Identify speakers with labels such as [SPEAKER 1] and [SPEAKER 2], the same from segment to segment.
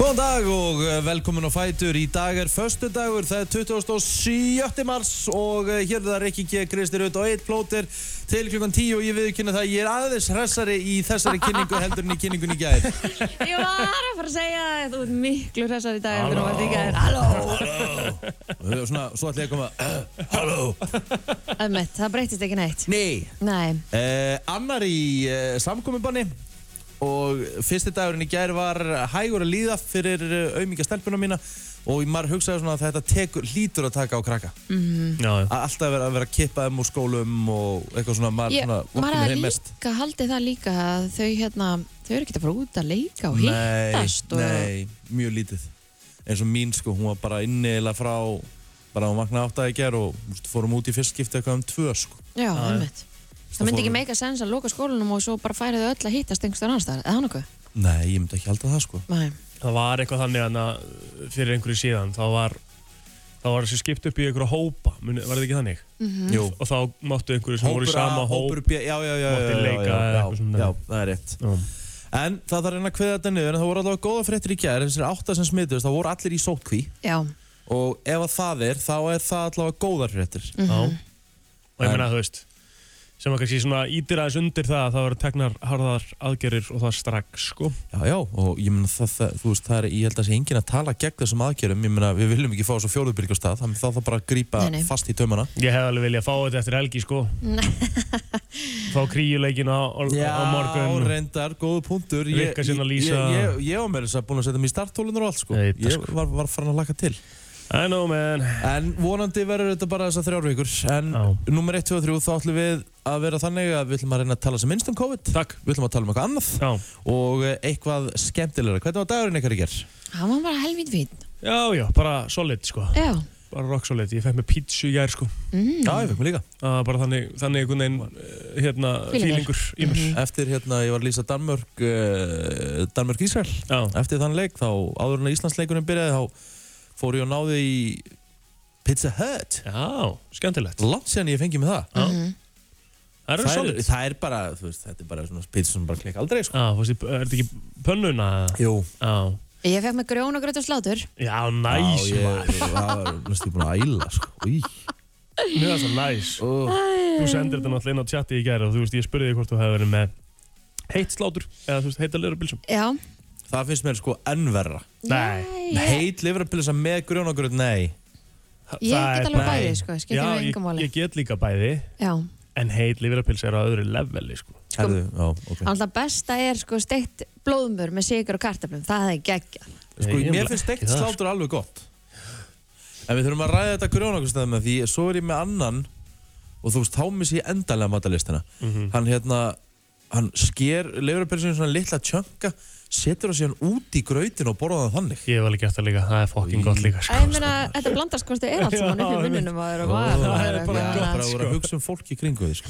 [SPEAKER 1] Góðan dag og eh, velkomin á Fætur. Í dag er förstu dagur, það er 27. mars og eh, hér er það Rikki G. Kristir út og eitt plótir til klukkan 10 og ég viðkynna það að ég er aðeins hressari í þessari kynningu heldur en í kynningunni í gæð.
[SPEAKER 2] Ég var að fara að segja að þú ert miklu hressar í dag heldur en þú varst í gæðir. Halló!
[SPEAKER 1] Svona, svo ætla ég að koma, halló.
[SPEAKER 2] Ömmett, það breytist ekki neitt.
[SPEAKER 1] Nei.
[SPEAKER 2] Nei.
[SPEAKER 1] Eh, annar í eh, samkominbanni og fyrsti dagurinn í gær var hægur að líða fyrir auðmíka stelpuna mína og maður hugsaði svona að þetta tekur, lítur að taka á krakka.
[SPEAKER 2] Mm.
[SPEAKER 1] að alltaf vera, að vera að kippa þeim úr skólum og eitthvað svona maður,
[SPEAKER 2] Ég,
[SPEAKER 1] svona,
[SPEAKER 2] maður
[SPEAKER 1] vorkennir
[SPEAKER 2] hafði
[SPEAKER 1] þeim mest.
[SPEAKER 2] líka haldið það líka að þau hérna, þau eru ekki að fara út að leika og hittast og...
[SPEAKER 1] nei, mjög lítið eins og mín sko, hún var bara inniðilega frá bara hún vaknaði áttaði í ger og þú veist, fórum út í fyrst skipti eitthvað um tvö sko
[SPEAKER 2] Já,
[SPEAKER 1] Já,
[SPEAKER 2] ömmett. Það myndi ekki meika sens að loka skólanum og svo bara færa þau öll að hittast einhverstaðar annars staðar, eða hann okkur?
[SPEAKER 1] Nei, ég myndi ekki halda það sko
[SPEAKER 2] Nei.
[SPEAKER 3] það var eitthvað þannig hana, fyrir einhverju síðan þá var, þá var þessi skipt upp í einhverju hópa muni, var þetta ekki þannig?
[SPEAKER 1] Mhm. Jú.
[SPEAKER 3] og þá máttu einhverju sem voru í
[SPEAKER 1] Hópur
[SPEAKER 3] sama
[SPEAKER 1] A,
[SPEAKER 3] hóp
[SPEAKER 1] hópur B, já, já, já, já,
[SPEAKER 3] mátti
[SPEAKER 1] já,
[SPEAKER 3] leika
[SPEAKER 1] já,
[SPEAKER 3] eða
[SPEAKER 1] já,
[SPEAKER 3] eitthvað svona
[SPEAKER 1] já, það er rétt
[SPEAKER 3] já.
[SPEAKER 1] En það þarf að reyna að kveða þetta niður en það voru allavega góða fréttir í gær þessir átta sem smituðist, það voru allir í sótkví
[SPEAKER 2] Já.
[SPEAKER 1] og ef að það er, þá er það allavega góðar fréttir
[SPEAKER 2] Mhm. Já.
[SPEAKER 3] og ég meina þú veist sem að kannski svona ítir aðeins undir það að það voru teknar harðar aðgerir og það strax sko
[SPEAKER 1] Já, já, og ég meina það, það, þú veist, það er, ég held að sé enginn að tala gegn þessum aðgerðum, ég meina við viljum ekki fá þessu fjóðubyrg á stað, þannig það þarf bara að grípa
[SPEAKER 2] Nei, nei.
[SPEAKER 1] fast í taumana.
[SPEAKER 3] ég hef alveg viljað fá þetta eftir helgi sko fá kríuleikin á, á, á morgun
[SPEAKER 1] reyndar, góðu punktur. Ég-
[SPEAKER 3] Rikka sinna
[SPEAKER 1] ég-
[SPEAKER 3] Lísa.
[SPEAKER 1] Ég, ég, ég var með þess að búin að setja mig í starttólunar og allt, sko.
[SPEAKER 3] Ég veit það,
[SPEAKER 1] ég var, var farin að laka til.
[SPEAKER 3] I know man
[SPEAKER 1] En vonandi verður þetta bara þessar þrjár vikur, en nummer 1, 2 og 3 þá ætlum við að vera þannig að við ætlum að reyna að tala sem minnst um COVID.
[SPEAKER 3] Takk.
[SPEAKER 1] Við ætlum að tala um eitthvað annað
[SPEAKER 3] já.
[SPEAKER 1] og eh, eitthvað skemmtilegra. Hvernig var dagurinn ykkar í gerð?
[SPEAKER 2] Hann var bara helvít fín.
[SPEAKER 3] já já, bara solid sko
[SPEAKER 2] Já.
[SPEAKER 3] bara rock solid, ég fekk mér pítsu í gær sko
[SPEAKER 2] Mm.
[SPEAKER 1] Já, ég fekk mér líka.
[SPEAKER 3] að bara þannig, þannig einhvern veginn eh, hérna,
[SPEAKER 2] Fílingur.
[SPEAKER 3] fílingur í mér
[SPEAKER 1] Eftir hérna, ég var að lýsa Danmörk uh, Danmörk Ísrael
[SPEAKER 3] Já.
[SPEAKER 1] Eftir þann leik, þá áður en að Íslandsleikurinn byrjaði þá fór ég og náði í Pizza Hut
[SPEAKER 3] Já, skemmtilegt
[SPEAKER 1] Langt síðan ég fengi með það
[SPEAKER 3] Já. Það eru
[SPEAKER 1] það,
[SPEAKER 3] solid
[SPEAKER 1] það er bara, þú veist, þetta er bara svona pizza sem bara klikka aldrei, sko
[SPEAKER 3] Já, fórstu, er þetta ekki pönnuna?
[SPEAKER 1] Jú
[SPEAKER 3] Já,
[SPEAKER 2] Ég fekk með grjóna, gröt og slátur.
[SPEAKER 3] já næs
[SPEAKER 1] Já,
[SPEAKER 3] maður.
[SPEAKER 1] ég, ég það var næstu búin að æla, sko Í,
[SPEAKER 3] Mér var svo næs Þú sendir þetta náttúrulega inn á chati í gæri og þú veist, ég spurði þig hvort þú hefði verið með heitt slátur eða þú veist, heita lirabylsum
[SPEAKER 2] Já.
[SPEAKER 1] Það finnst mér sko ennverra
[SPEAKER 3] Nei,
[SPEAKER 2] Ég-
[SPEAKER 1] Heit lifrapilsa með grjónagröð, nei
[SPEAKER 2] Ég
[SPEAKER 3] það
[SPEAKER 2] get
[SPEAKER 3] er-
[SPEAKER 2] alveg
[SPEAKER 3] nei.
[SPEAKER 2] bæði, sko, skiptir
[SPEAKER 3] Já,
[SPEAKER 2] mig
[SPEAKER 3] ég-
[SPEAKER 2] engu máli.
[SPEAKER 3] Ég get líka bæði,
[SPEAKER 2] Já.
[SPEAKER 3] en heit lifrapils er á öðru leveli, sko.
[SPEAKER 1] Herðu, já, ok
[SPEAKER 2] Alltaf besta er sko steikt blóðmör með sigur og kartaflum, það er geggja.
[SPEAKER 1] Sko,
[SPEAKER 3] Nei, ég
[SPEAKER 1] mér
[SPEAKER 3] bara-
[SPEAKER 1] finnst
[SPEAKER 3] ekki
[SPEAKER 1] steikt
[SPEAKER 3] það, sko.
[SPEAKER 1] slátur alveg gott En við þurfum að ræða þetta grjónakustæðum Því svo er ég með annan Og þú veist, þá miss ég endanlega matalistina
[SPEAKER 3] Mhm.
[SPEAKER 1] Hann hérna Hann sker leifurapelsinu svona litla tjönka Setur það síðan út í grautin og borða það þannig
[SPEAKER 3] Ég hef alveg gert það líka, það er fokkin gott líka,
[SPEAKER 2] Æ,
[SPEAKER 3] sko.
[SPEAKER 2] ég meina, þetta blandast hvort þið er allt saman upp í munninum á þér og maður.
[SPEAKER 1] Það er bara
[SPEAKER 2] eitthvað-
[SPEAKER 1] gott að vera að hugsa um fólk í kringu því sko.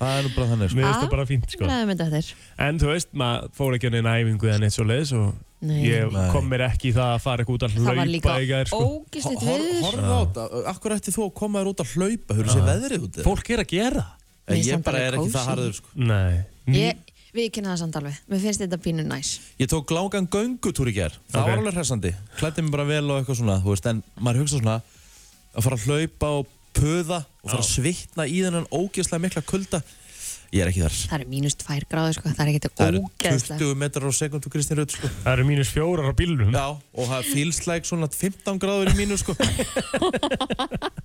[SPEAKER 1] Það er nú bara þannig sko.
[SPEAKER 3] Mér finnst það bara fínt, sko.
[SPEAKER 2] Ræðum þetta þér.
[SPEAKER 3] En þú veist, maður fór ekki á neina æfingu eða neitt svo leiðis og
[SPEAKER 2] Nei.
[SPEAKER 3] ég
[SPEAKER 1] Nei.
[SPEAKER 3] kom mér ekki í það að fara eitthvað út að
[SPEAKER 2] Það var líka
[SPEAKER 3] hlaupa í gær, sko.
[SPEAKER 2] ógislitt
[SPEAKER 1] Hor- hor-
[SPEAKER 2] viður.
[SPEAKER 1] Horfðu á þetta, akkur ætti þú að koma þér út að hlaupa Hörðu sé veðrið út þér
[SPEAKER 3] Fólk er að gera.
[SPEAKER 2] Mér finnst
[SPEAKER 1] Ég
[SPEAKER 2] samt
[SPEAKER 1] bara
[SPEAKER 2] alveg
[SPEAKER 1] er ekki það
[SPEAKER 2] kósí.
[SPEAKER 1] harður sko.
[SPEAKER 3] Nei.
[SPEAKER 2] Ég, við kynna það samt alveg, mér finnst þetta pínu næs.
[SPEAKER 1] Ég tók langan göngutúr í gerð Það
[SPEAKER 3] Ok.
[SPEAKER 1] var alveg hressandi Klætti mig bara vel og eitthvað svona þú veist, En maður hugsa svona Að fara að hlaupa og puða Og fara að svitna í þennan ógeðslega mikla kulda Ég er ekki þar
[SPEAKER 2] Það eru mínus tvær gráður sko, það er ekkert
[SPEAKER 1] Það eru
[SPEAKER 2] ógeðslega.
[SPEAKER 1] 20 metrar á sekundu Kristín Rutt sko.
[SPEAKER 3] Það eru mínus fjórar á bílunum.
[SPEAKER 1] Já, og það feels like svona 15 gráður í mínu sko.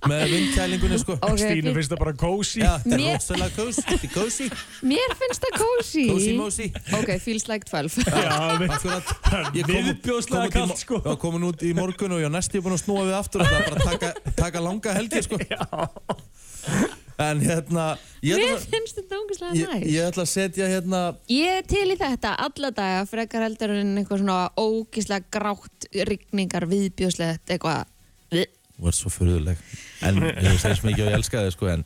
[SPEAKER 1] Með vindkælingunni sko.
[SPEAKER 2] Ok,
[SPEAKER 3] Stínu
[SPEAKER 2] fínt.
[SPEAKER 3] finnst það bara kósi.
[SPEAKER 1] Já, þetta er
[SPEAKER 2] Mér-
[SPEAKER 1] rosalega kósi Þetta er kósi,
[SPEAKER 2] Mér finnst það kósi.
[SPEAKER 1] kósi mósi
[SPEAKER 2] Ok, feels like 12.
[SPEAKER 3] Já, við-
[SPEAKER 1] Akkurat
[SPEAKER 3] það
[SPEAKER 1] Ég
[SPEAKER 3] er
[SPEAKER 1] kom-
[SPEAKER 3] viðbjóðslega
[SPEAKER 1] kom út í mo-
[SPEAKER 3] kallt, sko.
[SPEAKER 1] Já, komin út í morgun og ég næst ég búin að snúa við aftur Það er bara að taka, taka langa helgi sko. En hérna Ég
[SPEAKER 2] Mér
[SPEAKER 1] ætla,
[SPEAKER 2] finnst þetta
[SPEAKER 1] ég,
[SPEAKER 2] ógeðslega næs.
[SPEAKER 1] ég ætla að setja hérna
[SPEAKER 2] Ég er til í þetta alla daga frekar heldur en eitthvað svona ógislega grátt rigningar viðbjóðslegt eitthvað
[SPEAKER 1] Þú ert svo fyrðuleg En ég segist mikið og ég elska þið sko, En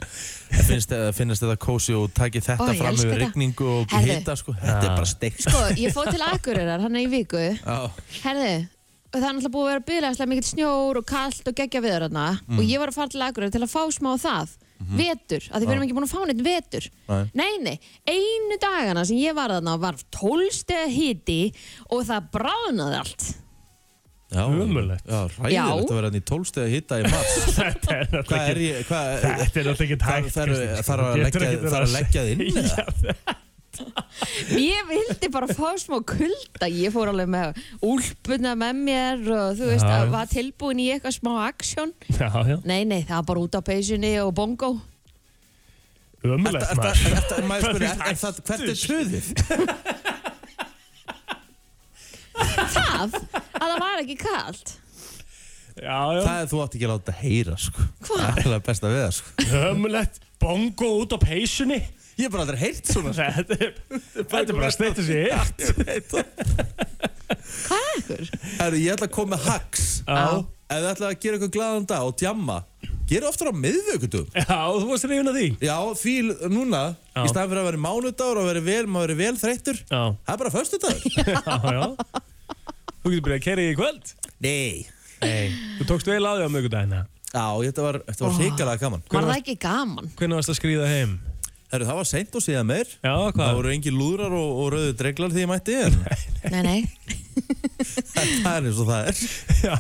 [SPEAKER 1] en finnst, eh, finnst þetta kósi og taki þetta
[SPEAKER 2] Ó, ég
[SPEAKER 1] fram
[SPEAKER 2] elska
[SPEAKER 1] yfir
[SPEAKER 2] þetta.
[SPEAKER 1] rigningu og
[SPEAKER 2] Herðu.
[SPEAKER 1] hita sko. Þetta er bara steikt
[SPEAKER 2] Sko, ég fóð til Akureyrar hann í viku
[SPEAKER 1] Já,
[SPEAKER 2] Herðu, og það er náttúrulega
[SPEAKER 1] Mm.
[SPEAKER 2] búið að vera byggðlega mikill snjór og kallt og geggja viður hann og ég var að fara til Akureyrar til að fá smá það vetur, að því við erum
[SPEAKER 1] Mhm. Já.
[SPEAKER 2] ekki búin að fá neitt vetur
[SPEAKER 1] Nei.
[SPEAKER 2] Nei, nei, einu dagana sem ég var þarna var 12 stega hiti og það bráðnaði allt
[SPEAKER 1] Já, Ömulegt. Já, ræðilegt
[SPEAKER 2] Já.
[SPEAKER 1] að vera hann í tólstega hitta í mars.
[SPEAKER 3] Þetta er
[SPEAKER 1] Hvað er
[SPEAKER 3] náttúrulega
[SPEAKER 1] ég, hvað,
[SPEAKER 3] Þetta er náttúrulega ekki hægt
[SPEAKER 1] þarf
[SPEAKER 3] Kristín,
[SPEAKER 1] þarf að
[SPEAKER 3] þú getur
[SPEAKER 1] leggja,
[SPEAKER 3] ekkert verið
[SPEAKER 1] þarf að leggja þið inn eða?
[SPEAKER 2] Ég vildi bara fá smá kulda Ég fór alveg með úlpuna með mér og þú veist,
[SPEAKER 3] Já.
[SPEAKER 2] að var tilbúin í eitthvað smá aksjón
[SPEAKER 3] Já, já,
[SPEAKER 2] Nei, nei, það var bara út á peysunni og bongo
[SPEAKER 3] ömulegt
[SPEAKER 1] Ertu-
[SPEAKER 3] maður
[SPEAKER 1] ertu- ertu- Maður
[SPEAKER 3] Hvað
[SPEAKER 1] spyrir,
[SPEAKER 3] er
[SPEAKER 1] er- er það, hvert er suðið?
[SPEAKER 2] Það, að það var ekki kalt
[SPEAKER 3] Já, já,
[SPEAKER 1] Það er þú átt ekki að láta heyra, sko.
[SPEAKER 2] Hvað?
[SPEAKER 1] Það er það besta við það, sko.
[SPEAKER 3] ömulegt Bongo út á peysunni
[SPEAKER 1] Ég hef bara aldrei heyrt svona. sko.
[SPEAKER 3] Þetta er þetta er bara að steytta sig í eitt.
[SPEAKER 2] Hvað er ykkur?
[SPEAKER 1] Herru, ég ætla að koma með hacks.
[SPEAKER 3] Já,
[SPEAKER 1] Ef þið ætlaði að gera eitthvað glaðan dag og djamma, gera oftar á miðvökkutum.
[SPEAKER 3] já, þú varst reyfin að því
[SPEAKER 1] Já, því l- núna,
[SPEAKER 3] Já.
[SPEAKER 1] í staðan fyrir að vera mánudagur og vera vel, maður verið vel þreyttur,
[SPEAKER 3] Já,
[SPEAKER 1] það er bara föstudagur.
[SPEAKER 3] já, já Þú getur byrjað að kæri í kvöld
[SPEAKER 1] Nei.
[SPEAKER 3] Nei Þú tókst vel á því á mögudagina
[SPEAKER 1] Já, þetta var, þetta var
[SPEAKER 2] Ó.
[SPEAKER 1] hrikalega gaman.
[SPEAKER 2] Var
[SPEAKER 3] Hvenær
[SPEAKER 2] það
[SPEAKER 3] varst-
[SPEAKER 2] ekki gaman?
[SPEAKER 3] Hvernig varst að skrýða heim?
[SPEAKER 1] Herru, það var seint og síðan meir.
[SPEAKER 3] Já,
[SPEAKER 1] Það
[SPEAKER 3] hvað?
[SPEAKER 1] voru engin lúðrar og, og rauðu dreglar því ég mætti en
[SPEAKER 2] Nei, nei,
[SPEAKER 1] það er eins og það er.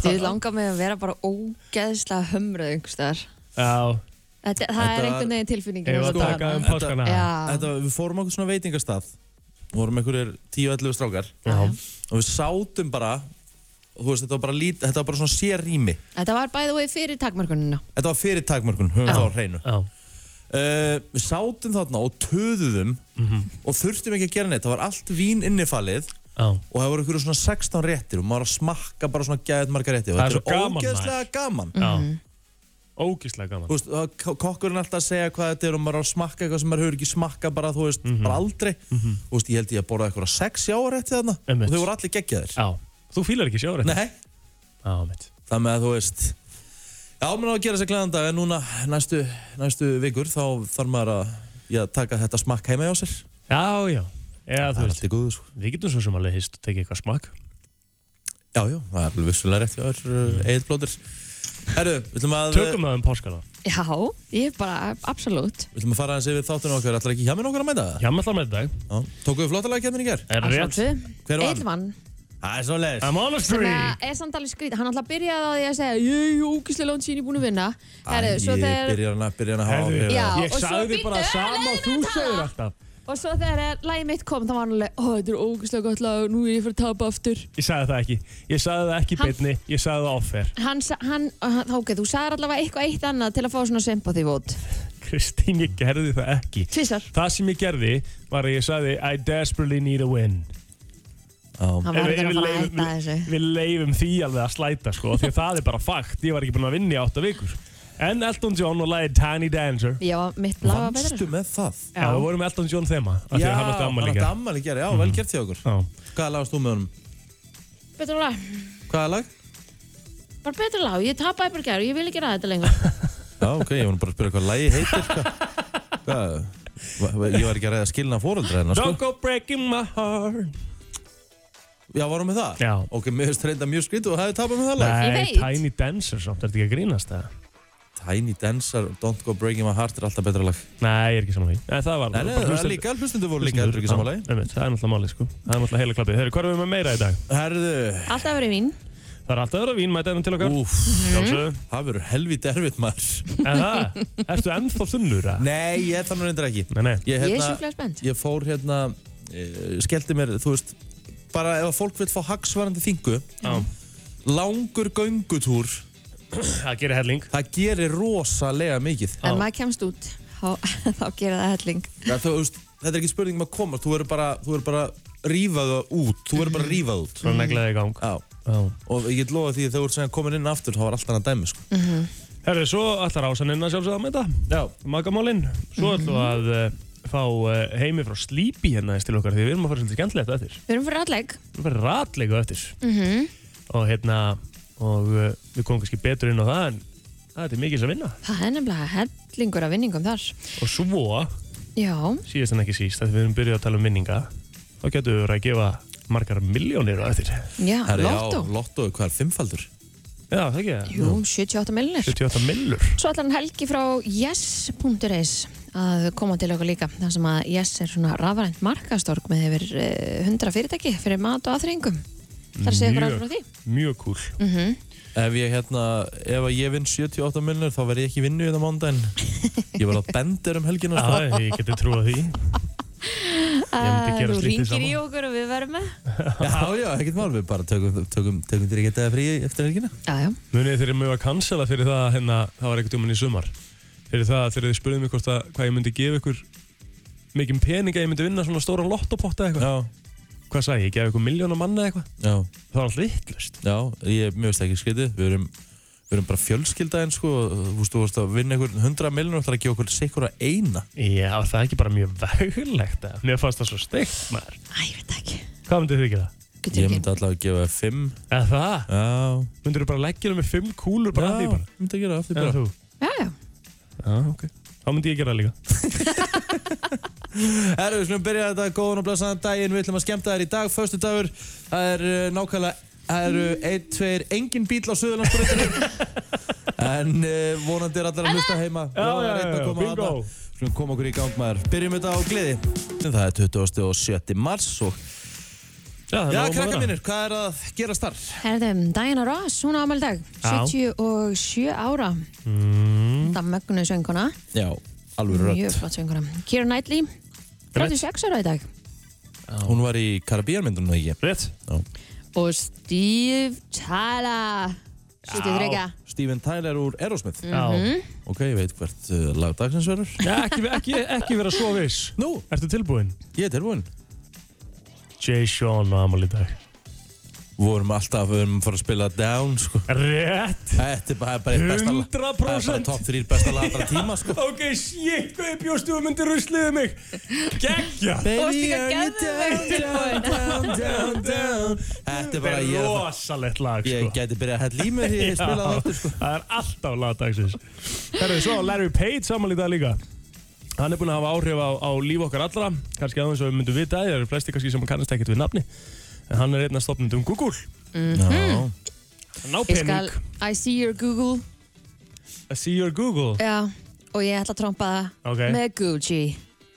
[SPEAKER 2] þið langar mig að vera bara ógeðslega hömröð einhverstaðar
[SPEAKER 3] Já,
[SPEAKER 2] Þetta, það
[SPEAKER 1] Þetta
[SPEAKER 2] er
[SPEAKER 1] var-
[SPEAKER 2] einhvern veginn tilfinningin
[SPEAKER 3] Ef
[SPEAKER 2] þessa
[SPEAKER 3] að taka um
[SPEAKER 2] dagana.
[SPEAKER 3] páskana
[SPEAKER 2] Já,
[SPEAKER 1] Þetta, við fórum okkur svona veitingastað, vorum einhverjir 10-11 strákar
[SPEAKER 2] já.
[SPEAKER 1] og við sátum bara, þú veist, þetta var bara, lít, þetta var bara svona sér rými.
[SPEAKER 2] Þetta var bæði og fyrir takmörkunina
[SPEAKER 1] Þetta var fyrir takmörkun, höfum
[SPEAKER 2] Já.
[SPEAKER 1] það á hreinu.
[SPEAKER 3] Já,
[SPEAKER 1] Uh, við sátum þarna og töðuðum
[SPEAKER 3] Mhm.
[SPEAKER 1] og þurftum ekki að gera neitt, það var allt vín innifalið
[SPEAKER 3] já
[SPEAKER 1] og það voru einhverju svona 16 réttir og maður var að smakka bara svona gæðið marga rétti og
[SPEAKER 3] Það er
[SPEAKER 1] þetta
[SPEAKER 3] svo
[SPEAKER 1] er
[SPEAKER 3] gaman,
[SPEAKER 1] ógeðslega gaman.
[SPEAKER 3] Já Ógíslega gaman
[SPEAKER 1] Þú veist, það- ko- kokkurinn alltaf að segja hvað þetta er og maður er að smakka eitthvað sem maður hefur ekki smakka bara, þú veist,
[SPEAKER 3] Mhm.
[SPEAKER 1] bara aldrei. Þú veist, ég held ég að borða eitthvað sex jáarætti þarna
[SPEAKER 3] Einmitt.
[SPEAKER 1] og þau voru allir geggjaðir.
[SPEAKER 3] Já Þú fílar ekki sjáur
[SPEAKER 1] Nei,
[SPEAKER 3] Já, mitt
[SPEAKER 1] það með að þú veist, já, maður á að gera sér glæðan dag en núna næstu, næstu vikur þá þarf maður að já, taka þetta smakk heima hjá sér.
[SPEAKER 3] Já, já Já,
[SPEAKER 1] það
[SPEAKER 3] þú
[SPEAKER 1] er
[SPEAKER 3] veist
[SPEAKER 1] allt í góðu, sko.
[SPEAKER 3] Við getum svo sem alveg hist og tekið eitthvað smak
[SPEAKER 1] Já, já, það er alveg vissulega rétt hjá
[SPEAKER 3] Mm.
[SPEAKER 1] þér, eh, Egil Blóter. Herru, við ætlum að, við
[SPEAKER 3] Tökum það um páskana
[SPEAKER 2] Já, ég er bara, absolutt
[SPEAKER 1] ætlum að fara aðeins yfir þáttunum okkar, ætlar ekki hjá minn okkar að mæta það?
[SPEAKER 3] Já, með það með dag
[SPEAKER 1] Já. Tókuðu flottalega kemmin hérna í ger?
[SPEAKER 3] Er rétt
[SPEAKER 1] Hver vann?
[SPEAKER 2] Eitt vann
[SPEAKER 1] Það er svo leiðis.
[SPEAKER 3] I'm on a
[SPEAKER 2] sem
[SPEAKER 3] streak
[SPEAKER 2] að er samt alveg skrítið, hann alltaf byrjaði á því að segja ég er ógislega langt sín ég búin að vinna Herru, svo
[SPEAKER 1] Æ,
[SPEAKER 2] þegar,
[SPEAKER 1] byrjar hann að, byrjar hann að hafa
[SPEAKER 3] Herðu,
[SPEAKER 1] áhrif.
[SPEAKER 2] Já,
[SPEAKER 3] ég
[SPEAKER 2] og svo
[SPEAKER 3] sagði
[SPEAKER 2] bíddu,
[SPEAKER 3] bara
[SPEAKER 2] leyfðu
[SPEAKER 3] sama
[SPEAKER 2] mér
[SPEAKER 3] og þú
[SPEAKER 2] að tala.
[SPEAKER 3] segir alltaf
[SPEAKER 2] og svo þegar lagið mitt kom þá var hann alveg, ó þetta er ógislega gott lag nú er ég fyrir að tapa aftur
[SPEAKER 3] Ég sagði það ekki Ég sagði það ekki í
[SPEAKER 2] Hann-
[SPEAKER 3] beinni Ég sagði það offer
[SPEAKER 2] hann, sa- hann, hann ok, þú sagði allavega eitthvað eitt annað til að fá svona sympathy vote
[SPEAKER 3] Kristín, ég gerði það ekki
[SPEAKER 2] tvisar,
[SPEAKER 3] Það sem ég gerði var að ég sagði I desperately need a win
[SPEAKER 1] Já.
[SPEAKER 2] hann var ekki
[SPEAKER 3] Ef
[SPEAKER 2] að fara
[SPEAKER 3] við-
[SPEAKER 2] að
[SPEAKER 3] við-
[SPEAKER 2] hætta þessu
[SPEAKER 3] Við leifum því alveg að slæta sko Því að það er bara fakt Ég var ekki búin að vinna í átta vikur En Elton John og lagið Tiny Dancer
[SPEAKER 2] já, mitt lag var
[SPEAKER 1] Vannstu
[SPEAKER 2] betra
[SPEAKER 1] með það?
[SPEAKER 3] Já, við vorum með Elton John þema af Því að hann átti amma
[SPEAKER 1] hann átti
[SPEAKER 3] líka
[SPEAKER 1] ammali í ger, já, vel gert hjá okkur.
[SPEAKER 3] Já.
[SPEAKER 1] Hvaða lag varst þú með honum?
[SPEAKER 2] betra lag,
[SPEAKER 1] Hvaða lag?
[SPEAKER 2] bara betra lag, ég tapaði bara gæru ég vil ekki ræða þetta lengur
[SPEAKER 1] Já, ok, ég var nú bara að spyrja hvað lagi heitir. hvað- Hvað? va- va- Ég var ekki að reyða skilna fóröldra hennar, sko.
[SPEAKER 3] Don't go breaking my heart
[SPEAKER 1] Já, varum við það?
[SPEAKER 3] Já.
[SPEAKER 1] Ok, mér finnst reynda mjög skrítið og hafið tapað með það lag.
[SPEAKER 2] Ég
[SPEAKER 3] Nei,
[SPEAKER 2] veit.
[SPEAKER 3] Tiny Dancer samt, er þetta ekki að grínast það?
[SPEAKER 1] Tiny Dancer, Don't Go Breaking My Heart er alltaf betra lag.
[SPEAKER 3] Nei, ég er ekki saman því Nei, það var
[SPEAKER 1] Nei,
[SPEAKER 3] bara
[SPEAKER 1] nei, það er
[SPEAKER 3] hlustendur-
[SPEAKER 1] líka, hlustundu voru líka
[SPEAKER 3] hlustendur-
[SPEAKER 1] heldur ekki
[SPEAKER 3] Já,
[SPEAKER 1] samanlagi.
[SPEAKER 3] einmitt, Það er náttúrulega máli sko Það er náttúrulega heila klappið Hörru, hvað erum við með meira í dag?
[SPEAKER 1] Herðu,
[SPEAKER 2] alltaf verið mín,
[SPEAKER 3] Það er alltaf að vera vín mætaðum til okkar
[SPEAKER 1] úf,
[SPEAKER 3] Sjálfsögðu.
[SPEAKER 1] það verður helvítið erfitt maður.
[SPEAKER 3] En það, ertu ennþá þunnur að?
[SPEAKER 1] Nei, ég þannig reyndir ekki.
[SPEAKER 3] Nei, nei
[SPEAKER 1] Ég,
[SPEAKER 2] ég er
[SPEAKER 1] hérna,
[SPEAKER 2] sjúklega spennt
[SPEAKER 1] ég fór hérna, uh, skellti mér, þú veist, bara ef að fólk vil fá hagsvarandi þingu,
[SPEAKER 3] Já.
[SPEAKER 1] langur göngutúr,
[SPEAKER 3] Það gerir helling
[SPEAKER 1] það gerir rosalega mikið.
[SPEAKER 2] en maður kemst út þá, þá gerir það helling
[SPEAKER 1] Það, þú veist, þetta er ekki spurning um að koma, þú verður bara, þú verður bara rífað út, þú verður bara rífað út.
[SPEAKER 3] Svona neglaði í gang
[SPEAKER 1] Já,
[SPEAKER 3] Já
[SPEAKER 1] og ég get lofa því að þegar þú ert sem komin inn aftur, þá var allt annað dæmi, sko.
[SPEAKER 3] Herru, svo allar ásaninn að sjálfsögða með þetta Já Magamálinn Svo ætlum við að uh, fá uh, heimi frá Sleepy hérna eins til okkar Því við erum að fara svolítið skemmtilegt á eftir
[SPEAKER 2] við erum fyrir alleg
[SPEAKER 3] Við verðum ratleika eftir Og hérna Og uh, við komum kannski betur inn á það En það er mikið að vinna
[SPEAKER 2] það er nefnilega hellingur af vinningum þar
[SPEAKER 3] Og svo
[SPEAKER 2] já,
[SPEAKER 3] síðast en ekki síst, að við erum byrjuð að tala um minninga þá getum við verið að gefa margar miljónir á eftir
[SPEAKER 2] já,
[SPEAKER 1] Herri,
[SPEAKER 2] lotto
[SPEAKER 1] Já, lotto, hvað er fimmfaldur?
[SPEAKER 3] Já, Já, það ekki það.
[SPEAKER 2] Jú, 78 millinir.
[SPEAKER 3] 78 millur.
[SPEAKER 2] Svo allan Helgi frá yes.is að koma til okkur líka þar sem að yes er svona rafrænt markastorg með yfir eh, 100 fyrirtæki fyrir mat og aðþreyingum. Það er að segja ykkur
[SPEAKER 1] Mjög.
[SPEAKER 2] alveg frá því.
[SPEAKER 3] Mjög cool.
[SPEAKER 2] Mm -hmm.
[SPEAKER 1] Ef ég hérna, ef að ég vinn 78 miljonir þá verð ég ekki í vinnu í það mándaginn. Ég var á bender um helgina.
[SPEAKER 3] Já, ég geti trúið því. myndi gera
[SPEAKER 2] Ah, Þú
[SPEAKER 1] slíkt hið
[SPEAKER 2] ringir
[SPEAKER 1] sama.
[SPEAKER 2] í okkur og við verum með.
[SPEAKER 1] Já, já, ekkert mál, við bara tökum, tökum, tökum þér ekki þetta frí eftir helgina.
[SPEAKER 2] Já, já.
[SPEAKER 3] Munið þeir eru mjög að cancela fyrir það að hérna, það var eitthvað tjóman í sumar. Fyrir það að þegar þið spurðum mig hvort að hvað ég myndi gefa ykkur mikið pening að ég myndi vinna svona stóra lottopotta eitthvað.
[SPEAKER 1] Já.
[SPEAKER 3] Hvað sagði ég? Ég gefa ykkur miljónum manna eitthvað?
[SPEAKER 1] Já.
[SPEAKER 3] Það var alltaf vittlust.
[SPEAKER 1] Já, ég, mér veist ekki skritið, við erum, við erum bara fjölskylda en sko, og þú veist, þú veist að vinna einhver 100 miljonir og það er að gefa okkur sikkur að eina.
[SPEAKER 3] Já, það er ekki bara mjög veglegt að mér fannst það svo steikt maður.
[SPEAKER 2] Æ, ég veit ekki.
[SPEAKER 3] Hvað myndið þið gera?
[SPEAKER 1] Ég myndi alltaf að gefa þér 5.
[SPEAKER 3] Eða það?
[SPEAKER 1] Já.
[SPEAKER 3] Myndir þú bara leggja það með fimm kúlur bara
[SPEAKER 1] Já,
[SPEAKER 3] að því bara?
[SPEAKER 1] myndi að gera af því
[SPEAKER 3] En
[SPEAKER 1] bara.
[SPEAKER 3] þú?
[SPEAKER 2] Já, já.
[SPEAKER 3] Já, ok. Þá myndi ég gera það líka.
[SPEAKER 1] Herru, við slumum byrja þetta góðan og blessaðan daginn, við ætlum að skemmta þér í dag, förstu dagur, það er uh, nákvæmlega, það eru einn, tveir, engin bíl á Suðurlandsbröðinu, en uh, vonandi er allar að hlusta heima,
[SPEAKER 3] Já,
[SPEAKER 1] það
[SPEAKER 3] já,
[SPEAKER 1] er einn að
[SPEAKER 3] já,
[SPEAKER 1] koma
[SPEAKER 3] bingo.
[SPEAKER 1] þarna. Slumum koma okkur í gang maður, byrjum þetta á gleði, en það er 27. mars og
[SPEAKER 3] Já, það er nóg
[SPEAKER 1] Já,
[SPEAKER 3] um að
[SPEAKER 1] krakkar
[SPEAKER 3] vera.
[SPEAKER 1] mínir, hvað er að gera starf?
[SPEAKER 2] Herðum, Diana Ross, hún ámæli dag,
[SPEAKER 1] Já.
[SPEAKER 2] 77 ára.
[SPEAKER 3] Mm.
[SPEAKER 2] Það mögnu sönguna,
[SPEAKER 1] Já, alveg
[SPEAKER 2] mjög
[SPEAKER 1] rödd.
[SPEAKER 2] flott sönguna. Keira Knightley, 36 ára í dag.
[SPEAKER 1] Hún var í Karabíjarmyndunum, ekki?
[SPEAKER 3] Rétt.
[SPEAKER 2] Og Steve Tyler, 73.
[SPEAKER 1] Steven Tyler úr Aerosmith.
[SPEAKER 2] Já. Mhm.
[SPEAKER 1] Ok, ég veit hvert uh, lag dagsins verður.
[SPEAKER 3] Já, ekki, ekki, ekki vera svo viss.
[SPEAKER 1] Nú?
[SPEAKER 3] Ertu tilbúinn?
[SPEAKER 1] Ég er tilbúinn.
[SPEAKER 3] Jay Sean á amal í dag.
[SPEAKER 1] Vorum alltaf, við vorum að fara að spila Down, sko.
[SPEAKER 3] Rétt.
[SPEAKER 1] Þetta er bara, bara eitt besta lag.
[SPEAKER 3] 100%.
[SPEAKER 1] Það er bara top 3 besta lag allra tíma, sko.
[SPEAKER 3] Ok, shit, hvað ég bjóst þú að myndi rusliði mig? Gekkja!
[SPEAKER 1] down, down, down? Þetta er
[SPEAKER 3] Þetta
[SPEAKER 1] bara,
[SPEAKER 3] er
[SPEAKER 1] ég er að-
[SPEAKER 3] rosalegt lag, sko.
[SPEAKER 1] Ég gæti byrjað að hætta límið því ég spila það aftur, sko.
[SPEAKER 3] Það er alltaf lagdagsins. Herru, svo á Larry Page saman í dag líka. Hann er búinn að hafa áhrif á, á líf okkar allra, kannski aðeins og við myndum vita, það eru flesti kannski sem kannast ekkert við nafni, en hann er einn af stopnundum Google.
[SPEAKER 1] Já.
[SPEAKER 3] Ná
[SPEAKER 2] Ég
[SPEAKER 3] pening.
[SPEAKER 2] skal, I see your Google
[SPEAKER 3] I see your Google.
[SPEAKER 2] Já, og ég ætla að trompa það
[SPEAKER 3] Ok.
[SPEAKER 2] með Gucci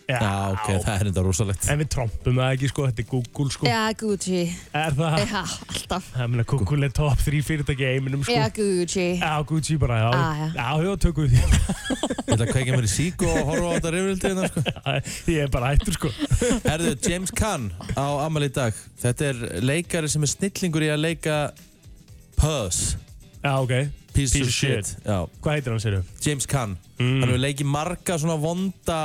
[SPEAKER 1] Já, ok, það er enda rosalegt.
[SPEAKER 3] En við trompum það ekki, sko, þetta er Google, sko.
[SPEAKER 2] Já, Gucci
[SPEAKER 3] Er það?
[SPEAKER 2] Já, alltaf
[SPEAKER 3] Það meina, Google er top 3 fyrirtæki í heiminum, sko.
[SPEAKER 2] Já, Gucci
[SPEAKER 3] Já, Gucci bara, já.
[SPEAKER 2] Ah, já.
[SPEAKER 3] Já, já, tökum við því.
[SPEAKER 1] Ég ætla að kveika mér í sík og horfa á þetta reyfildið hérna, sko.
[SPEAKER 3] Ég er bara hættur, sko.
[SPEAKER 1] Herðu, James Caan á amal í dag. Þetta er leikari sem er snillingur í að leika Puss.
[SPEAKER 3] Já, ok.
[SPEAKER 1] Piece, of shit. Já.
[SPEAKER 3] Hvað heitir hann, Mm. séru?
[SPEAKER 1] James Caan. Hann hefur leikið marga svona vonda,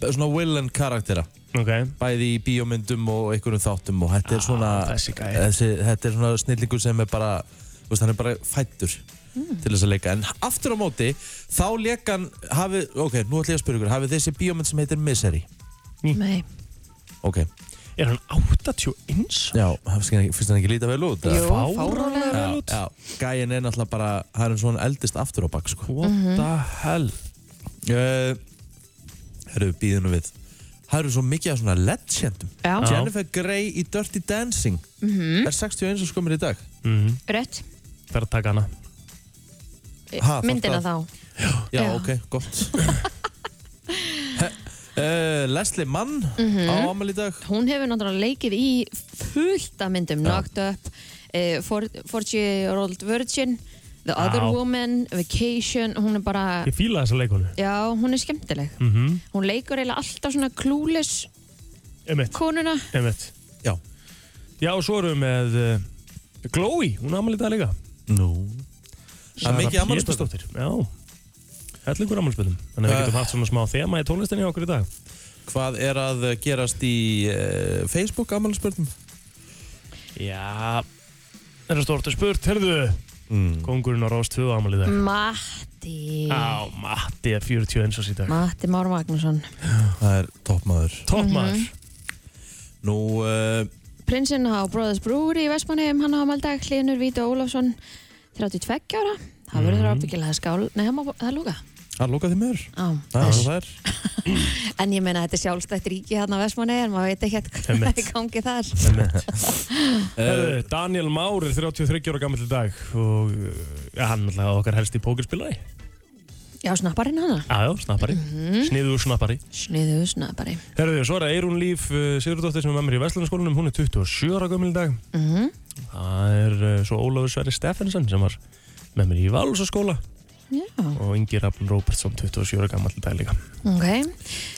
[SPEAKER 1] svona villain karaktera.
[SPEAKER 3] Ok. Ah,
[SPEAKER 1] Bæði í bíómyndum og einhverjum þáttum og þetta er svona,
[SPEAKER 3] þessi gæi.
[SPEAKER 1] þessi, þetta er svona snillingur sem er bara, þú veist, hann er bara fættur
[SPEAKER 3] Hmm.
[SPEAKER 1] til þess að leika. En aftur á móti, þá leik hann, hafi, ok, nú ætla ég að spyrja ykkur, hafið þessi bíómynd sem heitir Misery?
[SPEAKER 2] Nei,
[SPEAKER 1] Ok,
[SPEAKER 3] Er hann 81?
[SPEAKER 1] já, finnst hann ekki- finnst hann ekki líta vel út? eða?
[SPEAKER 2] Jú, fáránlega
[SPEAKER 1] Já, já, gæin er náttúrulega bara, hann er svona eldist aftur á bakk, sko.
[SPEAKER 3] What the
[SPEAKER 2] Mhm.
[SPEAKER 3] hell?
[SPEAKER 1] Uh, herru, býðinu við. Það eru svo mikið af svona legendum.
[SPEAKER 2] Já. Mhm.
[SPEAKER 1] Jennifer Grey í Dirty Dancing er 61 og skumir í dag.
[SPEAKER 2] rétt
[SPEAKER 3] Það er Mhm. að taka hana.
[SPEAKER 1] Ha,
[SPEAKER 2] Eh, Myndina þá
[SPEAKER 1] Já,
[SPEAKER 2] Já.
[SPEAKER 1] ok, gott. uh, Leslie Mann
[SPEAKER 2] Mhm.
[SPEAKER 1] á ámæli í dag.
[SPEAKER 2] Hún hefur náttúrulega leikið í fullt af myndum Knocked Up, eh, For- 40 Year Old Virgin The Other
[SPEAKER 3] Já.
[SPEAKER 2] Woman, Vacation Hún er bara,
[SPEAKER 3] Ég fíla þessa leikonu.
[SPEAKER 2] já, hún er skemmtileg
[SPEAKER 3] Mm -hmm.
[SPEAKER 2] Hún leikur eiginlega alltaf svona klúles
[SPEAKER 3] Emmett.
[SPEAKER 2] konuna
[SPEAKER 3] Emmett.
[SPEAKER 1] Já.
[SPEAKER 3] Já, og svo erum við með uh, Chloe. Hún er amalítið líka.
[SPEAKER 1] Nú. Það er mikið afmælisbörn.
[SPEAKER 3] Pétursdóttir. Já. Hellingur amalíðspilum. Þannig að við
[SPEAKER 1] Það-
[SPEAKER 3] getum haft svona smá þema í tónlistinni hjá okkur í dag.
[SPEAKER 1] Eh. Hvað er að gerast í uh, Facebook afmælisbörnum?
[SPEAKER 3] Já. Það er stort að spurt. Herðu,
[SPEAKER 1] Mm.
[SPEAKER 3] kongurinn á Rós 2 amalíðið.
[SPEAKER 2] Matti
[SPEAKER 3] Á, Matti er 41 ás í dag.
[SPEAKER 2] Matti Már Magnússon Mhm.
[SPEAKER 1] Það er toppmaður.
[SPEAKER 3] Toppmaður.
[SPEAKER 1] Nú, uh,
[SPEAKER 2] Prinsinn á Brothers Brewery í Vestmanheim hann á amaldag, Hlinur Víti Ólafsson 32 ára það verður mm. ábyggilega skál, nei það má- það er lúka
[SPEAKER 1] Hann lókaði því meður.
[SPEAKER 2] Á,
[SPEAKER 1] Það er
[SPEAKER 2] þess.
[SPEAKER 1] svo það er.
[SPEAKER 2] En ég meina, þetta er sjálfstætt ríki hérna á Vestmanni en maður veit ekki hvað það er í gangi þar.
[SPEAKER 3] Herðu, Daniel Már er 33 ára gammal í dag og eh, ja, hann er alltaf okkar helsti pókerspilari.
[SPEAKER 2] Já, snapparinn hana.
[SPEAKER 3] Jájá, snappari.
[SPEAKER 2] Mhm.
[SPEAKER 3] Sniður snappari.
[SPEAKER 2] Sniðu snappari.
[SPEAKER 3] Herðu, svo er það Eirún Líf uh, Sigurdóttir sem er með mér í Vestlunarskólanum, hún er 27 ára gammal í dag.
[SPEAKER 2] Mm
[SPEAKER 3] Það er uh, svo Ólafur Sverri Steffensen sem var með mér í Valsaskóla
[SPEAKER 2] Já,
[SPEAKER 3] og Ingi Rafn Róbertsson, 27 ára gammal í dag líka.
[SPEAKER 2] ok.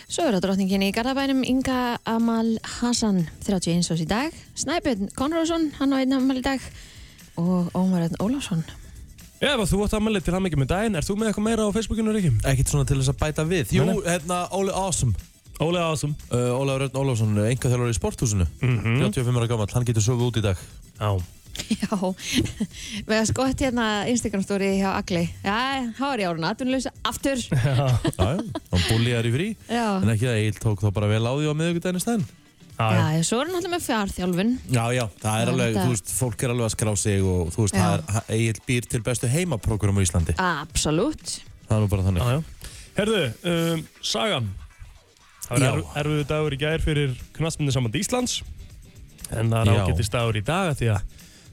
[SPEAKER 2] Svo er það drottningin í Garðabænum Inga Amal Hassan, 31 ás í dag. Snæbjörn Konráðsson, hann á einn amal í dag. Og Ómar Öðn Ólafsson.
[SPEAKER 3] Ef að þú átt að melda til hann með daginn, er þú með eitthvað meira á Facebookinu, Ríkjum?
[SPEAKER 1] Ekkert svona til þess að bæta við. Jú, hérna Óli Ásum.
[SPEAKER 3] Ólega ásum.
[SPEAKER 1] Uh, Ólaður Örn Ólafsson, enga þjálfur í sporthúsinu.
[SPEAKER 3] Mhm.
[SPEAKER 1] 35 ára gammal, hann getur sögðu út í dag.
[SPEAKER 3] Já.
[SPEAKER 2] Já, við hefum skott hérna Instagram-stóri hjá Agli. Já, há er ég árun atvinnulösa, aftur.
[SPEAKER 1] Já, já, hann búlíðar í frí.
[SPEAKER 2] Já,
[SPEAKER 1] En ekki það, Egil tók þá bara vel á því á miðugudaginn í stæðin.
[SPEAKER 3] Já,
[SPEAKER 2] já svo er hann alltaf með fjárþjálfun.
[SPEAKER 1] Já, já, það er
[SPEAKER 2] Já,
[SPEAKER 1] alveg,
[SPEAKER 2] þetta-
[SPEAKER 1] þú veist, fólk er alveg að skrá sig og þú veist,
[SPEAKER 2] Já.
[SPEAKER 1] það er, ha- Egill býr til bestu heimaprógram á Íslandi.
[SPEAKER 2] Absolutt.
[SPEAKER 1] Það er nú bara þannig.
[SPEAKER 3] já. Herðu, um, Sagan. Það
[SPEAKER 1] Já.
[SPEAKER 3] var erf- erfiður dagur í gær fyrir knastmyndu saman Íslands. En það er
[SPEAKER 1] Já.
[SPEAKER 3] ágættist dagur í dag af því að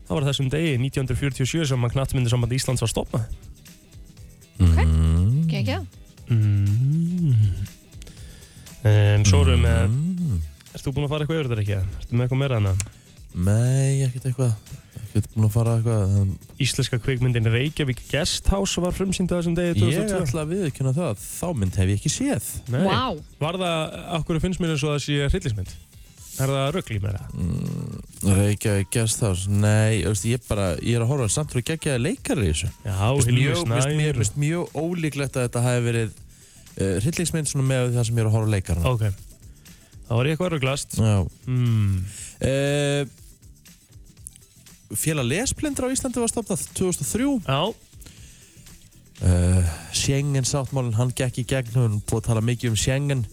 [SPEAKER 3] það var á þessum degi 1947 sem að knastmyndu saman Íslands var stopnað. Mhm.
[SPEAKER 2] Gekja.
[SPEAKER 3] Um, svo erum við með,
[SPEAKER 1] Mm,
[SPEAKER 3] erst þú búin að fara eitthvað yfir þetta ekki? Ertu með eitthvað meira en að
[SPEAKER 1] nei, ekkert eitthvað, ekkert búin að fara eitthvað. um,
[SPEAKER 3] íslenska kvikmyndin Reykjavík Guesthouse var frumsýnd á þessum degi
[SPEAKER 1] Ég
[SPEAKER 3] 2002?
[SPEAKER 1] ætla að viðkynna það, þá mynd hef ég ekki séð.
[SPEAKER 3] Nei.
[SPEAKER 2] Vá.
[SPEAKER 3] Var það, okkur finnst mér eins og það sé hryllismynd? Er það röggli meira?
[SPEAKER 1] Mm, Reykjavík Gesthouse, nei, þú veist, ég bara, ég er að horfa samt og geggjaði leikari í þessu.
[SPEAKER 3] Já,
[SPEAKER 1] Þú veist,
[SPEAKER 3] Hilmi
[SPEAKER 1] mjög- veist, Mér
[SPEAKER 3] Snær.
[SPEAKER 1] finnst mjög ólíklegt að þetta hafi verið uh, hryllingsmynd svona með það sem ég er að horfa á leikarana.
[SPEAKER 3] Ok. Það var ég eitthvað rugglast.
[SPEAKER 1] Já. Hmm.
[SPEAKER 3] Mm.
[SPEAKER 1] Uh, Félag lesblindur á Íslandi var stopnað 2003
[SPEAKER 3] Já,
[SPEAKER 1] uh, Schengen sáttmálinn, hann gekk í gegn hún er búið að tala mikið um Schengen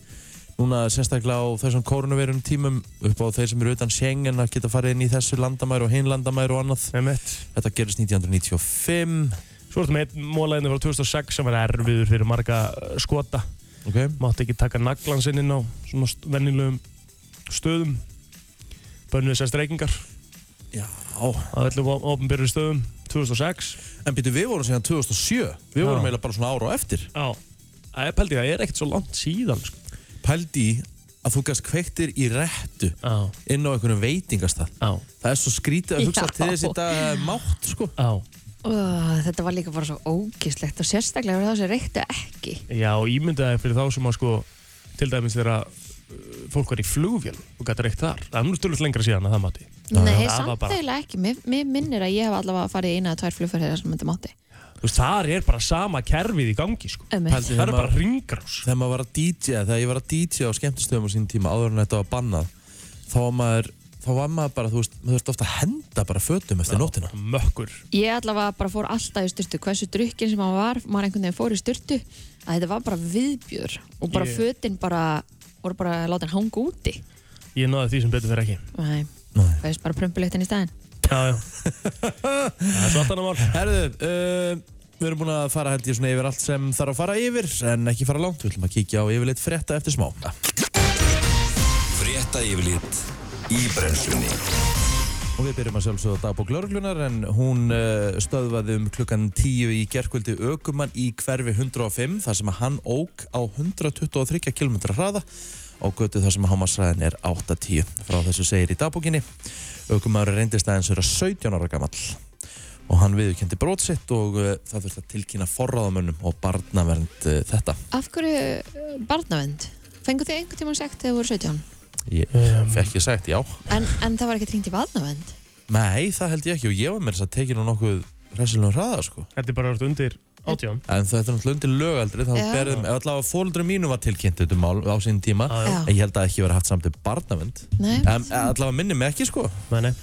[SPEAKER 1] núna sérstaklega á þessum koronavirun tímum upp á þeir sem eru utan Schengen að geta farið inn í þessu landamæru og hinn landamæru og annað
[SPEAKER 3] emitt.
[SPEAKER 1] þetta gerist 1995
[SPEAKER 3] Svo ertu með einn mólæðinu frá 2006 sem var erfiður fyrir marga uh, skota.
[SPEAKER 1] okay.
[SPEAKER 3] Mátti ekki taka naglan sinn inn á svona st- venjulegum stöðum. Bönnuði sér streikingar
[SPEAKER 1] Já,
[SPEAKER 3] á öllum ofnbyrðu stöðum 2006.
[SPEAKER 1] en býtu við vorum síðan 2007 við vorum
[SPEAKER 3] Já.
[SPEAKER 1] eiginlega bara svona ára á eftir
[SPEAKER 3] Já. Það er pældi, það er ekkert svo langt síðan. Sko.
[SPEAKER 1] pældi í að þú gast kveiktir í réttu
[SPEAKER 3] Já,
[SPEAKER 1] inn á einhvernum veitingastað
[SPEAKER 3] já,
[SPEAKER 1] það er svo skrítið að hugsa
[SPEAKER 2] Já.
[SPEAKER 1] til þess í dag að það er mátt sko
[SPEAKER 3] já.
[SPEAKER 2] Ó, Þetta var líka bara svo ógislegt og sérstaklega var það sem reyktu ekki.
[SPEAKER 3] Já, og ímyndaði fyrir þá sem að sko, til dæmis þegar að, uh, fólk var í flugvél og gæti reykt þar. Það er nú stöluð lengra síðan að það mátti.
[SPEAKER 2] Nei,
[SPEAKER 3] það var
[SPEAKER 2] samt
[SPEAKER 3] bara-
[SPEAKER 2] eiginlega ekki. Mér, mér minnir að ég hef allavega farið í eina eða tvær flugferðir þar sem þetta mátti.
[SPEAKER 3] Þú veist, þar er bara sama kerfið í gangi, sko.
[SPEAKER 2] Ömmið.
[SPEAKER 1] Pældi-
[SPEAKER 3] Það er bara ringrás.
[SPEAKER 1] þegar maður var að DJ, þegar ég var að DJ á skemmtistöðum á sín tíma áður en þetta var bannað þá var maður, þá var maður bara, þú veist, maður þurfti ofta að henda bara fötum eftir nóttina.
[SPEAKER 3] Mökkur.
[SPEAKER 2] Ég allavega bara fór alltaf í styrtu. Hversu drukkin sem maður var, maður einhvern veginn fór í styrtu, að þetta var bara viðbjör og bara
[SPEAKER 3] Ég-
[SPEAKER 2] yeah. fötin bara, voru bara látin hanga úti.
[SPEAKER 3] Ég náði því sem betur fyrir ekki.
[SPEAKER 2] Nei,
[SPEAKER 1] Nei.
[SPEAKER 2] það er bara prumpulegtin í staðinn.
[SPEAKER 3] Já, já. það er svo allt annar mál.
[SPEAKER 1] Herðu, uh, við erum búin að fara held ég svona yfir allt sem þarf að fara yfir en ekki fara langt, við ætlum að kíkja á yfirleitt frétta eftir smá.
[SPEAKER 4] Frétta yfirlit í brennslunni
[SPEAKER 1] Og við byrjum að sjálfsögða dagbók lauruglunar en hún uh, stöðvaði um klukkan 10 í gerkvöldi aukumann í hverfi 105 þar sem að hann ók á 123 km hraða á götu þar sem að hámasræðin er 8-10 frá þessu segir í dagbókinni. Aukumann reyndist aðeins vera 17 ára gamall og hann viðurkendi brótsitt og uh, það þurfti að tilkynna forráðamönnum og barnavernd uh, þetta.
[SPEAKER 2] Af hverju eh, barnavend? Fengu þið einhvern tímann sagt þegar þið voru 17?
[SPEAKER 1] Ég fekk ég sagt já.
[SPEAKER 2] En, en það var ekkert hringt í barnavend?
[SPEAKER 1] Nei, það held ég ekki og ég var með þess að tekinu nokkuð hressilegum hraða sko.
[SPEAKER 3] Þetta er bara orðið undir átján.
[SPEAKER 1] En þetta er náttúrulega undir lögaldri þannig
[SPEAKER 2] Já.
[SPEAKER 1] að berðum, ef allavega fóruldrum mínum var tilkynnt þetta mál á sín tíma
[SPEAKER 3] Já, já.
[SPEAKER 2] Já.
[SPEAKER 1] en ég held að ekki verið haft samt um barnavend
[SPEAKER 2] Nei,
[SPEAKER 1] um, allavega minni mig ekki sko
[SPEAKER 3] Nei, nei.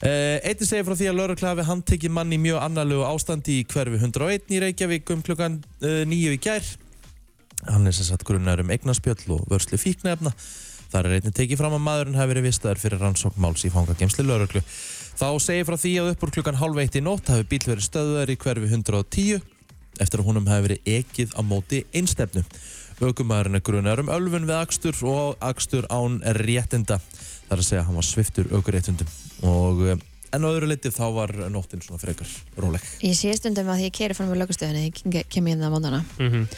[SPEAKER 1] Uh, Einnig segir frá því að laurugla hafi handtekið mann í mjög annarlegu ástandi í hverfi 101 í Reykjavík um klukkan uh, 9 í gær. Hann er sem sagt grunnar um eignaspjöll og vörslu fíknefna. Þar er einnig tekið fram að maðurinn hafi verið vistaður fyrir rannsókn máls í fangagemsli lauruglu. Þá segir frá því að upp úr klukkan halv eitt í nótt hafi bíl verið stöðuðar í hverfi 110 eftir að honum hefði verið ekið á móti einstefnu. Ökumæðurinn er grunar um ölfun við akstur og akstur án réttinda. Það er að segja að hann var sviftur ökuréttundum og eh, en á öðru liti þá var nóttin svona frekar róleg.
[SPEAKER 2] Ég sé stundum að því ég keri fram með lögustöðinni, ég kem ég inn það mótana.
[SPEAKER 3] Mm -hmm.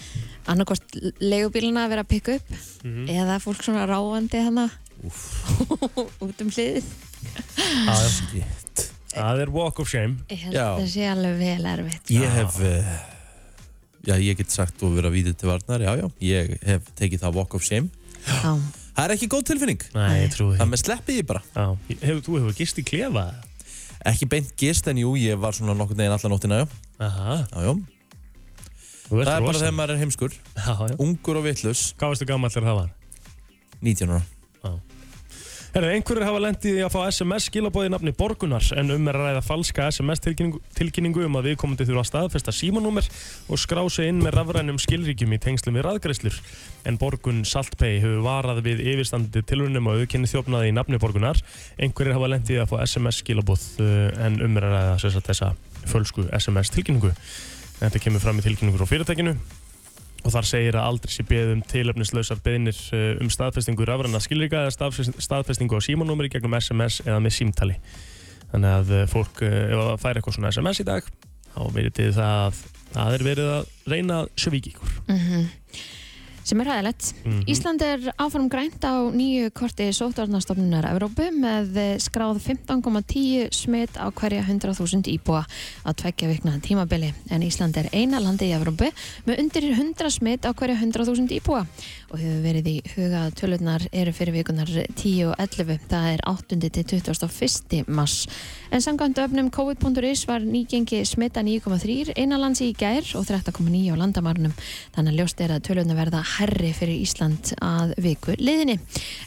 [SPEAKER 2] Annarkvort leigubíluna að vera að pikka upp eða fólk svona ráandi hana út um hliðið.
[SPEAKER 1] Shit.
[SPEAKER 3] Það er walk of shame
[SPEAKER 2] Ég held
[SPEAKER 1] Já.
[SPEAKER 2] að það sé alveg vel erfitt.
[SPEAKER 1] Ég hef, eh, já ég get sagt og vera vítið til varnar, já já, ég hef tekið það walk of shame.
[SPEAKER 2] Já.
[SPEAKER 1] Það er ekki góð tilfinning,
[SPEAKER 3] Nei, ég trúi
[SPEAKER 1] það
[SPEAKER 3] því
[SPEAKER 1] með sleppið ég bara.
[SPEAKER 3] Já. Hefur- Þú hefur gist í klefa
[SPEAKER 1] Ekki beint gist en jú, ég var svona nokkur neginn allan nóttina, já,
[SPEAKER 3] Aha,
[SPEAKER 1] já já.
[SPEAKER 3] þú ert
[SPEAKER 1] Það er bara
[SPEAKER 3] rosa.
[SPEAKER 1] þegar maður er heimskur,
[SPEAKER 3] Já, já.
[SPEAKER 1] ungur og vittlus,
[SPEAKER 3] Hvað varstu gammal þegar það var?
[SPEAKER 1] 19 ára.
[SPEAKER 3] Herra, einhverjir hafa lendið í að fá SMS skilabóði nafni Borgunar en um er að ræða falska SMS tilkynningu, tilkynningu um að viðkomandi þurfa að staðfesta símanúmer og skrá sig inn með rafrænum skilríkjum í tengslum við raðgreislur. En Borgun Saltpey hefur varað við yfirstandandi tilrunum og auðkynni þjófnaði í nafni Borgunar. Einhverjir hafa lendið í að fá SMS skilabóð en um er að ræða sem sagt, þessa fölsku SMS tilkynningu. Þetta kemur fram í tilkynningu frá fyrirtækinu og þar segir að aldrei sé beðið um tilöfnislausar beðinir uh, um staðfestingu rafræna skilrika eða stafs- staðfestingu á símanúmeri gegnum SMS eða með símtali þannig að uh, fólk, uh, ef það fær eitthvað svona SMS í dag þá veitir það að það er verið að reyna að svíkja ykkur
[SPEAKER 2] Mhm. Sem er hæðilegt.
[SPEAKER 3] mm
[SPEAKER 2] Ísland er áfram grænt á nýju korti sóttvarnastofnunar Evrópu með eh, skráð 15,10 smitt á hverja 100.000 íbúa á tveggja vikna tímabili en Ísland er eina landi í Evrópu með undir 100 smitt á hverja 100.000 íbúa og hefur verið í huga að tölurnar eru fyrir vikunar 10 og 11 það er 8. til 21. mars en samkvæmt öfnum COVID.is var nýgengi smitta 9,3 innanlands í gær og 13,9 á landamarnum þannig að ljóst er að tölurnar verða herri fyrir Ísland að viku liðinni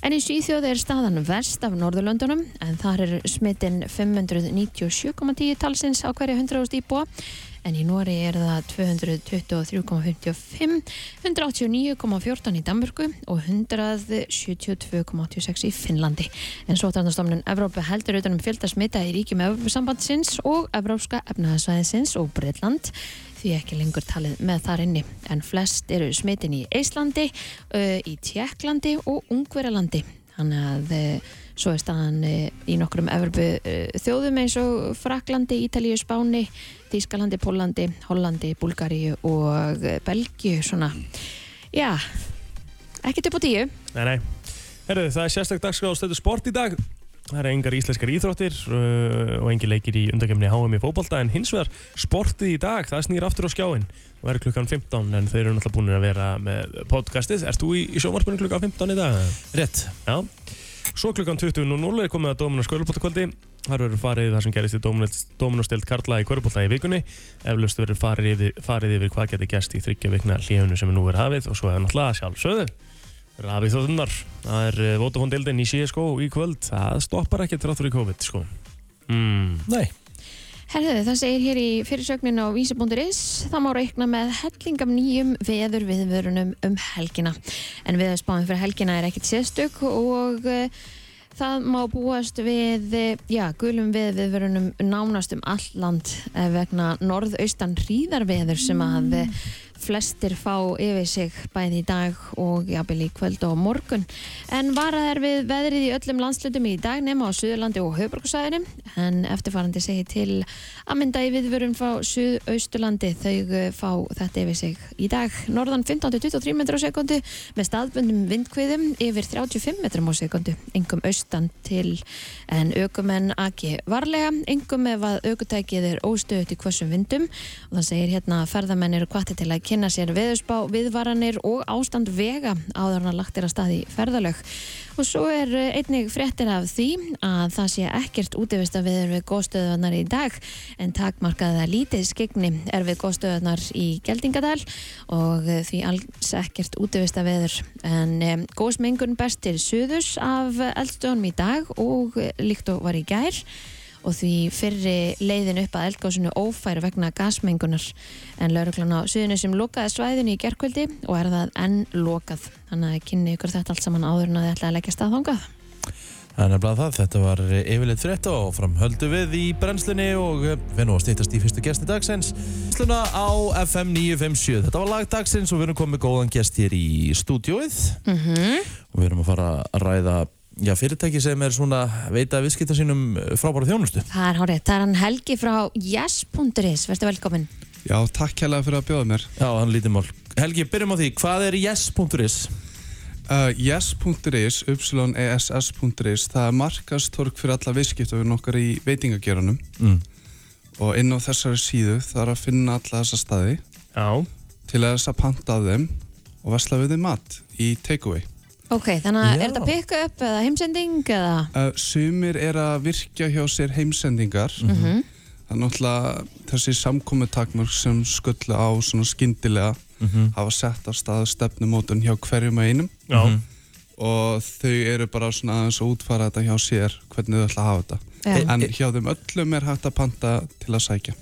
[SPEAKER 2] en í Svíþjóð er staðan verst af Norðurlöndunum en þar er smittin 597,10 talsins á hverja 100.000 íbúa en í Nóri er það 223,55 189,14 í Danmörku og 172,86 í Finnlandi. En svo tarnastofnun Evrópu heldur utan um fjölda smita í ríkjum Evrópusambandsins og Evrópska efnaðasvæðinsins og Bretland því ekki lengur talið með þar inni. En flest eru smitin í Eislandi, uh, í Tjekklandi og Ungverjalandi. Þannig að uh, svo er staðan uh, í nokkrum Evrópu uh, þjóðum eins og Fraklandi, Ítalíu, Spáni, Þískalandi, Pólandi, Hollandi, Búlgaríu og eh, Belgíu svona. Já, ekkert upp á tíu.
[SPEAKER 3] Nei, nei. Herru, það er sérstak dagsgráð á stöðu sport í dag. Það eru engar íslenskar íþróttir uh, og engi leikir í undakemni HM í fótbolta en hins vegar sportið í dag, það snýr aftur á skjáin og verður klukkan 15 en þau eru náttúrulega búin að vera með podcastið. Ert þú í, í sjómarspunni klukkan 15 í dag?
[SPEAKER 1] Rétt.
[SPEAKER 3] Já. Svo klukkan 20.00 er komið að Dóminars kvöruboltakvöldi. Þar verður farið það sem gerist í Dóminars- Dóminarstild Karla í kvörubolta í vikunni. Eflaust verður farið yfir, farið yfir hvað getur gæst í þryggja vikna hlíðunu sem er nú verið hafið og svo er náttúrulega sjálfsögðu. Rafið þóðunar. Það er eh, Vodafone deildin í CSGO í kvöld. Það stoppar ekki þrátt fyrir COVID, sko. Mm.
[SPEAKER 1] Nei.
[SPEAKER 2] Herðu, það segir hér í fyrirsögnin á vísi.is, það má reikna með helling af nýjum veður viðvörunum um helgina. En veðurspáin fyrir helgina er ekkit sérstök og uh, það má búast við, uh, já, gulum veður viðvörunum nánast um allt land eh, vegna norðaustan hríðarveður sem að eh, flestir fá yfir sig bæði í dag og jafnvel í kvöld og á morgun. En varað er við veðrið í öllum landslutum í dag nema á Suðurlandi og Höfburgsæðinu en eftirfarandi segir til að mynda í viðvörun frá Suðausturlandi þau uh, fá þetta yfir sig í dag. Norðan 15-23 metrar á sekundu með staðbundum vindkviðum yfir 35 metrum á sekundu engum austan til en aukumenn aki varlega engum ef að aukutækið er óstöðut í hvössum vindum og það segir hérna að ferðamenn eru kvatti til að kynna sér veðurspá, viðvaranir og ástand vega áður hann að lagt er að staði ferðalög. Og svo er eh, einnig fréttir af því að það sé ekkert útivista viður við góðstöðunar í dag en takmarkaða lítið skegni er við góðstöðunar í Geldingadal og eh, því alls ekkert útivista viður en um, góðsmengun best til suðus af eldstöðunum í dag og eh, líkt og var í gær og því fyrri leiðin upp að eldgásinu ófær vegna gasmengunar en lauruglan á suðinu sem lokaði svæðinu í gerkvöldi og er það enn lokað þannig að kynni ykkur þetta allt saman áður en að þið ætlaði að leggja stað þangað
[SPEAKER 1] Það er nefnilega það, þetta var yfirleitt frétt og framhöldu við í brennslunni og eh, við nú að stýttast í fyrstu gesti dagsins. Brennsluna á FM 957. Þetta var lag dagsins og við erum komið með góðan gest hér í stúdióið
[SPEAKER 2] Mhm.
[SPEAKER 1] og við erum að fara að ræða já, fyrirtæki sem er svona að veita viðskipta sínum eh, frábæra þjónustu.
[SPEAKER 2] Það er hárið, það er hann Helgi frá yes.is, verður velkomin.
[SPEAKER 5] Já, takk hérlega fyrir að bjóða mér.
[SPEAKER 1] Já, hann lítið mál. Helgi, byrjum á því. Hvað er yes.is?
[SPEAKER 5] Uh, yes.is, yess.is, það er markastorg fyrir alla viðskiptafinn okkar í veitingageranum
[SPEAKER 1] Mm.
[SPEAKER 5] og inn á þessari síðu þarf að finna alla þessa staði
[SPEAKER 3] Já.
[SPEAKER 5] til að þess að panta af þeim og vesla við þeim mat í takeaway.
[SPEAKER 2] Ok, þannig að
[SPEAKER 1] Já.
[SPEAKER 2] er þetta pick-up eða heimsending eða?
[SPEAKER 5] Uh, sumir er að virkja hjá sér heimsendingar,
[SPEAKER 2] Mhm.
[SPEAKER 5] það er náttúrulega þessi samkomutakmörk sem skullu á svona skyndilega
[SPEAKER 2] Mhm.
[SPEAKER 5] hafa sett af stað stefnumótun hjá hverjum að einum.
[SPEAKER 3] Já.
[SPEAKER 1] Mhm.
[SPEAKER 5] og þau eru bara svona aðeins að útfara þetta hjá sér hvernig þau ætla að hafa þetta
[SPEAKER 2] Já.
[SPEAKER 5] en hjá þeim öllum er hægt að panta til að sækja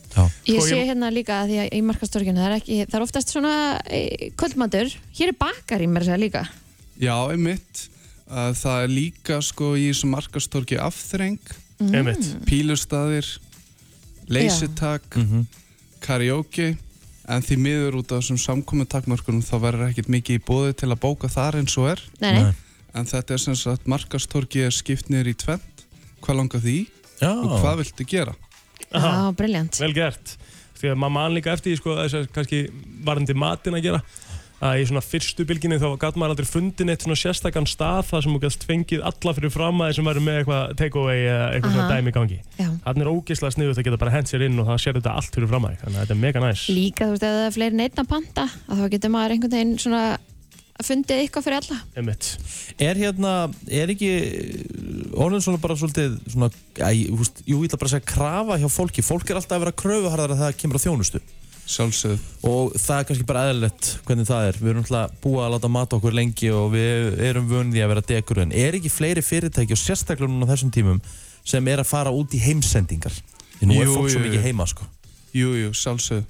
[SPEAKER 2] Ég
[SPEAKER 3] Sko,
[SPEAKER 2] sé
[SPEAKER 3] ég-
[SPEAKER 2] hérna líka að því að í markastorginu það er, ekki, það er oftast svona e, kvöldmatur. Hér er bakar í mér að segja líka.
[SPEAKER 5] já, einmitt uh, það er líka sko í þessum markastorki afþreng,
[SPEAKER 3] Einmitt.
[SPEAKER 5] pílustadir leysitak, karaoke en því miður út af þessum samkomintakmörkunum þá verður ekkert mikið í bóði til að bóka þar eins og er
[SPEAKER 2] Nei, nei.
[SPEAKER 1] Nei.
[SPEAKER 5] en þetta er sem sagt markastorki er skipt niður í tvent hvað langar því
[SPEAKER 1] Já.
[SPEAKER 5] og hvað viltu gera
[SPEAKER 3] Aha.
[SPEAKER 2] Já, briljant.
[SPEAKER 3] Vel gert. Því að maður man líka eftir því, sko, þess að kannski varandi matinn að gera að í svona fyrstu bylginni þá gat maður aldrei fundin eitt svona sérstakann stað þar sem þú gæst fengið alla fyrir fram að þessum verður með eitthvað takeaway eða eitthvað svona
[SPEAKER 2] Aha.
[SPEAKER 3] dæmi í gangi.
[SPEAKER 2] Já.
[SPEAKER 3] Þannig er ógeðslega sniðugt að geta bara hent sér inn og það sér þetta allt fyrir fram að þig. Þannig að þetta er mega næs.
[SPEAKER 2] Líka þú veist ef það er fleiri neitt að panta að þá getur maður einhvern veginn svona fundið eitthvað fyrir alla.
[SPEAKER 3] Einmitt.
[SPEAKER 1] Er hérna, er ekki eh, orðin svona bara svolítið svona, æ, húst, jú, ég ætla bara að segja krafa hjá fólki, fólk er alltaf að vera kröfuharðar að það kemur á þjónustu
[SPEAKER 5] sjálfsögðu
[SPEAKER 1] og það er kannski bara eðlilegt hvernig það er, við erum alltaf búið að láta mata okkur lengi og við erum vunni að vera degur en er ekki fleiri fyrirtæki og sérstaklega núna á þessum tímum sem er að fara út í heimsendingar því nú er
[SPEAKER 5] Jú,
[SPEAKER 1] fólk svo
[SPEAKER 5] jú,
[SPEAKER 1] mikið
[SPEAKER 5] jú.
[SPEAKER 1] heima sko
[SPEAKER 5] Jú, jú, sjálfsög.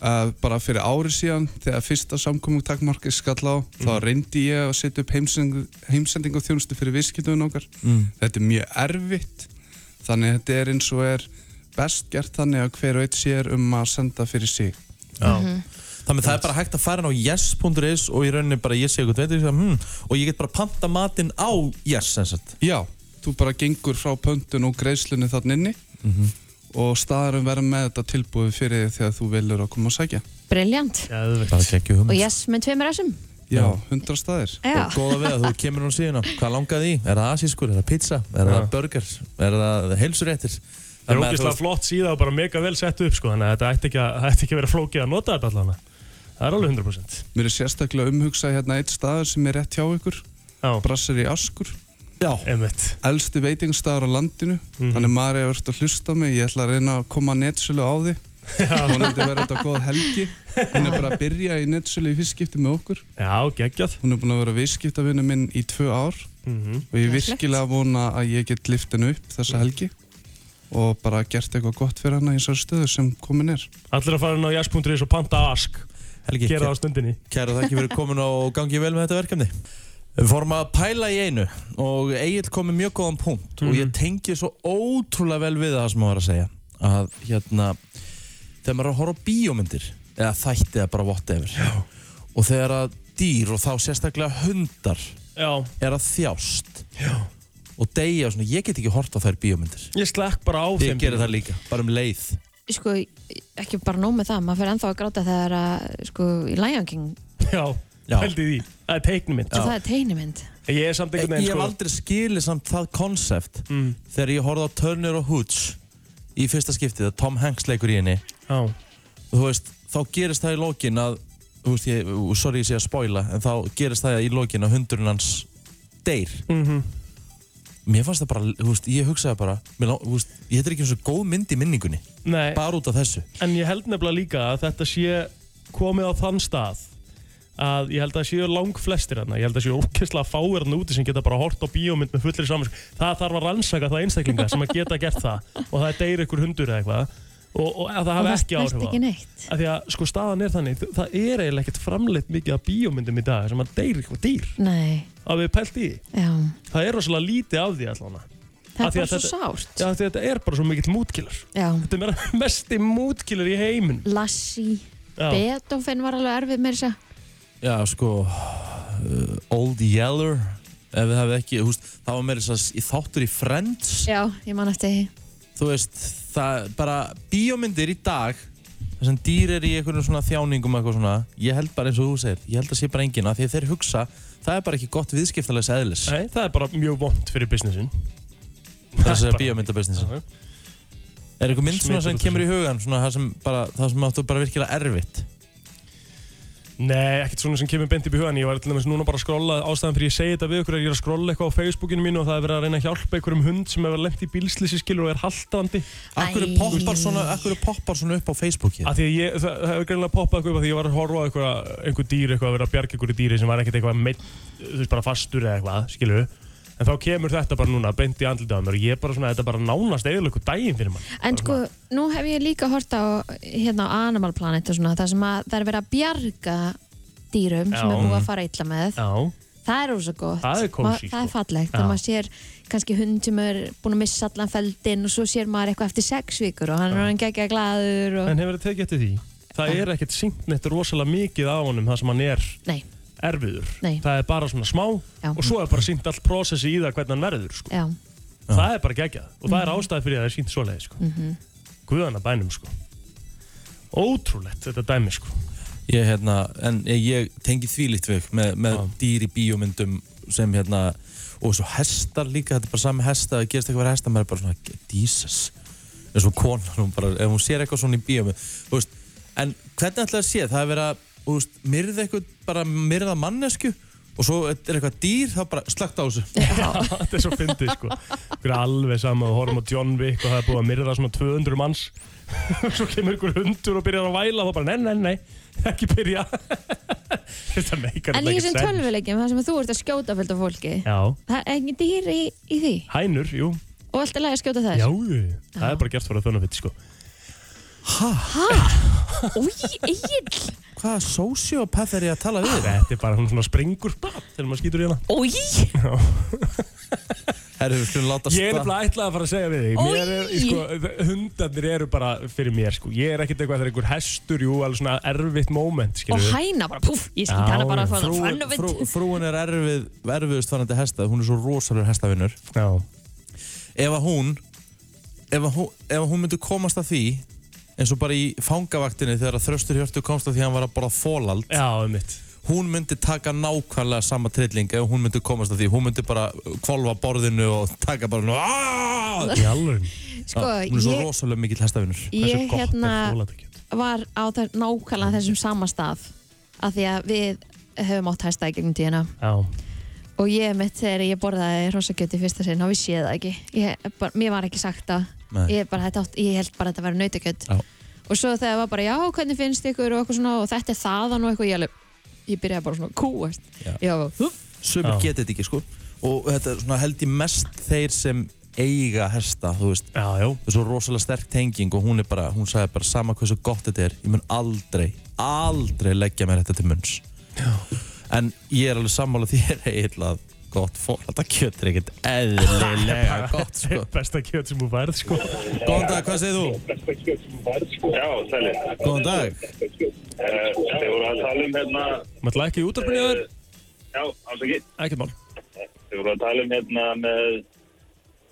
[SPEAKER 5] Uh, bara fyrir ári síðan, þegar fyrsta samkomintakmarki skall á, þá
[SPEAKER 1] Mhm.
[SPEAKER 5] reyndi ég að setja upp heimsending, heimsending og þjónustu fyrir viðskiptunum okkar.
[SPEAKER 1] mm.
[SPEAKER 5] Þetta er mjög erfitt, þannig að þetta er eins og er best gert þannig að hver og eitt sér um að senda fyrir sig.
[SPEAKER 3] Já.
[SPEAKER 1] Þannig það er bara hægt að fara inn á yes.is og í rauninni bara ég sé eitthvað veit, ég sé, hmm, og ég get bara panta matinn á yes sem sagt.
[SPEAKER 5] Já, þú bara gengur frá pöntun og greiðslunni þann inni
[SPEAKER 1] Mhm.
[SPEAKER 5] og staðarum verða með þetta tilbúið fyrir þig þegar þú velur að koma að sækja.
[SPEAKER 2] Briljant.
[SPEAKER 1] bara
[SPEAKER 3] Geðveikt.
[SPEAKER 1] geggjuð hugmynd.
[SPEAKER 2] Og yes með tveimur essum.
[SPEAKER 5] Já,
[SPEAKER 1] Já.
[SPEAKER 5] hundra staðir.
[SPEAKER 2] Já.
[SPEAKER 1] og góða við að þú kemur hún síðan hvað langar því, er það asískur, er það pizza er
[SPEAKER 3] Já.
[SPEAKER 1] það burger, er það heilsuréttir
[SPEAKER 3] Það er ógeðslega flott síða og bara mega vel sett upp sko, þannig að þetta ætti ekki að, ætti ekki að vera flókið að nota þetta allan. Það er alveg 100%.
[SPEAKER 5] Mér er sérstaklega umhugsað hérna eitt staður sem er rétt hjá ykkur,
[SPEAKER 3] Já,
[SPEAKER 5] Brassari Askur.
[SPEAKER 1] já,
[SPEAKER 3] einmitt.
[SPEAKER 5] elsti veitingstaðar á landinu
[SPEAKER 3] Mhm.
[SPEAKER 5] þannig maður hefur verið að hlusta á mig ég ætla að reyna að koma að netsölu á því hún hefði verið þetta góð helgi hún er bara að byrja í netsölu í fyrstskipti með okkur
[SPEAKER 3] Já, geggjað.
[SPEAKER 5] hún er búin að vera viðskiptavinu minn í tvö ár
[SPEAKER 3] Mm
[SPEAKER 5] og ég
[SPEAKER 2] Rosalegt.
[SPEAKER 5] virkilega vona að ég get lift henni upp þessa
[SPEAKER 3] Mhm.
[SPEAKER 5] helgi og bara gert eitthvað gott fyrir hana í þessar stöðu sem komin er
[SPEAKER 3] Allir að fara inn á jazz.is og panta ask
[SPEAKER 1] Helgi,
[SPEAKER 3] Gera það á stundinni
[SPEAKER 1] kæra þakki fyrir komin og gangi vel með þetta verkefni við fórum að pæla í einu og Egil kom með mjög góðan punkt
[SPEAKER 3] Mhm.
[SPEAKER 1] og ég tengi svo ótrúlega vel við það sem maður var að segja að hérna þegar maður er að horfa á bíómyndir eða þætti eða bara whatever já. og þegar að dýr og þá sérstaklega hundar
[SPEAKER 3] Já
[SPEAKER 1] er að þjást já. og deyja og svona, ég get ekki hort á þær bíómyndir
[SPEAKER 3] Ég slekk bara á
[SPEAKER 1] Ég
[SPEAKER 3] þeim
[SPEAKER 1] gerir það líka, bara um leið
[SPEAKER 2] Sko, ekki bara nóg með það, maður fyrir ennþá að gráta þegar að, sko, í Lion King,
[SPEAKER 3] Já,
[SPEAKER 1] Já.
[SPEAKER 3] held í því Það er teiknum mitt
[SPEAKER 2] svo það er teinimynd.
[SPEAKER 3] Ég er samt einhvern
[SPEAKER 1] Ég
[SPEAKER 3] veginn
[SPEAKER 1] hef
[SPEAKER 3] sko
[SPEAKER 1] aldrei skilið samt það konsept
[SPEAKER 3] mm,
[SPEAKER 1] Þegar ég horfði á Turner og Hooch Í fyrsta skiptið að Tom Hanks leikur í henni
[SPEAKER 3] Já,
[SPEAKER 1] og Þú veist, þá gerist það í lokin að Þú veist, ég, og sorry ég sé að spoila En þá gerist það í lokin að hundurinn hans Deyr
[SPEAKER 3] mm
[SPEAKER 1] Mér fannst það bara, þú veist, ég hugsaði bara mér, lá- þú veist, Ég þetta er ekki eins og góð mynd í minningunni
[SPEAKER 3] Nei,
[SPEAKER 1] Bara út af þessu
[SPEAKER 3] en ég held nefnilega líka að þetta sé komið á þann stað að ég held að séu lang flestir hérna ég held að séu ókesslega fáir hérna úti sem geta bara hort á bíómynd með fullri saman það þarf að rannsaka það einstaklinga sem að geta gert það og það deyr ykkur hundur eða eitthvað og, og að
[SPEAKER 2] Og
[SPEAKER 3] það hafi
[SPEAKER 2] það
[SPEAKER 3] ekki áhrif á
[SPEAKER 2] snerti
[SPEAKER 3] það.
[SPEAKER 2] ekki neitt.
[SPEAKER 3] af því að sko staðan er þannig þ- það er eiginlega ekkert framleitt mikið af bíómyndum í dag sem að deyr eitthvað dýr
[SPEAKER 2] Nei.
[SPEAKER 3] á að við pælt í.
[SPEAKER 2] Já,
[SPEAKER 3] Það er rosalega lítið af því allan.
[SPEAKER 2] það
[SPEAKER 3] Af
[SPEAKER 2] er
[SPEAKER 3] því
[SPEAKER 2] bara
[SPEAKER 3] að
[SPEAKER 2] svo
[SPEAKER 3] þetta-
[SPEAKER 2] sárt.
[SPEAKER 3] Já, af því að þetta er bara svo mikill mútkillar.
[SPEAKER 2] Já,
[SPEAKER 3] Þetta er meira- mesti mútkillar í heiminum.
[SPEAKER 2] Lassi,
[SPEAKER 3] Já.
[SPEAKER 2] Beethoven var alveg erfið með þess að segja.
[SPEAKER 1] Já, sko, uh, Old Yeller, ef við hafið ekki, húst, það var meira þess að þáttur í Friends.
[SPEAKER 2] Já, ég man eftir því.
[SPEAKER 1] þú veist, það bara bíómyndir í dag þar sem dýr er í einhvern svona þjáningum eitthvað svona, ég held bara eins og þú segir ég held að sé bara enginn að því að þeir hugsa það er bara ekki gott viðskiptalega eðlis
[SPEAKER 3] Nei, það er bara mjög vond fyrir businessin.
[SPEAKER 1] það er
[SPEAKER 3] bara-
[SPEAKER 1] bara bíómyndabusiness er eitthvað mynd svona sem
[SPEAKER 3] Smitar út
[SPEAKER 1] kemur í hugan svona það sem bara, það sem áttu bara virkilega erfitt
[SPEAKER 3] Nei, ekkert svona sem kemur beint upp í hugan. Ég var til dæmis núna bara að skrolla, ástæðan fyrir ég segi þetta við ykkur er ég er að skrolla eitthvað á Facebookinu mínu og það er verið að reyna að hjálpa einhverjum hund sem hefur lent í bílslýsi skilur og er haltandi.
[SPEAKER 1] Akkur
[SPEAKER 2] Æ.
[SPEAKER 1] poppar svona, akkur poppar svona upp á Facebooki
[SPEAKER 3] Af því að ég, það, það hefur greinlega poppað eitthvað upp að því ég var að horfa á eitthvað, einhver dýr eitthvað að vera að bjarga einhverju dýri sem var ekkert eitthvað meitt, þú veist bara fastur eða eitthvað, skilur En þá kemur þetta bara núna, beint í andlitið á mér og ég er bara svona, þetta er bara nánast eiginlega eitthvað daginn fyrir mann.
[SPEAKER 2] En sko, nú hef ég líka hort á hérna á Animal Planet og svona, það sem að það er verið að bjarga dýrum sem
[SPEAKER 3] Já.
[SPEAKER 2] er búið að fara illa með.
[SPEAKER 3] Já,
[SPEAKER 2] Það er ósa gott.
[SPEAKER 3] Það er kósí,
[SPEAKER 2] Ma-
[SPEAKER 3] sko.
[SPEAKER 2] Það er fallegt.
[SPEAKER 3] Já.
[SPEAKER 2] Þegar maður sér kannski hund sem er búin að missa allan feldin og svo sér maður eitthvað eftir sex vikur og hann er hann geggja glaður og...
[SPEAKER 3] en hefur þetta tekið eftir því? Það er ekkert syngt neitt rosalega mikið á honum það sem hann er
[SPEAKER 2] Nei,
[SPEAKER 3] erfiður.
[SPEAKER 2] Nei.
[SPEAKER 3] Það er bara svona smá
[SPEAKER 2] Já.
[SPEAKER 3] og svo er bara syngt allt prósessi í það hvernig hann verður, sko.
[SPEAKER 2] já.
[SPEAKER 3] Það er bara geggjað og það
[SPEAKER 2] Mhm.
[SPEAKER 3] er ástæði fyrir því að það er sínt svoleiði, sko. Mm bænum, sko. Ótrúlegt þetta dæmi, sko.
[SPEAKER 1] ég, hérna, en ég- ég tengi þvílíkt við með, með
[SPEAKER 3] Já.
[SPEAKER 1] dýr í bíómyndum sem hérna og svo hestar líka, þetta er bara sami hesta það gerist eitthvað fyrir hesta, maður er bara svona Jesus, eins og konan hún bara, ef hún sér eitthvað svona í bíómynd þú veist, en hvernig ætlaði að sé, það er verið að þú veist, myrða eitthvað, bara myrða mannesku og svo er eitthvað dýr þá bara slagt á þessu
[SPEAKER 3] þetta er svo fyndið sko Hver er alveg sama og horfum á John Wick og það er búið að myrða svona 200 manns svo kemur ykkur hundur og byrjar að væla og það bara nei, nei, nei, ekki byrja þetta meikar
[SPEAKER 2] En um í
[SPEAKER 3] ekki
[SPEAKER 2] þessum
[SPEAKER 3] sens.
[SPEAKER 2] tölvuleikjum, það sem þú ert að skjóta fullt af fólki,
[SPEAKER 3] Já,
[SPEAKER 2] það er engin dýr í, í því
[SPEAKER 3] hænur, jú
[SPEAKER 2] og allt er læg að skjóta
[SPEAKER 3] Já,
[SPEAKER 2] þess.
[SPEAKER 3] jú, það er bara gert fyrir að þunna fyrir sko
[SPEAKER 2] Új, Egil!
[SPEAKER 1] hvaða sociopath er ég að tala við?
[SPEAKER 3] Þetta er bara hún svona springur bá, þegar maður skýtur í hana
[SPEAKER 2] Új!
[SPEAKER 1] Herru, við skulum láta
[SPEAKER 3] Ég er
[SPEAKER 1] sta-
[SPEAKER 3] nefnilega ætlað að fara að segja við þig Mér er,
[SPEAKER 2] Oj!
[SPEAKER 3] sko, Hundarnir eru bara fyrir mér sko. Ég er ekkert eitthvað þegar einhver hestur Jú, alveg svona erfitt moment
[SPEAKER 2] Og
[SPEAKER 3] skilur við.
[SPEAKER 2] hæna bara, púf, ég skýt
[SPEAKER 3] Já,
[SPEAKER 2] hana bara
[SPEAKER 3] já.
[SPEAKER 2] frá það
[SPEAKER 1] Frúin,
[SPEAKER 2] fönnuvitt.
[SPEAKER 1] frú, frúin er erfið, erfiðust farandi hesta, hún er svo rosalur hestavinnur
[SPEAKER 3] Já,
[SPEAKER 1] ef að hún ef að hún, ef að hún myndi komast að því eins og bara í fangavaktinni þegar að Þröstur Hjörtu komst að því að hann var að borða fólald
[SPEAKER 3] já, um mitt
[SPEAKER 1] hún myndi taka nákvæmlega sama trilling ef hún myndi komast að því hún myndi bara kvolva borðinu og taka bara nú, "Aah!"
[SPEAKER 3] Í alveg
[SPEAKER 2] Sko,
[SPEAKER 1] hún er svo
[SPEAKER 2] ég,
[SPEAKER 1] rosalega mikill hestavinnur
[SPEAKER 3] Hversu
[SPEAKER 2] ég
[SPEAKER 3] gott
[SPEAKER 2] hérna
[SPEAKER 3] er fólandakjöt?
[SPEAKER 2] var á þær, nákvæmlega þessum sama stað af því að við höfum átt hæsta í gegnum tíuna
[SPEAKER 3] Já,
[SPEAKER 2] og ég mitt þegar ég borðaði rosakjöt í fyrsta sinn þá vissi ég það ekki ég, bara, mér var ekki sagt það
[SPEAKER 1] Nei.
[SPEAKER 2] ég, bara, þetta átt, ég held bara að þetta verið nautakjöt
[SPEAKER 1] Já.
[SPEAKER 2] og svo þegar það var bara já hvernig finnst ykkur og, eitthvað svona, og þetta er þaðan og eitthvað ég, alveg- ég byrjaði bara svona að kúast
[SPEAKER 1] Já.
[SPEAKER 2] ég var bara, "Huff."
[SPEAKER 1] sömur
[SPEAKER 3] Já.
[SPEAKER 1] geta þetta ekki sko og þetta er svona held ég mest þeir sem eiga hesta, þú veist
[SPEAKER 3] já, já
[SPEAKER 1] það er svo rosalega sterk tenging og hún er bara, hún sagði bara sama hversu gott þetta er ég mun aldrei, aldrei leggja mér þetta til munns en ég er alveg sammála þér eiginlega að gott fólk, þetta kjöt er ekkert eðlilega gott sko.
[SPEAKER 3] Besta kjöt sem þú værið, sko
[SPEAKER 1] Góðan dag, hvað segir þú?
[SPEAKER 6] Já, sæli.
[SPEAKER 1] Góðan dag
[SPEAKER 6] Uh, þið voru að tala um hérna, eh,
[SPEAKER 3] Maður ætla ekki í útarpunni á þér?
[SPEAKER 6] já, afsakið,
[SPEAKER 3] Ekkert mál
[SPEAKER 6] þið voru að tala um hérna með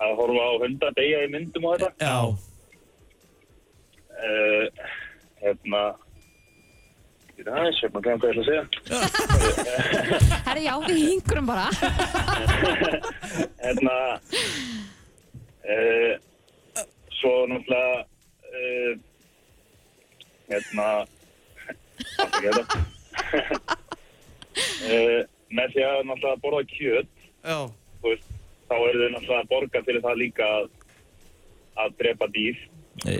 [SPEAKER 6] að horfa á hunda degja í myndum og þetta.
[SPEAKER 1] Já,
[SPEAKER 6] Uh, hérna, það er aðeins, ég maður glemt hvað ég ætla að segja.
[SPEAKER 2] herri já við hingurum bara
[SPEAKER 6] Hérna, uh, svo náttúrulega, uh, hérna, afsakið þetta. uh, með því að náttúrulega borða kjöt,
[SPEAKER 1] já,
[SPEAKER 6] þú veist, þá eru þau náttúrulega að borga fyrir það líka að, að drepa dýr,
[SPEAKER 1] E,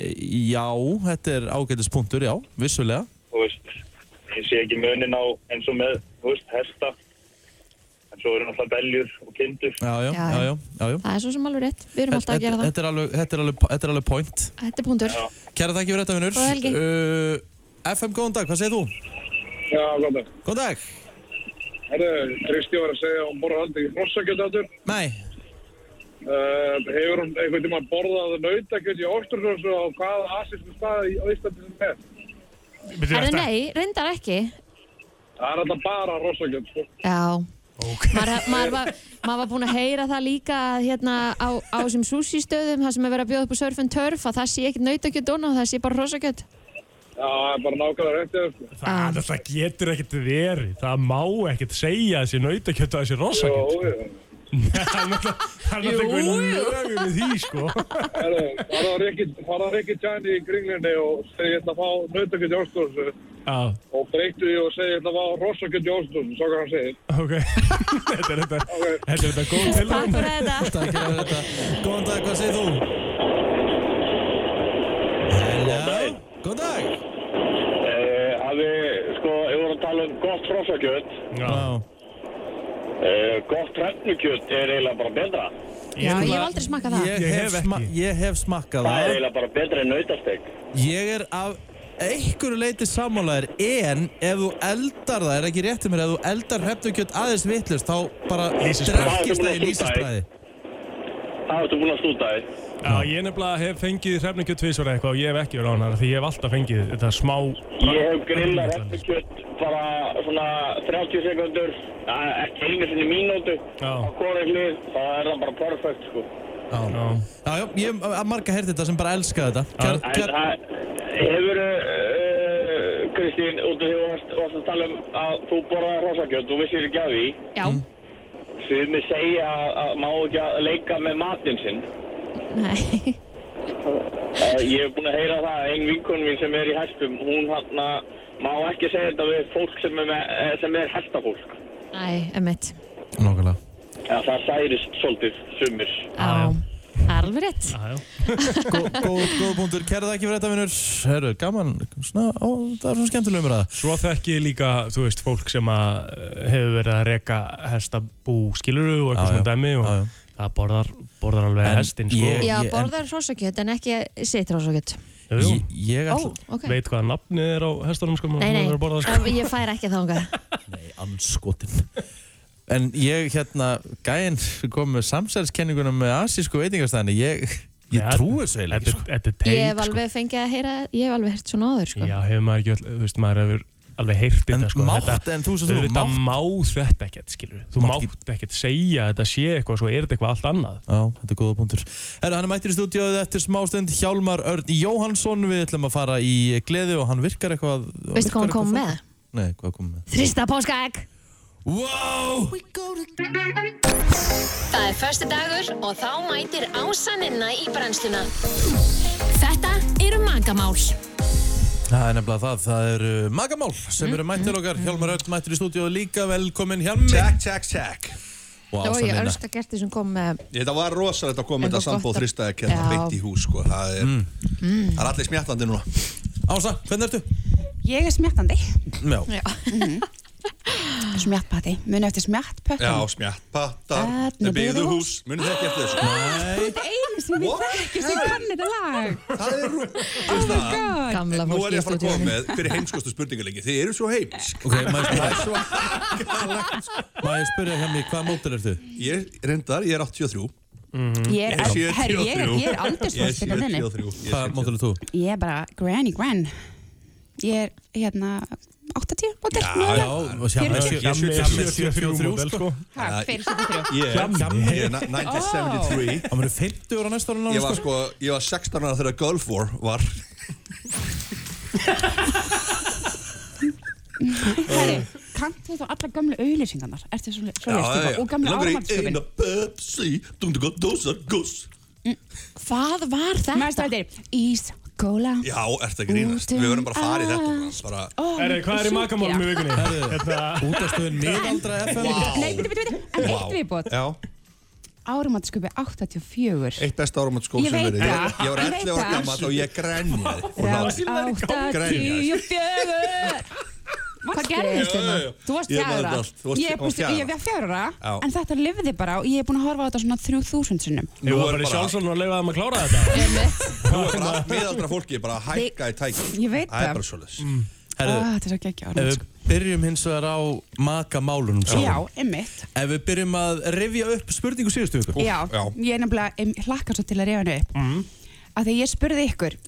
[SPEAKER 1] já þetta er ágætis punktur, já, vissulega
[SPEAKER 6] þú veist, ég sé ekki munin á eins og með, þú veist, hesta, en svo eru náttúrulega beljur og kindur.
[SPEAKER 1] Já, já,
[SPEAKER 2] Já,
[SPEAKER 1] já, já, já, já.
[SPEAKER 2] það er svo sem alveg rétt, við erum alltaf að gera það
[SPEAKER 1] Þetta er alveg, þetta er alveg, þetta er alveg point
[SPEAKER 2] þetta er punktur,
[SPEAKER 1] Kæra þakki fyrir þetta, Uh, vinnur
[SPEAKER 2] Góða helgi.
[SPEAKER 1] FM, góðan dag, hvað segir þú?
[SPEAKER 6] Já, gott.
[SPEAKER 1] Góðan dag
[SPEAKER 7] Herðu, Kristi var að segja að hún borðar aldrei hrossakjöld áttur.
[SPEAKER 1] Nei,
[SPEAKER 7] Uh, hefur hún einhvern tíma borðað nautakjöld í Óstursósu á hvaða asísku staði í- á Íslandi sem er?
[SPEAKER 2] Herðu, nei, reyndar ekki.
[SPEAKER 7] Það er alltaf bara hrossakjöld, sko.
[SPEAKER 2] Já. Maður, maður, var, maður var búinn að heyra það líka að hérna á, á þessum sushi-stöðum, það sem er verið að bjóða upp á surf and turf, að það sé ekkert nautakjöld og það sé bara rosakjöld.
[SPEAKER 7] Já, það er bara nákvæmlega réttið, sko.
[SPEAKER 3] Það, það, getur ekkert verið. Það má ekkert segja þessi nautakjöld og þessi rosakjöld.
[SPEAKER 7] Jó, jú.
[SPEAKER 3] Það er náttúrulega það er náttúrulega einhver lögur við því, sko.
[SPEAKER 7] Herðu, farað Rikki Tjani í kringlinni og segi ég ætla að fá nautakjöld í Óstursósu
[SPEAKER 3] Já,
[SPEAKER 7] og breyttu því og segi ég ætla að fá hrossakjöld í Óstursósu, svo hvað hann segir.
[SPEAKER 3] ok. Þetta er þetta, þetta er þetta góð
[SPEAKER 2] Takk
[SPEAKER 3] tilvæm.
[SPEAKER 2] fyrir þetta.
[SPEAKER 1] Takk fyrir þetta. Góðan dag, hvað segir þú? Hello. Góðan dag.
[SPEAKER 6] Hafi, Eh, sko, ég voru að tala um gott hrossakjöld.
[SPEAKER 3] Já,
[SPEAKER 6] Uh, gott hrefnukjöld er eiginlega bara betra.
[SPEAKER 2] Já, ég hef aldrei smakað það.
[SPEAKER 1] Ég,
[SPEAKER 3] Ég
[SPEAKER 1] hef
[SPEAKER 3] hef
[SPEAKER 1] sma
[SPEAKER 3] ekki.
[SPEAKER 1] ég hef
[SPEAKER 6] Það
[SPEAKER 1] smakkað
[SPEAKER 6] er
[SPEAKER 1] það.
[SPEAKER 6] eiginlega bara betra en nautastegg.
[SPEAKER 1] Ég er af einhverju leiti sammálaðir, en ef þú eldar það, er ekki réttið mér, ef þú eldar hrefnukjöld aðeins vittlust, þá bara
[SPEAKER 3] Lýsisbræði.
[SPEAKER 1] drekkist það í lýsispræði.
[SPEAKER 6] Það ertu búin að stúta þig.
[SPEAKER 3] já, ég nefnilega hef fengið hrefningjöld tvisvar eða eitthvað og ég hef ekki verið á hana því ég hef alltaf fengið þetta smá...
[SPEAKER 6] Ég hef grillað hrefnukjöld bara svona 30 sekundur, ekki einu sinni mínútu.
[SPEAKER 3] Já.
[SPEAKER 6] Á hvori hlið, það er það bara perfect, sko.
[SPEAKER 1] Já,
[SPEAKER 3] Já.
[SPEAKER 1] já, já, ég hef að marga heyrt þetta sem bara elska þetta. Hver,
[SPEAKER 6] En
[SPEAKER 1] hver,
[SPEAKER 6] það hefur, uh, Kristín, út af því að þú varst- varst að tala um að þú borðaði hrosakjöld, þú vissir ekki að því.
[SPEAKER 2] Já,
[SPEAKER 3] Mm.
[SPEAKER 6] Sumir segja að- að má ekki að leika með matinn sinn.
[SPEAKER 2] nei.
[SPEAKER 6] Eh, Ég hef búin að heyra það að ein vinkun mín sem er í hestum, hún hann má ekki segja þetta við fólk sem er, með, eh, sem er hestafólk.
[SPEAKER 2] Nei, emmitt.
[SPEAKER 1] Nákvæmlega.
[SPEAKER 6] Ja, það særist svolítið sumir.
[SPEAKER 2] Já, það er alveg rétt.
[SPEAKER 3] Já, já.
[SPEAKER 1] Góð, góð, góð punktur, kæra það ekki fyrir þetta, vinnur. Herru, gaman, svona, ó, það er svona skemmtilega umræða.
[SPEAKER 3] Svo þekki ég líka, þú veist, fólk sem að eh, hefur verið að reka hestabú skiluru og eitthvað
[SPEAKER 1] Já, já.
[SPEAKER 3] svona dæmi og
[SPEAKER 1] Já, já.
[SPEAKER 3] það borðar, borðar alveg
[SPEAKER 1] En
[SPEAKER 3] hestinn, sko.
[SPEAKER 1] ég-
[SPEAKER 2] Já,
[SPEAKER 1] en-
[SPEAKER 2] borðar rosakjöld en ekki sitt rosakjöld.
[SPEAKER 3] Jú, jú.
[SPEAKER 1] Ég, ég
[SPEAKER 2] Ó,
[SPEAKER 1] ætla...
[SPEAKER 2] ok.
[SPEAKER 3] Veit hvaða nafnið er á hestunum, sko,
[SPEAKER 2] Nei,
[SPEAKER 3] maður verður að borða það,
[SPEAKER 2] nei, ég fær ekki þangað.
[SPEAKER 1] Nei, anskotin En ég hérna, gæinn kom með samsælskenninguna með asísku veitingastæðinni Ég, ég
[SPEAKER 3] Nei,
[SPEAKER 1] trúi þessu eiginlega
[SPEAKER 3] Þetta er-
[SPEAKER 1] ekki sko.
[SPEAKER 3] þetta er
[SPEAKER 2] Ég hef
[SPEAKER 3] teik, sko.
[SPEAKER 2] alveg fengið að heyra, ég hef alveg hert svona áður, sko.
[SPEAKER 3] Já, hefur maður ekki, öll- þú veist, maður hefur alveg heyrt
[SPEAKER 1] En
[SPEAKER 3] þetta, sko.
[SPEAKER 1] mátt,
[SPEAKER 3] Þetta-
[SPEAKER 1] en þú sem þú,
[SPEAKER 3] auðvitað
[SPEAKER 1] mátt.
[SPEAKER 3] má þetta ekkert, skilur. Þú
[SPEAKER 1] Mátt ekki-
[SPEAKER 3] mátt ekkert segja að þetta sé eitthvað, svo er þetta eitthvað allt annað.
[SPEAKER 1] Já, þetta er góða punktur Herra, hann er mættir í stúdíóið eftir smástund Hjálmar Örn Jóhansson Við ætlum að fara í gleði og hann virkar eitthvað
[SPEAKER 2] Veistu hvað
[SPEAKER 1] virkar
[SPEAKER 2] hann kom
[SPEAKER 1] eitthvað
[SPEAKER 2] með?
[SPEAKER 1] fólk. Nei, hvað kom með?
[SPEAKER 2] Þrista páskaegg!
[SPEAKER 1] Wow!
[SPEAKER 8] Það er förstu dagur og þá mætir ásaninna í brennsluna. Þetta eru magamál.
[SPEAKER 1] Það er nefnilega það, það eru magamál sem eru
[SPEAKER 9] Mhm.
[SPEAKER 1] mættir okkar Hjálmar Örn mættir í stúdíóið líka Velkomin Hjálmi
[SPEAKER 10] Tjekk, tjekk, tjekk.
[SPEAKER 1] Og
[SPEAKER 2] Ó, ég
[SPEAKER 1] Ása Ninna.
[SPEAKER 2] elska gerti sem kom með
[SPEAKER 10] Þetta var rosalegt að koma
[SPEAKER 2] En
[SPEAKER 10] með þetta
[SPEAKER 2] það er gott
[SPEAKER 10] sambóð
[SPEAKER 2] að-
[SPEAKER 10] þrýstaði að kenna
[SPEAKER 2] Já.
[SPEAKER 10] beint í hús, sko. Það er,
[SPEAKER 9] Mm.
[SPEAKER 10] það er allir smjættandi núna.
[SPEAKER 1] Mm. Ása, hvernig ertu?
[SPEAKER 9] Ég er smjattandi. Mhm.
[SPEAKER 1] Já,
[SPEAKER 9] Smjattpatti. Muni eftir
[SPEAKER 10] Já,
[SPEAKER 9] smjattpökkum.
[SPEAKER 10] smjættpattar,
[SPEAKER 9] Þarna byggðu
[SPEAKER 10] byggðu hús. Munið þið ekki eftir þessu?
[SPEAKER 9] Þetta er einu sem ég
[SPEAKER 10] What?
[SPEAKER 9] þekki sem kann þetta lag. Oh
[SPEAKER 10] Það er, rú- þú veist það,
[SPEAKER 2] gamla
[SPEAKER 10] nú er
[SPEAKER 2] fólki
[SPEAKER 10] ég
[SPEAKER 2] í
[SPEAKER 10] að fara að koma
[SPEAKER 2] stúdíóinu.
[SPEAKER 10] með fyrir heimskostu spurningalegi. Þið eru svo heimsk.
[SPEAKER 1] ok, maður spyrja Maður spyrja Hjálmi, hvaða mótil ertu?
[SPEAKER 10] sko. Ég reyndar, ég er 83.
[SPEAKER 9] Ég er,
[SPEAKER 10] Ég er
[SPEAKER 9] herri, ég er, ég er
[SPEAKER 10] 73. Ég er
[SPEAKER 9] aldursfólk þetta þinni.
[SPEAKER 10] 73. Ég er
[SPEAKER 1] Hvaða mótil
[SPEAKER 10] 73.
[SPEAKER 1] er þú?
[SPEAKER 9] Ég er bara granny gran. Ég er hérna 80 mótil.
[SPEAKER 10] Já,
[SPEAKER 1] Já, Hjálmi
[SPEAKER 9] Ég
[SPEAKER 10] er
[SPEAKER 1] Hjálmi er
[SPEAKER 3] 73
[SPEAKER 1] 73
[SPEAKER 3] módel,
[SPEAKER 1] sko
[SPEAKER 3] sko.
[SPEAKER 9] Hvað, fyrir 73?
[SPEAKER 10] Ég er ég er 1973.
[SPEAKER 1] Hann verður 50 ára næsta ára
[SPEAKER 10] Ég
[SPEAKER 1] náttúrulega
[SPEAKER 10] var
[SPEAKER 1] sko
[SPEAKER 10] sko, ég var 16 ára þegar Gulf War var
[SPEAKER 9] Herri, kannt þú alla gamlu auðlýsingarnar? Ertu svo
[SPEAKER 10] Eh. já, já.
[SPEAKER 9] leiðst og gamlu
[SPEAKER 10] Langar í eina
[SPEAKER 9] áramaldskupin?
[SPEAKER 10] Pepsi Dundu gott dósa guss
[SPEAKER 2] Hvað var
[SPEAKER 9] Mæstu
[SPEAKER 2] þetta?
[SPEAKER 9] þetta er ís, góla.
[SPEAKER 10] Já, ertu að grínast Við
[SPEAKER 9] um
[SPEAKER 10] verðum bara að fara í þetta bara, bara,
[SPEAKER 3] Herri, hvað er í magamálum í vikunni? Hérna-
[SPEAKER 1] Útastöðin miðaldra FM
[SPEAKER 9] Nei, veitu, veitu, veitu, en eitt viðbót.
[SPEAKER 10] Já,
[SPEAKER 9] Áramaldskupin 84.
[SPEAKER 10] eitt besta áramöndskók
[SPEAKER 9] Ég
[SPEAKER 10] sem
[SPEAKER 9] veit
[SPEAKER 10] verið
[SPEAKER 9] það.
[SPEAKER 10] Ég var
[SPEAKER 9] Ég veit
[SPEAKER 10] 11 ára
[SPEAKER 9] það.
[SPEAKER 10] gammal og ég grenjaði
[SPEAKER 9] Rás
[SPEAKER 10] Grænjaði.
[SPEAKER 9] 84 Hvað gerðist þetta?
[SPEAKER 10] Já, já, já.
[SPEAKER 9] Þú varst
[SPEAKER 10] Ég man
[SPEAKER 9] fjara
[SPEAKER 10] þetta allt. Þú varst-
[SPEAKER 9] Ég
[SPEAKER 10] þú varst
[SPEAKER 9] búst-
[SPEAKER 10] fjögurra.
[SPEAKER 9] ég var fjara
[SPEAKER 10] Já.
[SPEAKER 9] En þetta lifði bara og ég er búin að horfa á þetta svona 3000 sinnum
[SPEAKER 3] Nú
[SPEAKER 10] Nú
[SPEAKER 3] var
[SPEAKER 10] er
[SPEAKER 3] bara í
[SPEAKER 10] bara-
[SPEAKER 3] sjálfsvörn og leifaði um að klára þetta
[SPEAKER 10] Nú er bara allt miðaldra fólki bara að hækka í tæki
[SPEAKER 9] Ég veit
[SPEAKER 10] Það er
[SPEAKER 9] það.
[SPEAKER 10] bara svoleiðis
[SPEAKER 1] Mm. Herðu,
[SPEAKER 9] Ah, þetta er svo geggja
[SPEAKER 1] Ef við byrjum hins vegar á makamálunum sjálfum.
[SPEAKER 9] Já, einmitt.
[SPEAKER 1] Ef við byrjum að rifja upp spurningu síðustu viku.
[SPEAKER 9] Já, ég er nefnilega, ég hlakka svo til að reyfa henni upp.
[SPEAKER 10] Mhm.
[SPEAKER 1] Mm.
[SPEAKER 9] Af því að ég spurði ykkur,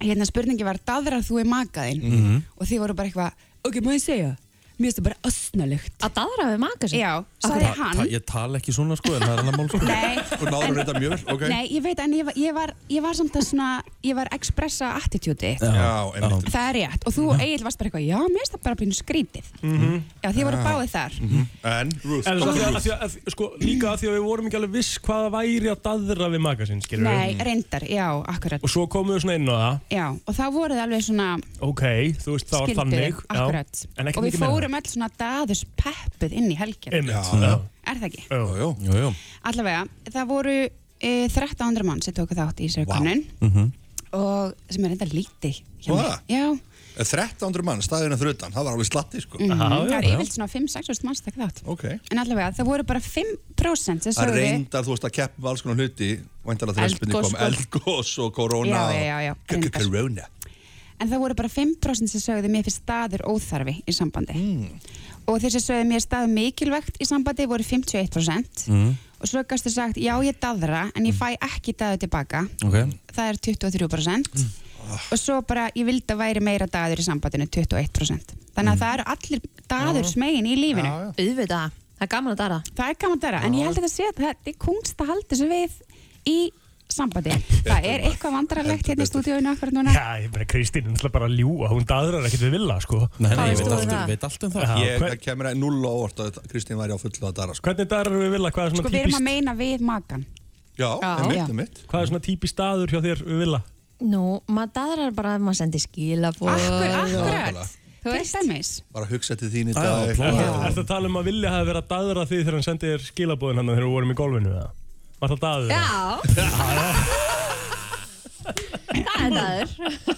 [SPEAKER 9] hérna spurningi var, daðrar þú í makaðinn?
[SPEAKER 10] Mm.
[SPEAKER 11] Mhm.
[SPEAKER 9] Og þið voru bara eitthvað, ok, má ég segja? Mér finnst það bara asnalegt.
[SPEAKER 2] Að daðra við maka
[SPEAKER 9] sig? Já, sagði
[SPEAKER 1] Sko, Ta-
[SPEAKER 9] hann.
[SPEAKER 1] ta- Ég tala ekki svona sko, en það er annar mál sko.
[SPEAKER 9] Nei.
[SPEAKER 10] Og náður hún reynda mjög vel, ok.
[SPEAKER 9] Nei, ég veit, en ég var, ég var, ég var samt að svona, ég var að expressa attitúti.
[SPEAKER 10] Já, einmitt.
[SPEAKER 9] Það er rétt. Og þú, Egil, varst bara eitthvað, já, mér finnst það bara pínu skrítið.
[SPEAKER 3] Mhm.
[SPEAKER 9] Já, þið voru
[SPEAKER 3] Já. Mm,
[SPEAKER 9] báðið þar.
[SPEAKER 10] En, Ruth,
[SPEAKER 3] En svo
[SPEAKER 10] kom
[SPEAKER 3] að því að,
[SPEAKER 10] Ruth.
[SPEAKER 3] að, því að, að, sko, líka að því að við vorum ekki alveg viss hvað það væri að daðra við magasinn, skilur
[SPEAKER 9] Nei, reyndar, já, akkurat.
[SPEAKER 3] Og svo komum við svona inn á það,
[SPEAKER 9] Já, og þá voruð þið alveg svona,
[SPEAKER 3] ok, þú veist, það var
[SPEAKER 9] Skildu,
[SPEAKER 3] þannig. já.
[SPEAKER 9] akkurat.
[SPEAKER 3] En ekki
[SPEAKER 9] og við
[SPEAKER 3] mikið meira.
[SPEAKER 9] fórum öll svona daðus peppuð inn í helgina
[SPEAKER 3] Einmitt.
[SPEAKER 9] er
[SPEAKER 3] Já.
[SPEAKER 9] það ekki?
[SPEAKER 3] Jú,
[SPEAKER 10] jú.
[SPEAKER 1] Jú, jú.
[SPEAKER 9] allavega, það voru e, 1300 mann sem tóku þátt í þessari wow.
[SPEAKER 10] Mhm.
[SPEAKER 9] og sem er enda lítið hjá
[SPEAKER 10] Vá.
[SPEAKER 9] mér. já,
[SPEAKER 10] 1300 mann, staðinu fyrir utan, það var alveg slatti sko.
[SPEAKER 9] mhm, það er yfirlt svona 5-6 mann sem tóku þátt
[SPEAKER 10] okay.
[SPEAKER 9] en allavega, það voru bara 5% sem
[SPEAKER 10] Það
[SPEAKER 9] sögðu
[SPEAKER 10] reyndar, þú veist, að keppa við alls konar hluti Væntalega þegar
[SPEAKER 9] Eldgos,
[SPEAKER 10] spurning kom
[SPEAKER 9] sko.
[SPEAKER 10] Eldgós og korona
[SPEAKER 9] Já, já, já, já,
[SPEAKER 10] og k- k- Corona
[SPEAKER 9] en það voru bara 5% sem sögðu mér fyrir staður óþarfi í sambandi og þeir sem sögðu mér staður mikilvægt í sambandi voru 51%
[SPEAKER 1] Mm,
[SPEAKER 9] og svo gæstu sagt, já ég daðra en ég fæ ekki daðu tilbaka
[SPEAKER 1] Ok.
[SPEAKER 9] það er 23% og svo bara, ég vildi að væri meira daður í sambandinu 21% þannig að það eru allir daður
[SPEAKER 2] Já.
[SPEAKER 9] smegin í lífinu
[SPEAKER 2] Já, auðvitað, það er gaman að dara
[SPEAKER 9] það er gaman að daðra, en ég held að þetta sé að þetta er kunst að halda þessu við í sambandi það er eitthvað vandrarlegt hérna í stúdíóinu akkur núna
[SPEAKER 3] Já, ég meina, Kristín er náttúrulega bara að ljúa, hún daðrar ekkert við vilja, sko.
[SPEAKER 1] Nei,
[SPEAKER 10] nei, ég veit allt um-
[SPEAKER 1] Ég veit allt um það.
[SPEAKER 10] Ég það kemur að nulla á óvart að Kristín væri á fullu að dara sko.
[SPEAKER 3] Hvernig daðrar við vilja, hvað er
[SPEAKER 9] sko
[SPEAKER 3] svona
[SPEAKER 9] við erum
[SPEAKER 3] típist,
[SPEAKER 9] að meina við makan
[SPEAKER 10] Já,
[SPEAKER 9] Já,
[SPEAKER 10] einmitt,
[SPEAKER 9] já.
[SPEAKER 10] einmitt
[SPEAKER 3] hvað er svona típist daður hjá þér við vilja?
[SPEAKER 2] Nú, maður daðrar bara að maður sendir skilabóð
[SPEAKER 9] Akkur-
[SPEAKER 10] akkurat.
[SPEAKER 9] Þú veist dæmis
[SPEAKER 10] Bara hugsa til þín í
[SPEAKER 3] Ah, Já,
[SPEAKER 10] dag
[SPEAKER 3] Er þetta að tala um að vilja hafi verið að daðra því þegar hann sendi þér skilabóðin hann þegar við vorum í golfinu, eða? Var það daður?
[SPEAKER 2] það er daður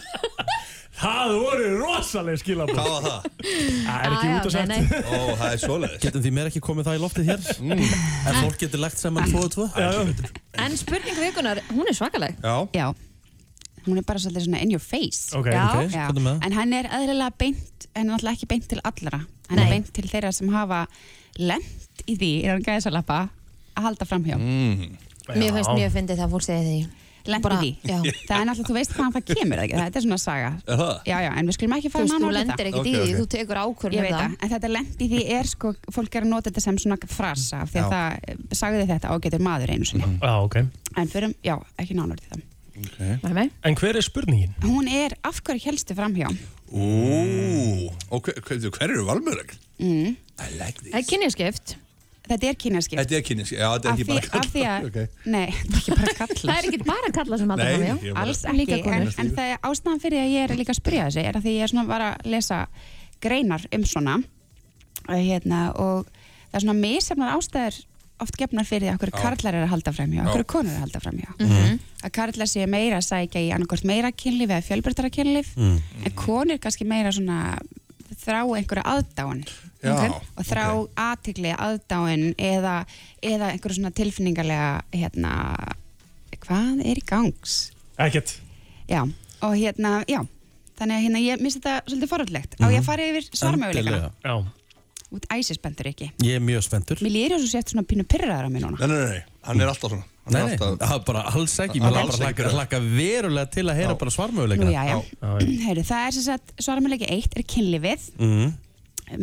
[SPEAKER 3] Það voru rosalega skilabóð.
[SPEAKER 10] Hvað var það?
[SPEAKER 3] Það er
[SPEAKER 2] Já,
[SPEAKER 3] ekki
[SPEAKER 2] já,
[SPEAKER 3] út að
[SPEAKER 2] nei, nei.
[SPEAKER 3] sagt.
[SPEAKER 10] Ó, það er svoleiðis Mm.
[SPEAKER 1] Getum því mér ekki komið það í loftið hér En fólk getur lagt saman 2 og 2
[SPEAKER 2] En spurning vikunar, hún er svakaleg
[SPEAKER 10] Já,
[SPEAKER 9] Já, hún er bara svolítið svona in your face
[SPEAKER 1] Ok,
[SPEAKER 9] já,
[SPEAKER 1] ok,
[SPEAKER 9] já.
[SPEAKER 1] hvernig með það?
[SPEAKER 9] En hann er aðrilega beint, en náttúrulega ekki beint til allra Hann er beint til þeirra sem hafa lent í því, er hann gæðisalappa að halda framhjá
[SPEAKER 10] mm.
[SPEAKER 2] Mér finnst mjög fyndið þegar fólk segir því
[SPEAKER 9] Lent í því,
[SPEAKER 2] já.
[SPEAKER 9] það er náttúrulega, þú veist hvaðan það kemur, ekki? þetta er svona saga
[SPEAKER 10] Er það?
[SPEAKER 9] Já, já, en við skulum ekki
[SPEAKER 2] Þú
[SPEAKER 9] fara
[SPEAKER 2] veist, þú
[SPEAKER 9] nánar út í það.
[SPEAKER 2] lendir ekkert í því, þú tekur ákvörðun
[SPEAKER 9] Ég veit
[SPEAKER 2] um
[SPEAKER 9] það, en þetta lent í því er sko, fólk er að nota þetta sem svona frasa af því að
[SPEAKER 3] Já.
[SPEAKER 9] það eh, sagði þetta ágætur maður einu sinni
[SPEAKER 3] Já, ok.
[SPEAKER 9] En förum, já, ekki nánar til það
[SPEAKER 2] Nei, nei.
[SPEAKER 3] En hver er spurningin?
[SPEAKER 9] Hún er, af hverju helstu framhjá?
[SPEAKER 10] Ú, og hver, hver, hver eru valmörögl?
[SPEAKER 9] Mm.
[SPEAKER 10] Like
[SPEAKER 9] Það er kynjaskipt Þetta er kynjaskipt
[SPEAKER 10] Þetta er kynnis, já, þetta er
[SPEAKER 9] Af
[SPEAKER 10] ekki
[SPEAKER 9] því-
[SPEAKER 10] bara
[SPEAKER 9] af því að-
[SPEAKER 10] Ok.
[SPEAKER 9] Nei, ekki bara kallar
[SPEAKER 2] Það er ekki bara kallar sem halda
[SPEAKER 10] Nei,
[SPEAKER 2] framhjá
[SPEAKER 10] ég bara-
[SPEAKER 9] Alls ekki,
[SPEAKER 2] Líka
[SPEAKER 9] en,
[SPEAKER 2] konur
[SPEAKER 9] en það er ástæðan fyrir að ég er líka að spyrja þessi er að því ég er svona bara að lesa greinar um svona og, hérna, og það er svona misefnar ástæður oft gefnar fyrir því að hverju
[SPEAKER 11] Já.
[SPEAKER 9] karlar er að halda framhjá,
[SPEAKER 11] Já.
[SPEAKER 9] að hverju konur er að halda framhjá
[SPEAKER 11] Mhm.
[SPEAKER 9] að karlar sé meira að sækja í annarkvort meira kynlif eða fjölbreytara kynlif en konur kannski meira svona þrá einhverja aðdáin
[SPEAKER 11] Já,
[SPEAKER 9] og þrá okay. aðtikli aðdáin eða, eða einhverju svona tilfinningarlega hérna, hvað er í gangs
[SPEAKER 3] Ekkert.
[SPEAKER 9] já, og hérna, já þannig að hérna, ég misti þetta svolítið forallegt á ég að fara yfir svarmöguleikana
[SPEAKER 3] Já.
[SPEAKER 9] út æsispendur ekki
[SPEAKER 1] Ég er mjög spenntur
[SPEAKER 9] mér líður svo sett svona pínu pyrraðar á mér núna
[SPEAKER 10] Nei, nei, nei, hann er alltaf svona Hann
[SPEAKER 1] Nei,
[SPEAKER 10] er
[SPEAKER 1] nei,
[SPEAKER 10] alltaf-
[SPEAKER 1] það er bara alls ekki
[SPEAKER 10] Hann er
[SPEAKER 1] Mér langar
[SPEAKER 10] alls
[SPEAKER 1] bara
[SPEAKER 10] ekki
[SPEAKER 1] hlaka,
[SPEAKER 10] það.
[SPEAKER 1] hlaka verulega til að heyra bara svarmöguleikana
[SPEAKER 9] Nú, já, já. Heyru, það er sem sagt, svarmöguleiki 1 er kynlífið
[SPEAKER 1] Mm,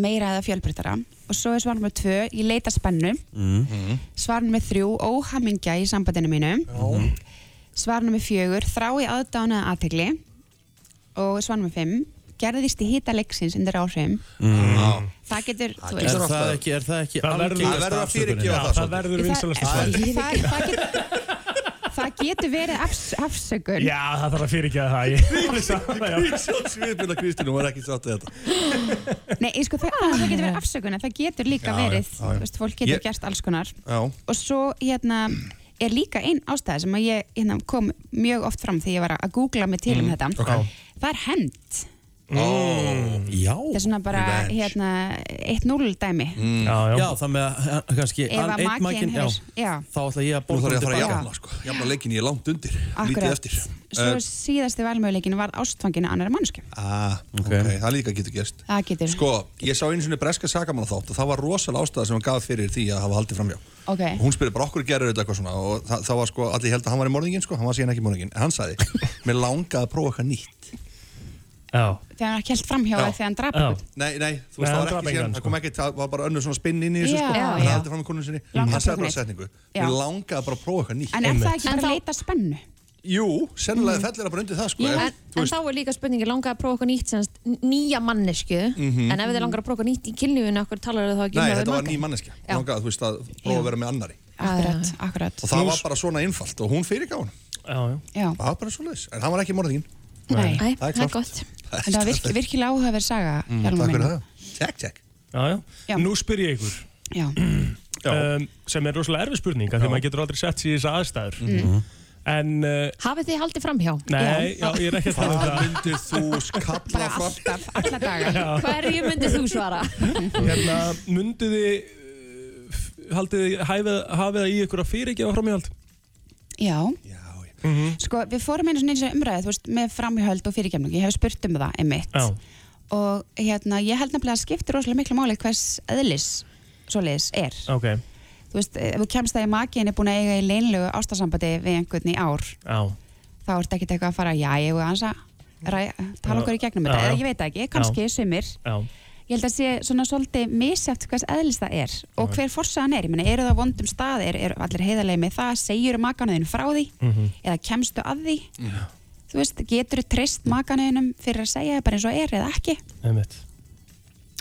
[SPEAKER 9] meira eða fjölbreytara og svo er svarmöguleiki 2, ég leita spennu
[SPEAKER 1] mm.
[SPEAKER 9] svarmöguleiki 3, óhamingja í sambandinu mínu já. svarmöguleiki 4 þrá í aðdána aðtekli og svarmöguleiki 5 gerðist í hýta leiksins undir áhrifum
[SPEAKER 1] Mm.
[SPEAKER 9] það getur, þú
[SPEAKER 1] Er
[SPEAKER 9] veist
[SPEAKER 1] það ekki, er það ekki
[SPEAKER 3] Það verður-
[SPEAKER 1] algengasta
[SPEAKER 3] Það verður að
[SPEAKER 1] afsökunin?
[SPEAKER 3] fyrirgefa það Já, það svolítið. verður vinsælasta
[SPEAKER 1] Það-
[SPEAKER 3] svarið.
[SPEAKER 9] það, það, getur, það getur verið afs, afsökun
[SPEAKER 3] Já, það þarf að fyrirgefa það. Ég vil það, já.
[SPEAKER 10] Sviðbjörn og Kristín, hún var ekki sátt við þetta
[SPEAKER 9] Nei, ég sko, það, það getur verið afsökun en það getur líka
[SPEAKER 10] Já, já,
[SPEAKER 9] verið
[SPEAKER 10] já, já.
[SPEAKER 9] Þú veist, fólk getur
[SPEAKER 10] Ég-
[SPEAKER 9] gert alls konar
[SPEAKER 10] Já,
[SPEAKER 9] og svo hérna er líka einn ástæða sem að ég hérna, kom mjög oft fram þegar ég var að googla mig til um
[SPEAKER 10] Mm,
[SPEAKER 9] þetta
[SPEAKER 10] ok.
[SPEAKER 9] það er hend
[SPEAKER 1] Ó, Mm. já
[SPEAKER 9] þetta er svona bara
[SPEAKER 1] Revenge.
[SPEAKER 9] hérna 1-0 dæmi
[SPEAKER 1] Mm.
[SPEAKER 3] Já, já.
[SPEAKER 1] já, það með að- hann- kannski
[SPEAKER 9] Ef að
[SPEAKER 1] einn
[SPEAKER 9] makinn
[SPEAKER 1] já.
[SPEAKER 9] hefur- já.
[SPEAKER 1] Þá ætla ég að
[SPEAKER 10] Nú þarf
[SPEAKER 1] borga
[SPEAKER 10] ég að
[SPEAKER 1] undir
[SPEAKER 10] fara að
[SPEAKER 1] baka.
[SPEAKER 10] jafna, sko. Jafna leikin ég er langt undir. Lítið
[SPEAKER 9] Akkurat.
[SPEAKER 10] eftir.
[SPEAKER 9] svo
[SPEAKER 10] Eh,
[SPEAKER 9] síðasti valmöguleikin var ástfanginu annar mannsku
[SPEAKER 10] Ah, ok, það líka getur gerst.
[SPEAKER 9] það getur,
[SPEAKER 10] Sko, ég sá einu sinni breska sakamann þátt og það var rosalega ástæða sem hann gaf fyrir því að hafa haldið framjá.
[SPEAKER 9] ok
[SPEAKER 10] Og hún spyrir bara okkur gerir þetta eitthvað svona og það, það var sko, allir held að hann var í morðingin sko, hann var síðan ekki í morðingin. En hann sagði, mér langaði að prófa eitthvað nýtt.
[SPEAKER 3] Já.
[SPEAKER 9] þegar hann kælt framhjá
[SPEAKER 10] Já.
[SPEAKER 9] þegar hann drap
[SPEAKER 3] Já.
[SPEAKER 9] einhvern.
[SPEAKER 10] Nei, nei, þú
[SPEAKER 3] Nei,
[SPEAKER 10] veist,
[SPEAKER 3] hann sko.
[SPEAKER 10] það var
[SPEAKER 3] drap
[SPEAKER 10] ekki
[SPEAKER 3] engan,
[SPEAKER 10] síðan, það kom ekki, það var bara önnur svona spinn inn í þessu
[SPEAKER 9] Já,
[SPEAKER 10] sko,
[SPEAKER 9] já,
[SPEAKER 10] hann
[SPEAKER 9] já.
[SPEAKER 10] haldið fram í konun sinni.
[SPEAKER 9] Langaði
[SPEAKER 10] Hann sagði
[SPEAKER 9] bara
[SPEAKER 10] bara setningu,
[SPEAKER 9] Já.
[SPEAKER 10] mér langaði bara að prófa eitthvað nýtt.
[SPEAKER 9] en er það ekki bara
[SPEAKER 2] En
[SPEAKER 9] að
[SPEAKER 2] þá-
[SPEAKER 9] Mm. leita spennu
[SPEAKER 10] Jú, sennilega fellir það bara undir það sko.
[SPEAKER 2] En,
[SPEAKER 10] ef- þú
[SPEAKER 2] en þá er líka spurningi langar að prófa okkur nýtt semst, nýja mannesku en ef þið langar að prófa okkur nýtt í kynlífinu okkur talar þau þá ekki um
[SPEAKER 10] Nei,
[SPEAKER 2] að
[SPEAKER 10] þetta
[SPEAKER 2] við
[SPEAKER 10] var ný
[SPEAKER 2] makan?
[SPEAKER 10] manneskja. Hún Langaði, þú veist, að prófa að vera með annari.
[SPEAKER 9] akkurat, akkurat
[SPEAKER 10] Og það var bara svona einfalt og hún fyrirgá hann.
[SPEAKER 3] Já, já.
[SPEAKER 9] já,
[SPEAKER 10] Það var bara svona En hann var ekki morðingin.
[SPEAKER 9] nei,
[SPEAKER 2] Æ,
[SPEAKER 10] Það er
[SPEAKER 2] það er
[SPEAKER 10] klárt.
[SPEAKER 2] gott
[SPEAKER 9] en það var virk, virkilega áhugaverð saga mm,
[SPEAKER 10] Takk fyrir það. Tjekk, tjekk.
[SPEAKER 3] Já, já.
[SPEAKER 9] Já.
[SPEAKER 3] Nú spyr ég ykkur,
[SPEAKER 9] já,
[SPEAKER 3] um, sem er rosalega erfið spurninga því maður getur aldrei sett sér í þessa aðstæður.
[SPEAKER 9] Mhm.
[SPEAKER 3] En, uh,
[SPEAKER 2] Hafið þið haldið framhjá?
[SPEAKER 3] nei, já, ég er ekki að tala um
[SPEAKER 10] Hvað
[SPEAKER 3] það.
[SPEAKER 10] myndir þú
[SPEAKER 3] sko
[SPEAKER 10] skalla
[SPEAKER 9] bara
[SPEAKER 10] fram?
[SPEAKER 9] alltaf, alla daga
[SPEAKER 2] Hverju myndið þú svara?
[SPEAKER 3] Hérna, mundu þið, uh, f- haldið þið, hæfið, hafið það í ykkur að fyrirgefa framhjáld?
[SPEAKER 9] já,
[SPEAKER 10] Já, já.
[SPEAKER 3] Mhm.
[SPEAKER 9] sko við fórum einu svona eins og umræði þú veist, með framhjöld og fyrirgemningu ég hef spurt um það, einmitt
[SPEAKER 3] Já.
[SPEAKER 9] og hérna, ég held nefnilega að skiptir rosalega miklu máli hvers eðlis svoleiðis er
[SPEAKER 3] Ok,
[SPEAKER 9] þú veist, ef þú kemst að í makiðin er búin að eiga í leinlegu ástasambandi við einhvern í ár
[SPEAKER 3] já.
[SPEAKER 9] þá ertu ekkert eitthvað að fara, já, ég og hans að ræ- tala okkur í gegnum
[SPEAKER 3] Já,
[SPEAKER 9] þetta,
[SPEAKER 3] já.
[SPEAKER 9] eða ég veit það ekki, kannski sumir
[SPEAKER 3] Já,
[SPEAKER 9] ég held að sé svona svolítið misjæft hvers eðlis það er og hver forsaðan er, ég meina, eru það á vondum stað er, er allir heiðarlega með það, segjur makanuðin frá því,
[SPEAKER 3] Mm. Mhm.
[SPEAKER 9] eða kemstu að því þú veist, getur þú treyst makanuðinum fyrir að segja það bara eins og er eða ekki,
[SPEAKER 3] einmitt.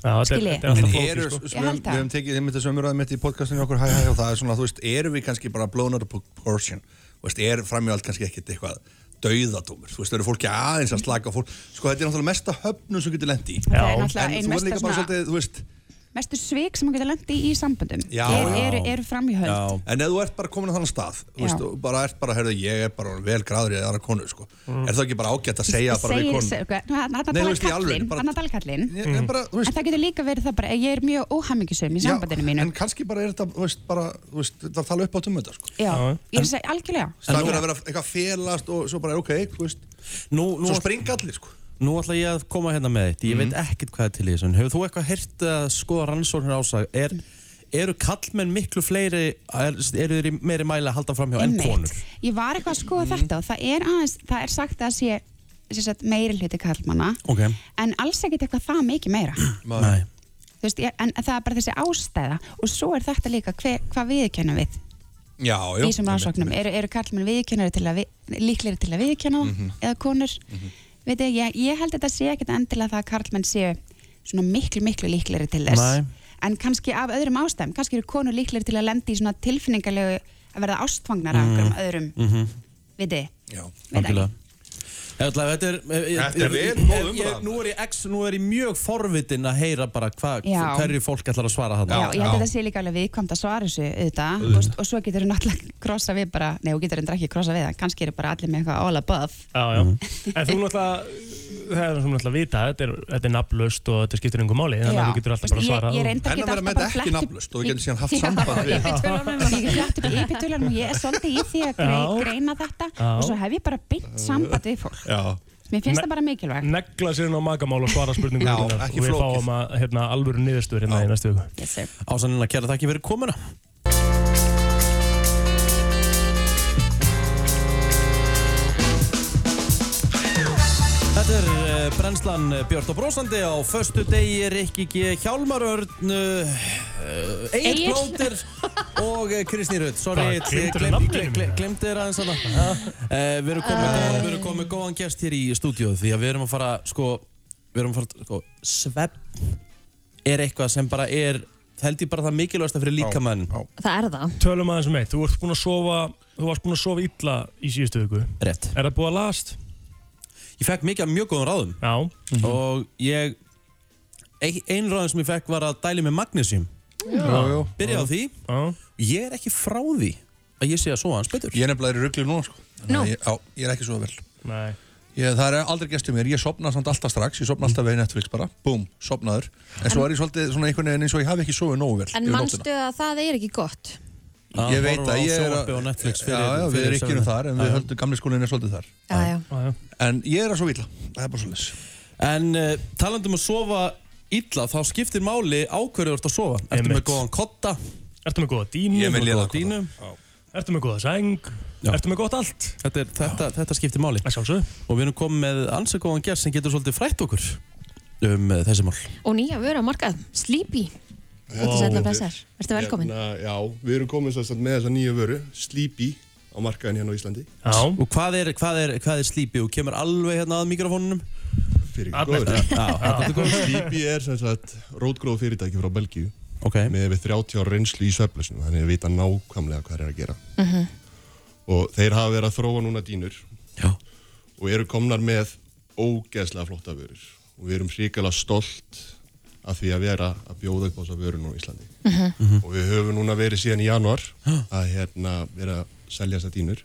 [SPEAKER 3] Já, þetta er,
[SPEAKER 9] Skil ég.
[SPEAKER 3] þetta er
[SPEAKER 10] En
[SPEAKER 3] alltaf
[SPEAKER 10] eru,
[SPEAKER 3] flókið, sko.
[SPEAKER 10] við
[SPEAKER 9] Ég held
[SPEAKER 10] höfum
[SPEAKER 9] það.
[SPEAKER 10] við höfum tekið þeim þetta sömurðaði mitt í podcastinu okkur hæ, hæ, og það er svona, þú veist, erum við kannski bara blown out of proportion, þú veist, er framjöld kannski ekkit eitthvað dauðadómur, þú veist, eru fólki aðeins að slaka á fólk, sko, þetta er náttúrulega mesta höfnum sem getur lendi í,
[SPEAKER 9] það er
[SPEAKER 3] Já.
[SPEAKER 9] náttúrulega
[SPEAKER 10] en
[SPEAKER 9] ein
[SPEAKER 10] þú er
[SPEAKER 9] mesta,
[SPEAKER 10] líka bara
[SPEAKER 9] svona,
[SPEAKER 10] svolítið, þú veist,
[SPEAKER 9] mestu svik sem maður getur lendi í samböndum
[SPEAKER 10] Já,
[SPEAKER 9] er,
[SPEAKER 10] já.
[SPEAKER 9] er, er framhjöld
[SPEAKER 10] En ef þú ert bara komin á þannig stað þú
[SPEAKER 9] Já.
[SPEAKER 10] veist, og bara ert bara, heyrðu, ég er bara orðin vel graður í aðra konu, sko
[SPEAKER 1] Mm.
[SPEAKER 10] Er það ekki bara ágætt að segja bara við konu?
[SPEAKER 9] hann að
[SPEAKER 10] Nei, þú
[SPEAKER 9] tala
[SPEAKER 10] veist, í alvöru,
[SPEAKER 9] kallinn
[SPEAKER 10] bara-
[SPEAKER 9] hann að tala kallinn
[SPEAKER 10] Ég, mm. bara,
[SPEAKER 9] en
[SPEAKER 10] þú veist,
[SPEAKER 9] það getur líka verið það bara ég er mjög óhamingisum í
[SPEAKER 10] já,
[SPEAKER 9] sambandinu mínu
[SPEAKER 10] En kannski bara er þetta, þú veist, bara, þú veist, það tala upp á tum þetta, sko
[SPEAKER 9] já, ég er að segja algjörlega
[SPEAKER 10] Það er verið að vera eitthvað félast og svo bara, ok, þú veist
[SPEAKER 1] Nú, nú,
[SPEAKER 10] Svo springa allir, sko
[SPEAKER 1] nú ætla ég að koma hérna með eitt Ég veit ekkert hvað er til í þessu en Hefur þú eitthvað heyrt að skoða rannsóknir ásag er, Eru kallmenn miklu fleiri er, Eru þeir í meiri mæli að halda framhjá en
[SPEAKER 9] Einmitt.
[SPEAKER 1] konur
[SPEAKER 9] ég var eitthvað að skoða þetta og það er aðeins það er sagt að sé sem sagt, meiri hluti kallmanna
[SPEAKER 1] Ok.
[SPEAKER 9] en alls ekkit eitthvað það mikið meira Þú
[SPEAKER 1] Nei
[SPEAKER 9] veist, ég, en það er bara þessi ástæða og svo er þetta líka hver, hvað viðkennum við
[SPEAKER 10] Já,
[SPEAKER 9] í þessum rannsóknum eru, eru kallmenn viðkennari til að við, líklegri til að viðkenna það
[SPEAKER 10] Mhm.
[SPEAKER 9] eða konur veit ég, ég, ég held þetta sé ekkit endilega það að karlmenn séu svona miklu miklu líklegri til þess
[SPEAKER 1] Nei.
[SPEAKER 9] en kannski af öðrum ástæðum kannski eru konur líklegri til að lendi í svona tilfinningarlegu að verða ástfangnar af einhverjum öðrum mm -hmm. veit ég,
[SPEAKER 10] Mhm. Já.
[SPEAKER 9] veit ekki
[SPEAKER 1] Mhm. Algjörlega Ég ætla að Þetta er, eh, ég- ég-
[SPEAKER 10] Þetta er vel
[SPEAKER 1] ég-
[SPEAKER 10] góð
[SPEAKER 1] ég-
[SPEAKER 10] umræða.
[SPEAKER 1] Nú er ég ex, nú er ég mjög forvitin að heyra bara hva,
[SPEAKER 9] Já.
[SPEAKER 1] hverju fólk ætlar að svara
[SPEAKER 9] Já,
[SPEAKER 1] þarna
[SPEAKER 9] ég held að þetta sé líka alveg viðkvæmt að svara þessu auðvitað mm. og, og svo getur þú náttúrulega krossa við bara, nei, þú getur endur ekki krossa við það kannski eru bara allir með eitthvað all above
[SPEAKER 3] Já, já.
[SPEAKER 10] Mhm.
[SPEAKER 3] En þú náttúrulega, það er svona náttúrulega vita, þetta er, þetta er nafnlaust og þetta skiptir engum máli, þannig að þú getur alltaf bara að svara.
[SPEAKER 9] ég, ég reyndar
[SPEAKER 10] En
[SPEAKER 9] get
[SPEAKER 10] að
[SPEAKER 9] alltaf
[SPEAKER 10] vera
[SPEAKER 9] bara
[SPEAKER 10] með þetta ekki
[SPEAKER 9] flett upp-
[SPEAKER 10] nafnlaust og við getum síðan haft
[SPEAKER 9] Já,
[SPEAKER 10] samband við-
[SPEAKER 9] ég get flett upp í IP-tölunum og ég er svolítið í því að grei-
[SPEAKER 3] Já.
[SPEAKER 9] greina þetta
[SPEAKER 3] Já.
[SPEAKER 9] og svo hef ég bara beint samband við fólk
[SPEAKER 10] Já,
[SPEAKER 9] mér finnst
[SPEAKER 3] Ne-
[SPEAKER 9] það bara mikilvægt
[SPEAKER 3] negla sér inn á magamál og svara spurningum
[SPEAKER 10] Já,
[SPEAKER 3] þínar
[SPEAKER 10] ekki
[SPEAKER 3] og við
[SPEAKER 10] flókið.
[SPEAKER 3] fáum að hérna, alvöru niðurstöður hérna í næstu viku
[SPEAKER 9] yes, sir.
[SPEAKER 1] Ásanina, kæra þakki fyrir komuna Þetta er eh, brennslan eh, Björn og Brósandi á föstu degi er ekki ekki Hjálmarörn Egil
[SPEAKER 2] Egill.
[SPEAKER 1] Blóndir eh, og eh, Kristín Rutt
[SPEAKER 3] Hvað,
[SPEAKER 1] Sorry,
[SPEAKER 3] gleymdirðu nafninu?
[SPEAKER 1] glemdi þér aðeins hana Eh, Við erum komið
[SPEAKER 10] Ah.
[SPEAKER 1] góðan, við erum komið góðan gest hér í stúdíóð því að við erum að fara sko, við erum að fara sko, svepp er eitthvað sem bara er held ég bara það mikilvægsta fyrir líkamann
[SPEAKER 2] Það er það
[SPEAKER 3] Tölum aðeins um eitt, þú ert búin að sofa þú varst búin að sofa illa í síðustu viku
[SPEAKER 1] rétt.
[SPEAKER 3] Er það búið að last?
[SPEAKER 1] Ég fekk mikið af mjög góðum ráðum
[SPEAKER 3] Já, Mhm.
[SPEAKER 1] og ég ein- ein ráðum sem ég fekk var að dæli með magnésium byrja á því
[SPEAKER 3] já,
[SPEAKER 1] ég er ekki frá því að ég sé að sofa hans betur
[SPEAKER 10] ég er nefnilega í ruggli núna, sko Þannig að
[SPEAKER 2] Nú.
[SPEAKER 10] ég- Já, ég er ekki svo vel
[SPEAKER 3] nei
[SPEAKER 10] Ég, það er aldrei gæst hjá mér, ég sopna samt alltaf strax, ég sopna alltaf við Netflix bara, búm, sopnaður. En svo er ég svolítið svona einhvern veginn eins og ég hafi ekki sofið nógu vel
[SPEAKER 2] En
[SPEAKER 10] yfir
[SPEAKER 2] mannstu að það er ekki gott
[SPEAKER 10] nóttina. Ég veit
[SPEAKER 1] horfa
[SPEAKER 10] að
[SPEAKER 1] Ah, á
[SPEAKER 10] ég er
[SPEAKER 1] sjónvarpið og Netflix fyrir-
[SPEAKER 10] já, já, við
[SPEAKER 1] fyrir
[SPEAKER 10] erum ekki um
[SPEAKER 1] svefninn.
[SPEAKER 10] þar, en
[SPEAKER 1] Já,
[SPEAKER 10] við
[SPEAKER 1] já.
[SPEAKER 10] höldum gamli skólinn er svolítið þar.
[SPEAKER 2] Já,
[SPEAKER 3] já.
[SPEAKER 10] En ég er að sofa illa, það er bara svolítið.
[SPEAKER 1] En uh, talandum að sofa illa, þá skiptir máli á hverju þú ert að sofa. Ertu með
[SPEAKER 3] Einmitt.
[SPEAKER 1] góðan kotta?
[SPEAKER 3] Ertu með góða dínu?
[SPEAKER 1] Ég með léða
[SPEAKER 3] dínu. Ertu með góða sæng? Ertu með gott allt?
[SPEAKER 1] Þetta, er, þetta, þetta skiptir máli.
[SPEAKER 3] Það sjálfsög.
[SPEAKER 1] Og við erum komið með ansið góðan gerð sem getur svolítið frætt okkur um uh, þessi mál.
[SPEAKER 2] Og nýja vöru á markað, Sleepy Þetta er
[SPEAKER 11] Vá.
[SPEAKER 2] sætla blessar, verður velkomin
[SPEAKER 11] Hérna, já, við erum komin sérstænt með þessa nýju vöru, Sleepy, á markaðin hérna á Íslandi.
[SPEAKER 3] Já.
[SPEAKER 1] Og hvað er, hvað er, hvað er slípi? Þú kemur alveg hérna að mikrofónunum?
[SPEAKER 11] Fyrir
[SPEAKER 1] Alveg. Já, alveg góður.
[SPEAKER 11] Sleepy er sérstænt rótgróð fyrirtæki frá Belgíu
[SPEAKER 1] okay.
[SPEAKER 11] með við 30 ára reynslu í sveflesinu, þannig að vita nákvæmlega hvað er að gera.
[SPEAKER 12] Mhm.
[SPEAKER 11] Og þeir hafa verið að þróa núna dýnur já. og eru komnar með ógeðslega flotta vörur og við erum hrikalega stolt af því að vera að bjóða upp á þessa vöru núna á Íslandi. og við höfum núna verið síðan í januar að hérna vera að selja þessar dýnur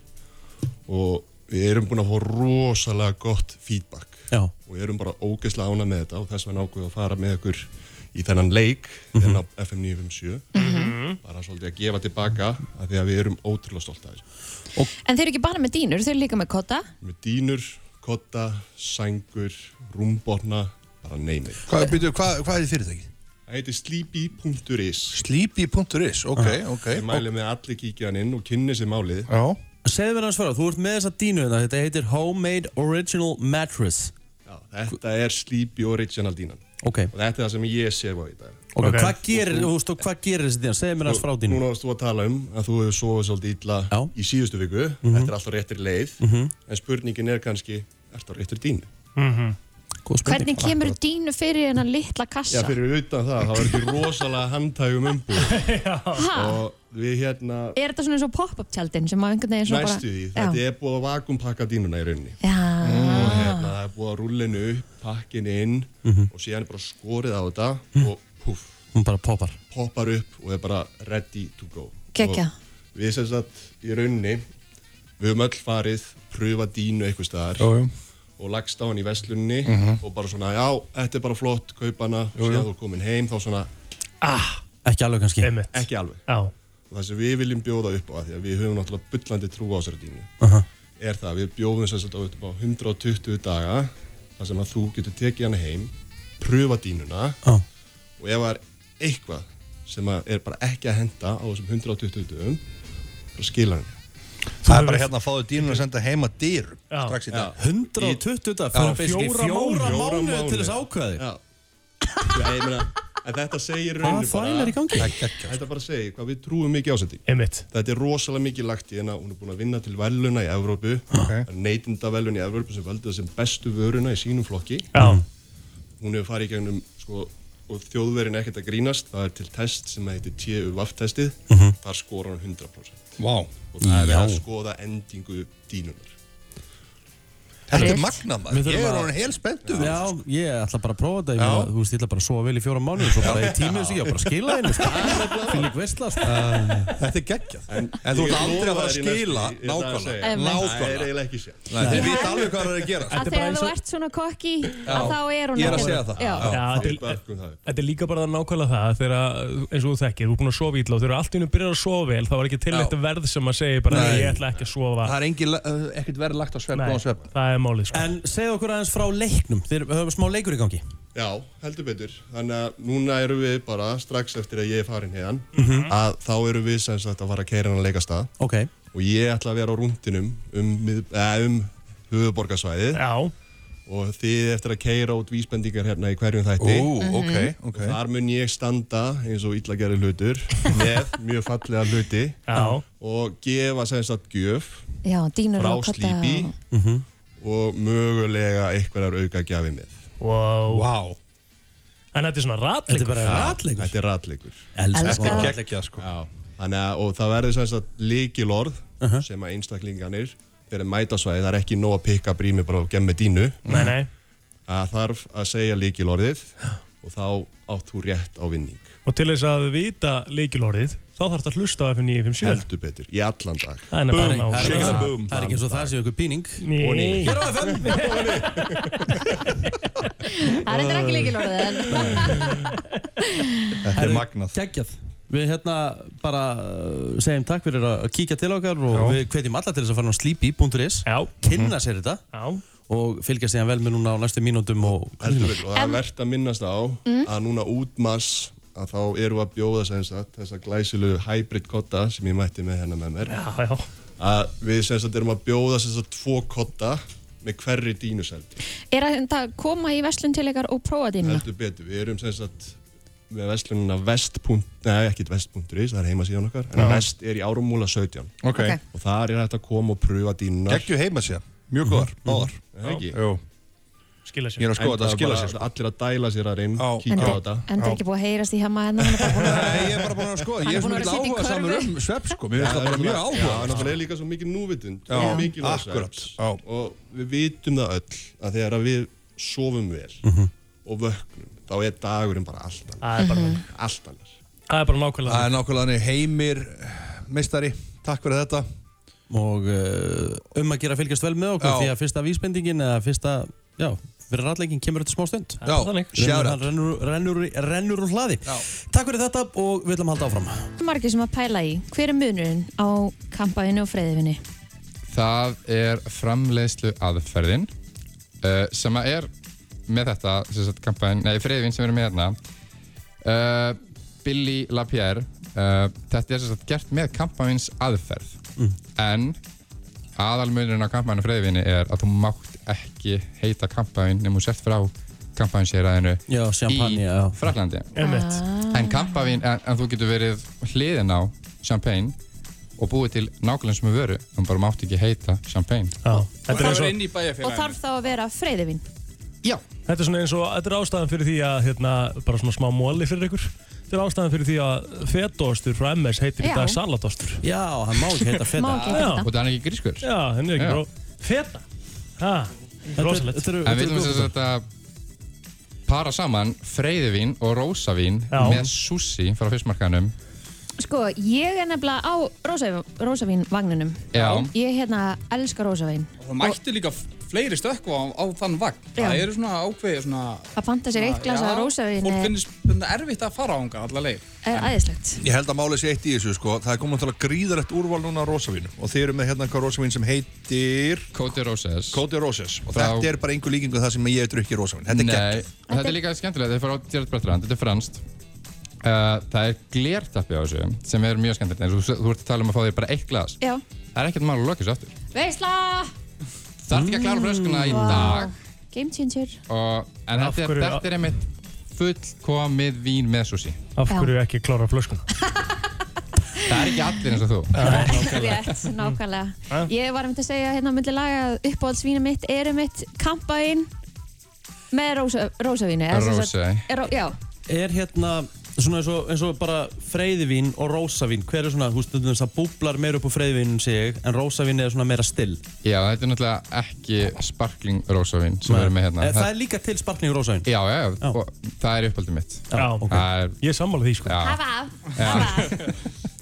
[SPEAKER 11] og við erum búin að fá rosalega gott feedback
[SPEAKER 1] Já.
[SPEAKER 11] og við erum bara ógeðslega ánað með þetta og þess vegna ákveðum við að fara með ykkur í þennan leik
[SPEAKER 10] Mhm.
[SPEAKER 11] þennan á FM 957
[SPEAKER 2] Mhm.
[SPEAKER 11] bara svolítið að gefa tilbaka af því að við erum ótrúlega stolt af þessu
[SPEAKER 2] En þeir eru ekki bara með dýnur, þeir eru líka með kotta
[SPEAKER 11] með dýnur, kotta, sængur rúmborna, bara neymið
[SPEAKER 10] Hvað, byrju, hvað, hvað er þið fyrirtækið?
[SPEAKER 11] Það heitir sleepy.is Ah.
[SPEAKER 10] Sleepy.is, ok, ok
[SPEAKER 11] Ég mæli með að allir kíkja hann inn og kynni sér málið
[SPEAKER 10] Já
[SPEAKER 1] Segðu mér hans fara, þú ert með þessa dínu hérna, þetta heitir Homemade Original Mattress.
[SPEAKER 11] Þetta er Sleepy Original dínan
[SPEAKER 1] Ok.
[SPEAKER 11] Og þetta er það sem ég sé á í dag
[SPEAKER 1] Ok, Hvað gerir, þú veist, og hvað gerir þessi dína? Segðu mér hans frá dínu.
[SPEAKER 11] Núna varst þú að tala um að þú hefur sofið svolítið illa í síðustu viku Þetta er alltaf réttir leið
[SPEAKER 1] Mhm.
[SPEAKER 11] En spurningin er kannski, ertu á réttir dínu?
[SPEAKER 2] Hvernig kemur dýnu fyrir hennan litla kassa?
[SPEAKER 11] Já, fyrir utan það, þá er ekki rosalega handhægum umbúð
[SPEAKER 2] Ha?
[SPEAKER 11] Og við hérna,
[SPEAKER 2] Er þetta svona eins og pop-up tjaldin sem að einhvern veginn svona bara...
[SPEAKER 11] næstu því, þetta er búið að vakumpakka dínuna í rauninni
[SPEAKER 2] Já,
[SPEAKER 11] og hérna það er búið að rúllinu upp, pakkin inn
[SPEAKER 1] Mhm.
[SPEAKER 11] og síðan er bara skorið á þetta og puff,
[SPEAKER 1] Hún bara poppar
[SPEAKER 11] poppar upp og er bara ready to go
[SPEAKER 2] Geggjað.
[SPEAKER 11] Og Við sem sagt í rauninni við höfum öll farið, pröfa dínu eitthvað staðar
[SPEAKER 10] Jú, jú.
[SPEAKER 11] og lagst á hann í veslunni
[SPEAKER 1] Mhm.
[SPEAKER 11] og bara svona já, þetta er bara flott, kaupa hana og
[SPEAKER 1] Jú, jú.
[SPEAKER 11] síðan þú er komin heim þá svona
[SPEAKER 1] Ekki alveg kannski.
[SPEAKER 11] ekki alveg
[SPEAKER 3] Já.
[SPEAKER 11] og það sem við viljum bjóða upp á af því að við höfum náttúrulega bullandi trú á þessari dínu
[SPEAKER 1] Aha.
[SPEAKER 11] er það að við bjóðum þess að upp á 120 daga þar sem að þú getur tekið hana heim pröfa dínuna
[SPEAKER 1] Já.
[SPEAKER 11] og ef það er eitthvað sem að er bara ekki að henda á þessum 120 dögum bara skila hann
[SPEAKER 10] Það er bara hérna að fáðu dýrun að senda heima dýr strax í dag.
[SPEAKER 1] 120 dag, fyrir basically fjóra mánuði til þess að ákveða þig.
[SPEAKER 11] Já. Já, ég meina, en þetta segir í
[SPEAKER 1] Hvað
[SPEAKER 11] rauninni bara
[SPEAKER 1] þvæla er í gangi?
[SPEAKER 10] sko.
[SPEAKER 11] Þetta bara segir hvað við trúum mikið ásetti
[SPEAKER 3] Einmitt.
[SPEAKER 11] Þetta er rosalega mikið lagt í hérna Hún er búin að vinna til veluna í Evrópu okay. Neytinda veluna í Evrópu sem völdu þessum bestu vöruna í sínum flokki
[SPEAKER 3] Já.
[SPEAKER 11] Hún hefur farið í gegnum sko, og þjóðverin er ekkert að grínast Það er til test sem heitir TUVAF-testið
[SPEAKER 1] Mhm.
[SPEAKER 11] Þar skora hann 100%
[SPEAKER 10] Vá.
[SPEAKER 11] Og það er verið að
[SPEAKER 10] Já.
[SPEAKER 11] skoða endingu dínunar
[SPEAKER 10] Þetta er magnað
[SPEAKER 1] Við
[SPEAKER 10] maður,
[SPEAKER 1] þurfum
[SPEAKER 10] ég er
[SPEAKER 1] að-
[SPEAKER 10] orðin hel spenntu
[SPEAKER 1] Já, ég ætla bara að prófa þetta, ég meina, þú veist, ég ætla bara að sofa vel í fjóra mánuði, svo bara í tími þessu, ég á bara að skila henni, sko. Fylg veistla, sko.
[SPEAKER 10] Þetta er geggjað. En þú ert aldrei að fara að skila, nákvæmlega,
[SPEAKER 11] Það er
[SPEAKER 10] nákvæmlega.
[SPEAKER 11] eiginlega ekki sér
[SPEAKER 10] Nei, þeir vita alveg hvað það er að gera.
[SPEAKER 2] að þegar þú ert svona kokki að þá er hún
[SPEAKER 10] ég er að
[SPEAKER 2] ekki-
[SPEAKER 10] segja það.
[SPEAKER 2] Já.
[SPEAKER 3] Já, þetta, er, þetta er líka bara nákvæmlega það þegar að, eins og þú þekkir, þú er búin að sofa ítla og þegar allt í hennu byrjar að sofa vel þá er ekki tilnætt verð sem að segja bara
[SPEAKER 1] Nei.
[SPEAKER 3] ég ætla ekki að sofa
[SPEAKER 10] Það er engin, eh, ekkert verið lagt á svepp
[SPEAKER 3] Nei,
[SPEAKER 10] og á svepp.
[SPEAKER 3] það er málið sko
[SPEAKER 1] En segð okkur aðeins frá leiknum, þeir höfum smá leikur í gangi.
[SPEAKER 11] Já, heldur betur. Þannig að núna erum við bara strax eftir að ég er farin hérna að þá erum við sem sagt að fara að keira hann að leika stað
[SPEAKER 1] Ok.
[SPEAKER 11] og ég ætla að vera á rúndinum um, mið- eh, um höfuborgarsvæðið
[SPEAKER 3] Já.
[SPEAKER 11] og þið eftir að keira út vísbendingar hérna í hverjum þætti
[SPEAKER 10] Ó, ok, Mhm. ok.
[SPEAKER 11] og þar mun ég standa eins og illagerri hlutur með mjög fallega hluti
[SPEAKER 3] Já.
[SPEAKER 11] og gefa sem sagt gjöf
[SPEAKER 2] Já, dýnur
[SPEAKER 11] frá
[SPEAKER 2] og kotta
[SPEAKER 11] Sleepy
[SPEAKER 2] og-
[SPEAKER 11] og mögulega einhverjar auka gjafi með
[SPEAKER 3] Wow.
[SPEAKER 11] wow.
[SPEAKER 3] En þetta er svona ratleikur
[SPEAKER 11] ratleikur Þetta er ratleikur
[SPEAKER 3] Elska Elska það.
[SPEAKER 11] geggjað sko Já. Þannig að og það verður sem sagt líkilorð
[SPEAKER 3] Uh-huh.
[SPEAKER 11] sem að einstaklinganir fyrir mætasvæði, það er ekki nóg að pikka brími bara og gemma dínu
[SPEAKER 3] Nei, nei
[SPEAKER 11] að þarf að segja líkilorðið og þá átt þú rétt á vinning
[SPEAKER 3] Og til þess að vita leikilorðið, þá þarf þetta að hlusta á FM 957.
[SPEAKER 11] heldur betur, í allan dag
[SPEAKER 3] Það er
[SPEAKER 11] Búm,
[SPEAKER 3] nefnilega nóg.
[SPEAKER 11] shake it up, búm.
[SPEAKER 1] Það er ekki eins og það séu ykkur píning
[SPEAKER 3] Nei.
[SPEAKER 1] Og nei. Hér á FM
[SPEAKER 2] Það er reyndar ekki líkilorðið en
[SPEAKER 1] Þetta er magnað Gægjað Við hérna bara uh, segjum takk fyrir að kíkja til okkar og við hvetjum alla til þess að fara á sleepy.is
[SPEAKER 10] Mhm.
[SPEAKER 1] Kynna sér þetta Já. og fylgja sér vel með núna á næstu mínútum og
[SPEAKER 11] Heldur betur, og það er verðt að minnast á að núna út mass að þá eru að bjóða sem sagt þessa glæsilegu hybrid kotta sem ég mætti með hennar með mér
[SPEAKER 3] já, já.
[SPEAKER 11] að við sem sagt erum að bjóða sem sagt tvo kotta með hverri dínuseldi
[SPEAKER 2] er að þetta koma í verslun til ykkar og prófa dýmuna
[SPEAKER 11] heldur betur, við erum sem sagt með vestlununa vest. Nei, ekki vest.is, það er heimasíðan okkar en
[SPEAKER 10] Já.
[SPEAKER 11] vest er í árumúla 17
[SPEAKER 10] Ok. Ok.
[SPEAKER 11] og þar er hægt að koma og prufa Mhm. dýnunar
[SPEAKER 10] Geggjuð heimasíða, mjög góðar, báðar.
[SPEAKER 11] ekki?
[SPEAKER 10] Jú.
[SPEAKER 3] Skila
[SPEAKER 10] Ég er að skoða þetta, skila sér, sko.
[SPEAKER 11] Allir að dæla sér að reym,
[SPEAKER 2] En
[SPEAKER 11] kíkja á þetta
[SPEAKER 2] það er ekki búið að heyrast í hema hérna hann er bara búin að-
[SPEAKER 10] Ég er bara búin að skoða,
[SPEAKER 2] Hann
[SPEAKER 10] ég
[SPEAKER 2] er
[SPEAKER 10] er svo
[SPEAKER 2] búinn að vera að
[SPEAKER 10] mikil
[SPEAKER 2] sitja
[SPEAKER 10] áhuga
[SPEAKER 2] í
[SPEAKER 10] samur
[SPEAKER 2] körfu.
[SPEAKER 10] um svepp sko,
[SPEAKER 11] Já,
[SPEAKER 10] mér finnst það bara
[SPEAKER 11] náttúrulega-
[SPEAKER 10] mjög áhuga
[SPEAKER 11] Já, náttúrulega er líka svo mikið núvitund
[SPEAKER 10] Já,
[SPEAKER 11] og mikið um þessa.
[SPEAKER 10] akkurat,
[SPEAKER 11] Og við vitum það öll að þegar að við sofum vel
[SPEAKER 10] Mhm.
[SPEAKER 11] og vöknum þá er dagurinn bara allt
[SPEAKER 3] Það er bara
[SPEAKER 11] annar Allt annar
[SPEAKER 3] Það er bara nákvæmlega
[SPEAKER 10] Það er nákvæmlega þannig. heimir, eh, meistari, takk fyrir þetta
[SPEAKER 1] og uh, um að gera að fylgjast vel með okkur
[SPEAKER 10] Já.
[SPEAKER 1] því að fyrsta vísbendingin eða fyrsta, já, fyrir ratleikin kemur þetta smá stund
[SPEAKER 10] Já, þannig. shout out.
[SPEAKER 1] Rennur, rennur, rennur, rennur úr hlaði já. Takk fyrir þetta og við ætlum að halda áfram
[SPEAKER 2] margir sem að pæla í hver er munurinn á kampaðinu og freyðifinni
[SPEAKER 12] það er framleiðslu aðferðin uh, sem að er með þetta sem sagt, kampaðin, nei, friðvin sem við erum með hérna uh, Billy LaPierre uh, þetta er sem sagt, gert með kampaðins aðferð en aðalmunurinn á kampaðinu friðvinni er að þú mátt ekki heita kampaðin nema þú sért frá kampaðinsýraðinu
[SPEAKER 1] Já, champagne,
[SPEAKER 12] í
[SPEAKER 1] já.
[SPEAKER 12] Fraklandi
[SPEAKER 3] Einmitt.
[SPEAKER 12] en kampavín, en, en þú getur verið hliðin á champagne og búið til nákvæmlega sem við veru þú bara mátt ekki heita champagne
[SPEAKER 3] Já,
[SPEAKER 12] þetta
[SPEAKER 3] er eins og-
[SPEAKER 2] og þarf þá að vera freyðifinn
[SPEAKER 12] Já
[SPEAKER 3] Þetta er svona eins og, þetta er ástæðan fyrir því að, hérna, bara svona smá móli fyrir ykkur. Þetta er ástæðan fyrir því að fetostur frá MS heitir í
[SPEAKER 2] Já.
[SPEAKER 3] dag salatostur.
[SPEAKER 1] Já, hann má ekki heita feta. Má ekki heita
[SPEAKER 3] Já.
[SPEAKER 1] feta.
[SPEAKER 12] Og það er ekki grískur.
[SPEAKER 3] Já, hann er
[SPEAKER 12] Já.
[SPEAKER 3] ekki gró. Feta? Ha,
[SPEAKER 1] er-
[SPEAKER 3] rosalegt.
[SPEAKER 1] þetta eru-
[SPEAKER 12] en við viljum þess að þetta para saman freyðivín og rósavín
[SPEAKER 3] Já.
[SPEAKER 12] með sushi frá fyrstmarkanum
[SPEAKER 2] sko, ég er nefnilega á rosa, rosavín vagninum
[SPEAKER 12] Já.
[SPEAKER 2] ég hérna elska rosavín
[SPEAKER 13] Það mættu líka f- fleiri stökku á, á þann vagn.
[SPEAKER 2] Já.
[SPEAKER 13] Það eru svona ákveðið svona...
[SPEAKER 2] að panta sér eitt glas
[SPEAKER 13] Já,
[SPEAKER 2] af rosavín
[SPEAKER 13] Fólk
[SPEAKER 2] er,
[SPEAKER 13] finnir svona erfitt að fara á hanga allar leið.
[SPEAKER 2] er æðislegt
[SPEAKER 10] Ég held að málið sé eitt í þessu sko, það er komið til að gríðarlegt úrval núna á rosavínu og þeir eru með hérna eitthvað rosavín sem heitir
[SPEAKER 12] Cody Roses
[SPEAKER 10] Cody Roses og
[SPEAKER 12] Frá-
[SPEAKER 10] þetta er bara einhver líkingu það sem ég hef drukkið rosavín, þetta er
[SPEAKER 12] Nei,
[SPEAKER 10] gegn
[SPEAKER 12] þetta er líka skemmtilegt, þetta er frá Gerard Bertrand, þetta er franskt. Uh, það er glertappi á þessu sem er mjög skemmtilegt, en þú, þú ert að tala um að fá þér bara eitt glas.
[SPEAKER 2] Já.
[SPEAKER 12] Það er ekkert mál að loka þessu aftur. Mm.
[SPEAKER 2] veisla
[SPEAKER 12] Það ert ekki að klára fröskuna í
[SPEAKER 2] Vá.
[SPEAKER 12] dag.
[SPEAKER 2] Mm. game changer
[SPEAKER 12] Og, en
[SPEAKER 3] Af
[SPEAKER 12] þetta er,
[SPEAKER 3] hverju-
[SPEAKER 12] þetta er einmitt fullkomið vín með sushi.
[SPEAKER 3] Af hverju ekki klára flöskuna?
[SPEAKER 12] Það er ekki allir eins og þú.
[SPEAKER 2] rétt, nákvæmlega
[SPEAKER 12] Ha?
[SPEAKER 2] ég var um til að segja hérna á myndi laga að uppáhaldsvínu mitt eru mitt kampaðin með rósa, rosavínu eða sem sagt-
[SPEAKER 1] Rosé.
[SPEAKER 2] er, já,
[SPEAKER 1] Er hérna svona eins og, eins og bara freyðivín og rósavín hver er svona, þú veist, stundum þess að búblar meira upp á freyðivín sig en rósavín er svona meira still
[SPEAKER 12] Já, þetta er náttúrulega ekki sparkling rósavín sem
[SPEAKER 1] Nei.
[SPEAKER 12] við erum með hérna.
[SPEAKER 1] Eh, það er líka til sparkling rósavín?
[SPEAKER 12] Já, já, já. og það er uppaldið mitt.
[SPEAKER 3] Já, ok.
[SPEAKER 12] Er,
[SPEAKER 3] Ég er sammála því, sko.
[SPEAKER 12] Já.
[SPEAKER 2] hafa af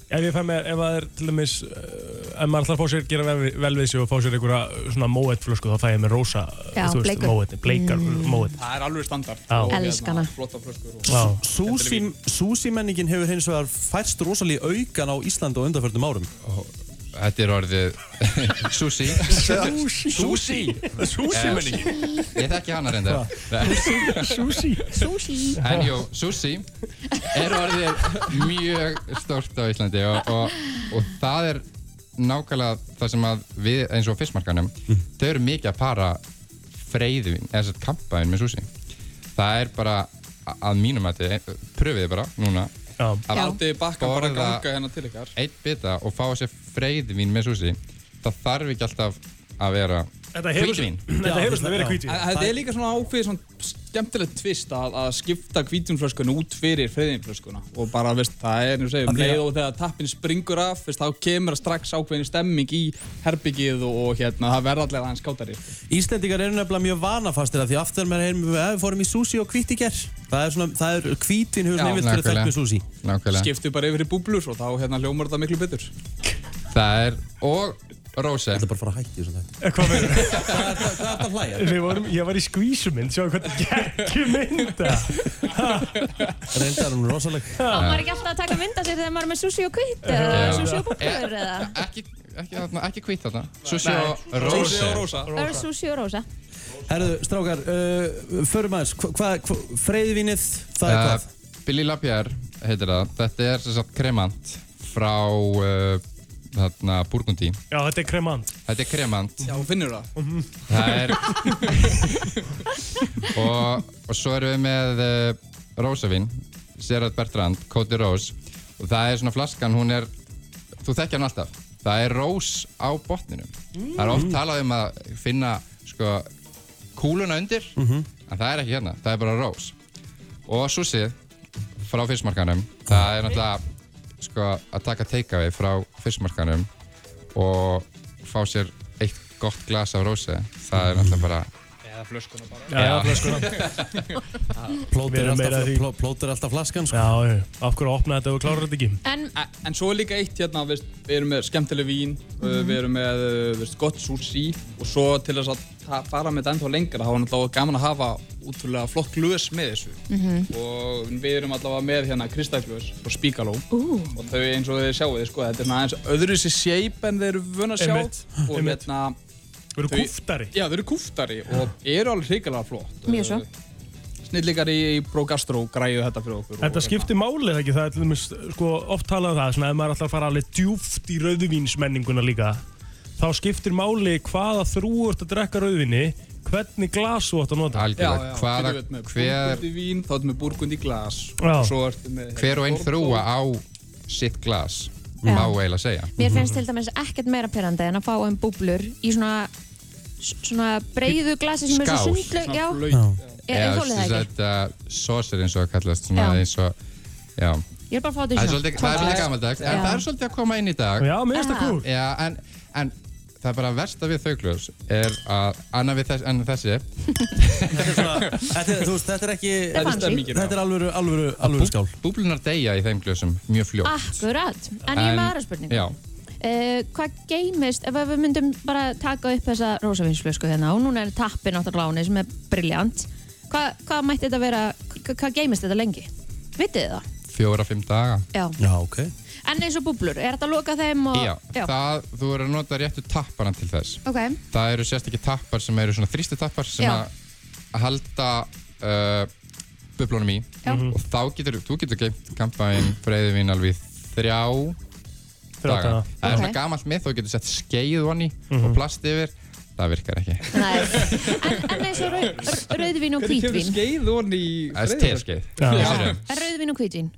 [SPEAKER 3] Ef ég fæ mér, ef það er til dæmis, uh, ef maður ætlar að fá sér, gera vel, vel við sig og fá sér einhverja eh, svona móett flösku, þá fæ ég mér rosa, uh,
[SPEAKER 2] Já,
[SPEAKER 3] þú veist,
[SPEAKER 2] bleikur.
[SPEAKER 3] móett, bleikar
[SPEAKER 2] Mm.
[SPEAKER 3] mm. móett.
[SPEAKER 13] Það er alveg standard.
[SPEAKER 3] Já.
[SPEAKER 13] Og hérna,
[SPEAKER 2] Elskana.
[SPEAKER 13] Flotta flöskur og...
[SPEAKER 3] Já.
[SPEAKER 1] Súsí- Súsímenningin hefur hins vegar færst rosalí aukan á Íslandi á undanförnum árum
[SPEAKER 12] Þetta er orðið Sushi
[SPEAKER 1] Sushi.
[SPEAKER 12] Sushi
[SPEAKER 1] Sushi-menningin.
[SPEAKER 12] Eh, Ég þekki hana reyndar Nei.
[SPEAKER 3] Sushi
[SPEAKER 2] Sushi
[SPEAKER 12] En jú, sushi er orðið mjög stórt á Íslandi og, og, og það er nákvæmlega það sem að við eins og fiskmarkanum
[SPEAKER 3] Mm.
[SPEAKER 12] þau eru mikið að para freyðin eða sett kampaðin með sushi það er bara a- að mínum að þið pröfiði bara núna
[SPEAKER 3] Já.
[SPEAKER 13] Það átti bakkan bara að ganga hérna til ykkar.
[SPEAKER 12] eitt bita og fá sér freyðvín með sushi það þarf ekki alltaf að vera
[SPEAKER 3] Þetta hefur-
[SPEAKER 12] hvítvín.
[SPEAKER 3] Þetta hefur svona verið hvítvín.
[SPEAKER 13] En Þetta er líka svona ákveðið svona skemmtilegt tvist að, að skipta hvítunflöskuna út fyrir freyðinflöskuna og bara, veist, það er, nú segjum,
[SPEAKER 14] Af því að-
[SPEAKER 13] leið og þegar tappin springur af, veist, þá kemur strax ákveðin stemming í herbyggið og, og hérna, það verða allir aðeins skátari.
[SPEAKER 14] Íslendingar eru nefnilega mjög vanafastir að því aftur maður heyrum við að við fórum í sushi og hvít í gerð það er svona, það er hvítin hefur svona yfir fyrir þekkt með sushi
[SPEAKER 12] Nákvæmlega.
[SPEAKER 13] Skiptu bara yfir í búblur og þá, hérna, hljómar þetta miklu betur.
[SPEAKER 12] Það er, og Róse Þetta er bara að fara að hætti svona þetta
[SPEAKER 3] Hvað hlæja? Við vorum, ég var í skvísumynd, sjáum hvað þetta geggjum mynda.
[SPEAKER 1] Reyndar hún rosaleg.
[SPEAKER 2] Á maður ekki alltaf að taka mynda sér þegar maður er með sushi og kvitt
[SPEAKER 12] Já. Eh,
[SPEAKER 2] eða sushi og búkur eða
[SPEAKER 12] Ekki, ekki, þarna- ekki hvít þarna Sushi
[SPEAKER 1] Nei.
[SPEAKER 12] og Róse
[SPEAKER 1] Sushi og Rósa.
[SPEAKER 2] Ör sushi og rosa
[SPEAKER 14] Herðu, strákar, uh, förum aðeins, hva- hvað, hva, freyðvinið, það er
[SPEAKER 12] Uh,
[SPEAKER 14] hvað?
[SPEAKER 12] Billy LaPierre heitir það Þetta er sem sagt kremant frá uh, þarna Burgundi
[SPEAKER 3] Já, þetta er kremant.
[SPEAKER 12] Þetta er kremant
[SPEAKER 13] Já, finnur það.
[SPEAKER 12] Það er og, og svo erum við með uh, Rósavin Gerard Bertrand, Cody Rose og það er svona flaskan, hún er þú þekkja hann alltaf, það er rós á botninum, það er oft talað um að finna sko kúluna undir, en það er ekki hérna það er bara rós og súsið frá fyrstmarkanum það er náttúrulega sko, að taka takeaway frá fyrstmarkanum og fá sér eitt gott glas af rósi það er náttúrulega bara
[SPEAKER 13] Eða flöskuna bara.
[SPEAKER 12] Já, já,
[SPEAKER 3] flöskuna.
[SPEAKER 1] Plóter er alltaf-
[SPEAKER 3] plóter alltaf flaskan, sko. Já, já, af hverju opnaði þetta og klárar þetta ekki?
[SPEAKER 2] En,
[SPEAKER 13] E, en svo er líka eitt hérna, veist, við erum með skemmtileg vín, mm. við erum með uh, veist, gott sushi og svo til þess að ta- fara með þetta ennþá lengra þá er náttúrulega gaman að hafa útrúlega flott glös með þessu
[SPEAKER 14] Mhm.
[SPEAKER 13] og við erum allavega með hérna kristallglös og spíkaló
[SPEAKER 14] Ú.
[SPEAKER 13] og þau eins og þið sjáu þið sko, þetta er svona aðeins öðru sér shape en þeir eru vön að sjá
[SPEAKER 3] Einmitt,
[SPEAKER 13] og
[SPEAKER 3] einmitt.
[SPEAKER 13] hérna
[SPEAKER 3] Þau eru kúftari
[SPEAKER 13] Já, þau eru kúftari og eru alveg hrikalega flott
[SPEAKER 2] Mjög svo
[SPEAKER 13] Snillikar í, í Progastro græðu þetta fyrir okkur
[SPEAKER 3] Þetta skiptir máli eða ekki, það er til dæmis sko, oft talað um það, svona ef maður ætlar að fara alveg djúft í rauðvínsmenninguna líka þá skiptir máli hvaða þrú ert að drekka rauðvinni hvernig glas þú ætti að nota
[SPEAKER 13] Já, já, þú ert með Burgund í vín, þá ertu með burgund í glas
[SPEAKER 12] Já.
[SPEAKER 13] og svo ertu með
[SPEAKER 12] hver og einn þrúa á sitt glas má eiginlega segja
[SPEAKER 2] Mér finnst til dæmis ekkert meira pyrrandi en að fá um búblur í svona svona breiðu glasi sem er svo
[SPEAKER 12] Skál.
[SPEAKER 2] sundlu Já, ég,
[SPEAKER 12] Já,
[SPEAKER 2] ég þólið það ekki
[SPEAKER 12] þetta sósir eins og það kallast svona
[SPEAKER 2] Já.
[SPEAKER 12] eins og já
[SPEAKER 2] Ég er bara að fá
[SPEAKER 12] Það
[SPEAKER 2] þetta
[SPEAKER 12] er svolítið, það er svolítið gammaldags, en
[SPEAKER 2] Já.
[SPEAKER 12] það er svolítið að koma inn í dag.
[SPEAKER 2] Já, mér finnst það Aha. kúl.
[SPEAKER 12] Já, en, en það er bara versta við þaukljós er að annað við þess, en þessi.
[SPEAKER 1] Þetta er, þú veist, þetta er ekki...
[SPEAKER 2] Þetta er fancy. stemmingin, já.
[SPEAKER 1] Þetta er alvöru, alvöru, alvöru skál.
[SPEAKER 12] Búblunar deyja í þeim glösum mjög fljótt.
[SPEAKER 2] Akkurat, Ah, en ég er með aðra spurningu
[SPEAKER 12] Já,
[SPEAKER 2] Eh, hvað geymist ef við myndum bara taka upp þessa rosavinsflösku hérna og núna er tappin á gláni sem er briljant Hva, hvað mætti þetta vera, hva- hvað geymist þetta lengi? Vitið þið það?
[SPEAKER 12] fjóra-fimm daga.
[SPEAKER 2] Já.
[SPEAKER 12] Já, ok.
[SPEAKER 2] En eins og búblur, er þetta að loka þeim og...
[SPEAKER 12] Já, það, þú eru að nota réttu tappana til þess.
[SPEAKER 2] Ok,
[SPEAKER 12] Það eru sérstakki tappar sem eru svona þrýsti tappar sem
[SPEAKER 2] Já.
[SPEAKER 12] að að halda uh, bublunum í Mhm.
[SPEAKER 2] Já.
[SPEAKER 12] og þá getur, þú getur geimt kampaðin breyðvin alveg í þrjá
[SPEAKER 3] Þrjá daga. Mhm.
[SPEAKER 12] Það er
[SPEAKER 2] Ok.
[SPEAKER 12] svona gamalt með þú getur sett skeið onni og plast yfir, það virkar ekki.
[SPEAKER 2] en eins og rau, rauðvin og
[SPEAKER 13] Hvernig kemur
[SPEAKER 2] hvítvín
[SPEAKER 13] skeið onni í
[SPEAKER 12] Það er
[SPEAKER 13] freyðinflösku?
[SPEAKER 12] teskeið.
[SPEAKER 2] Já, rauðvin og hvítvín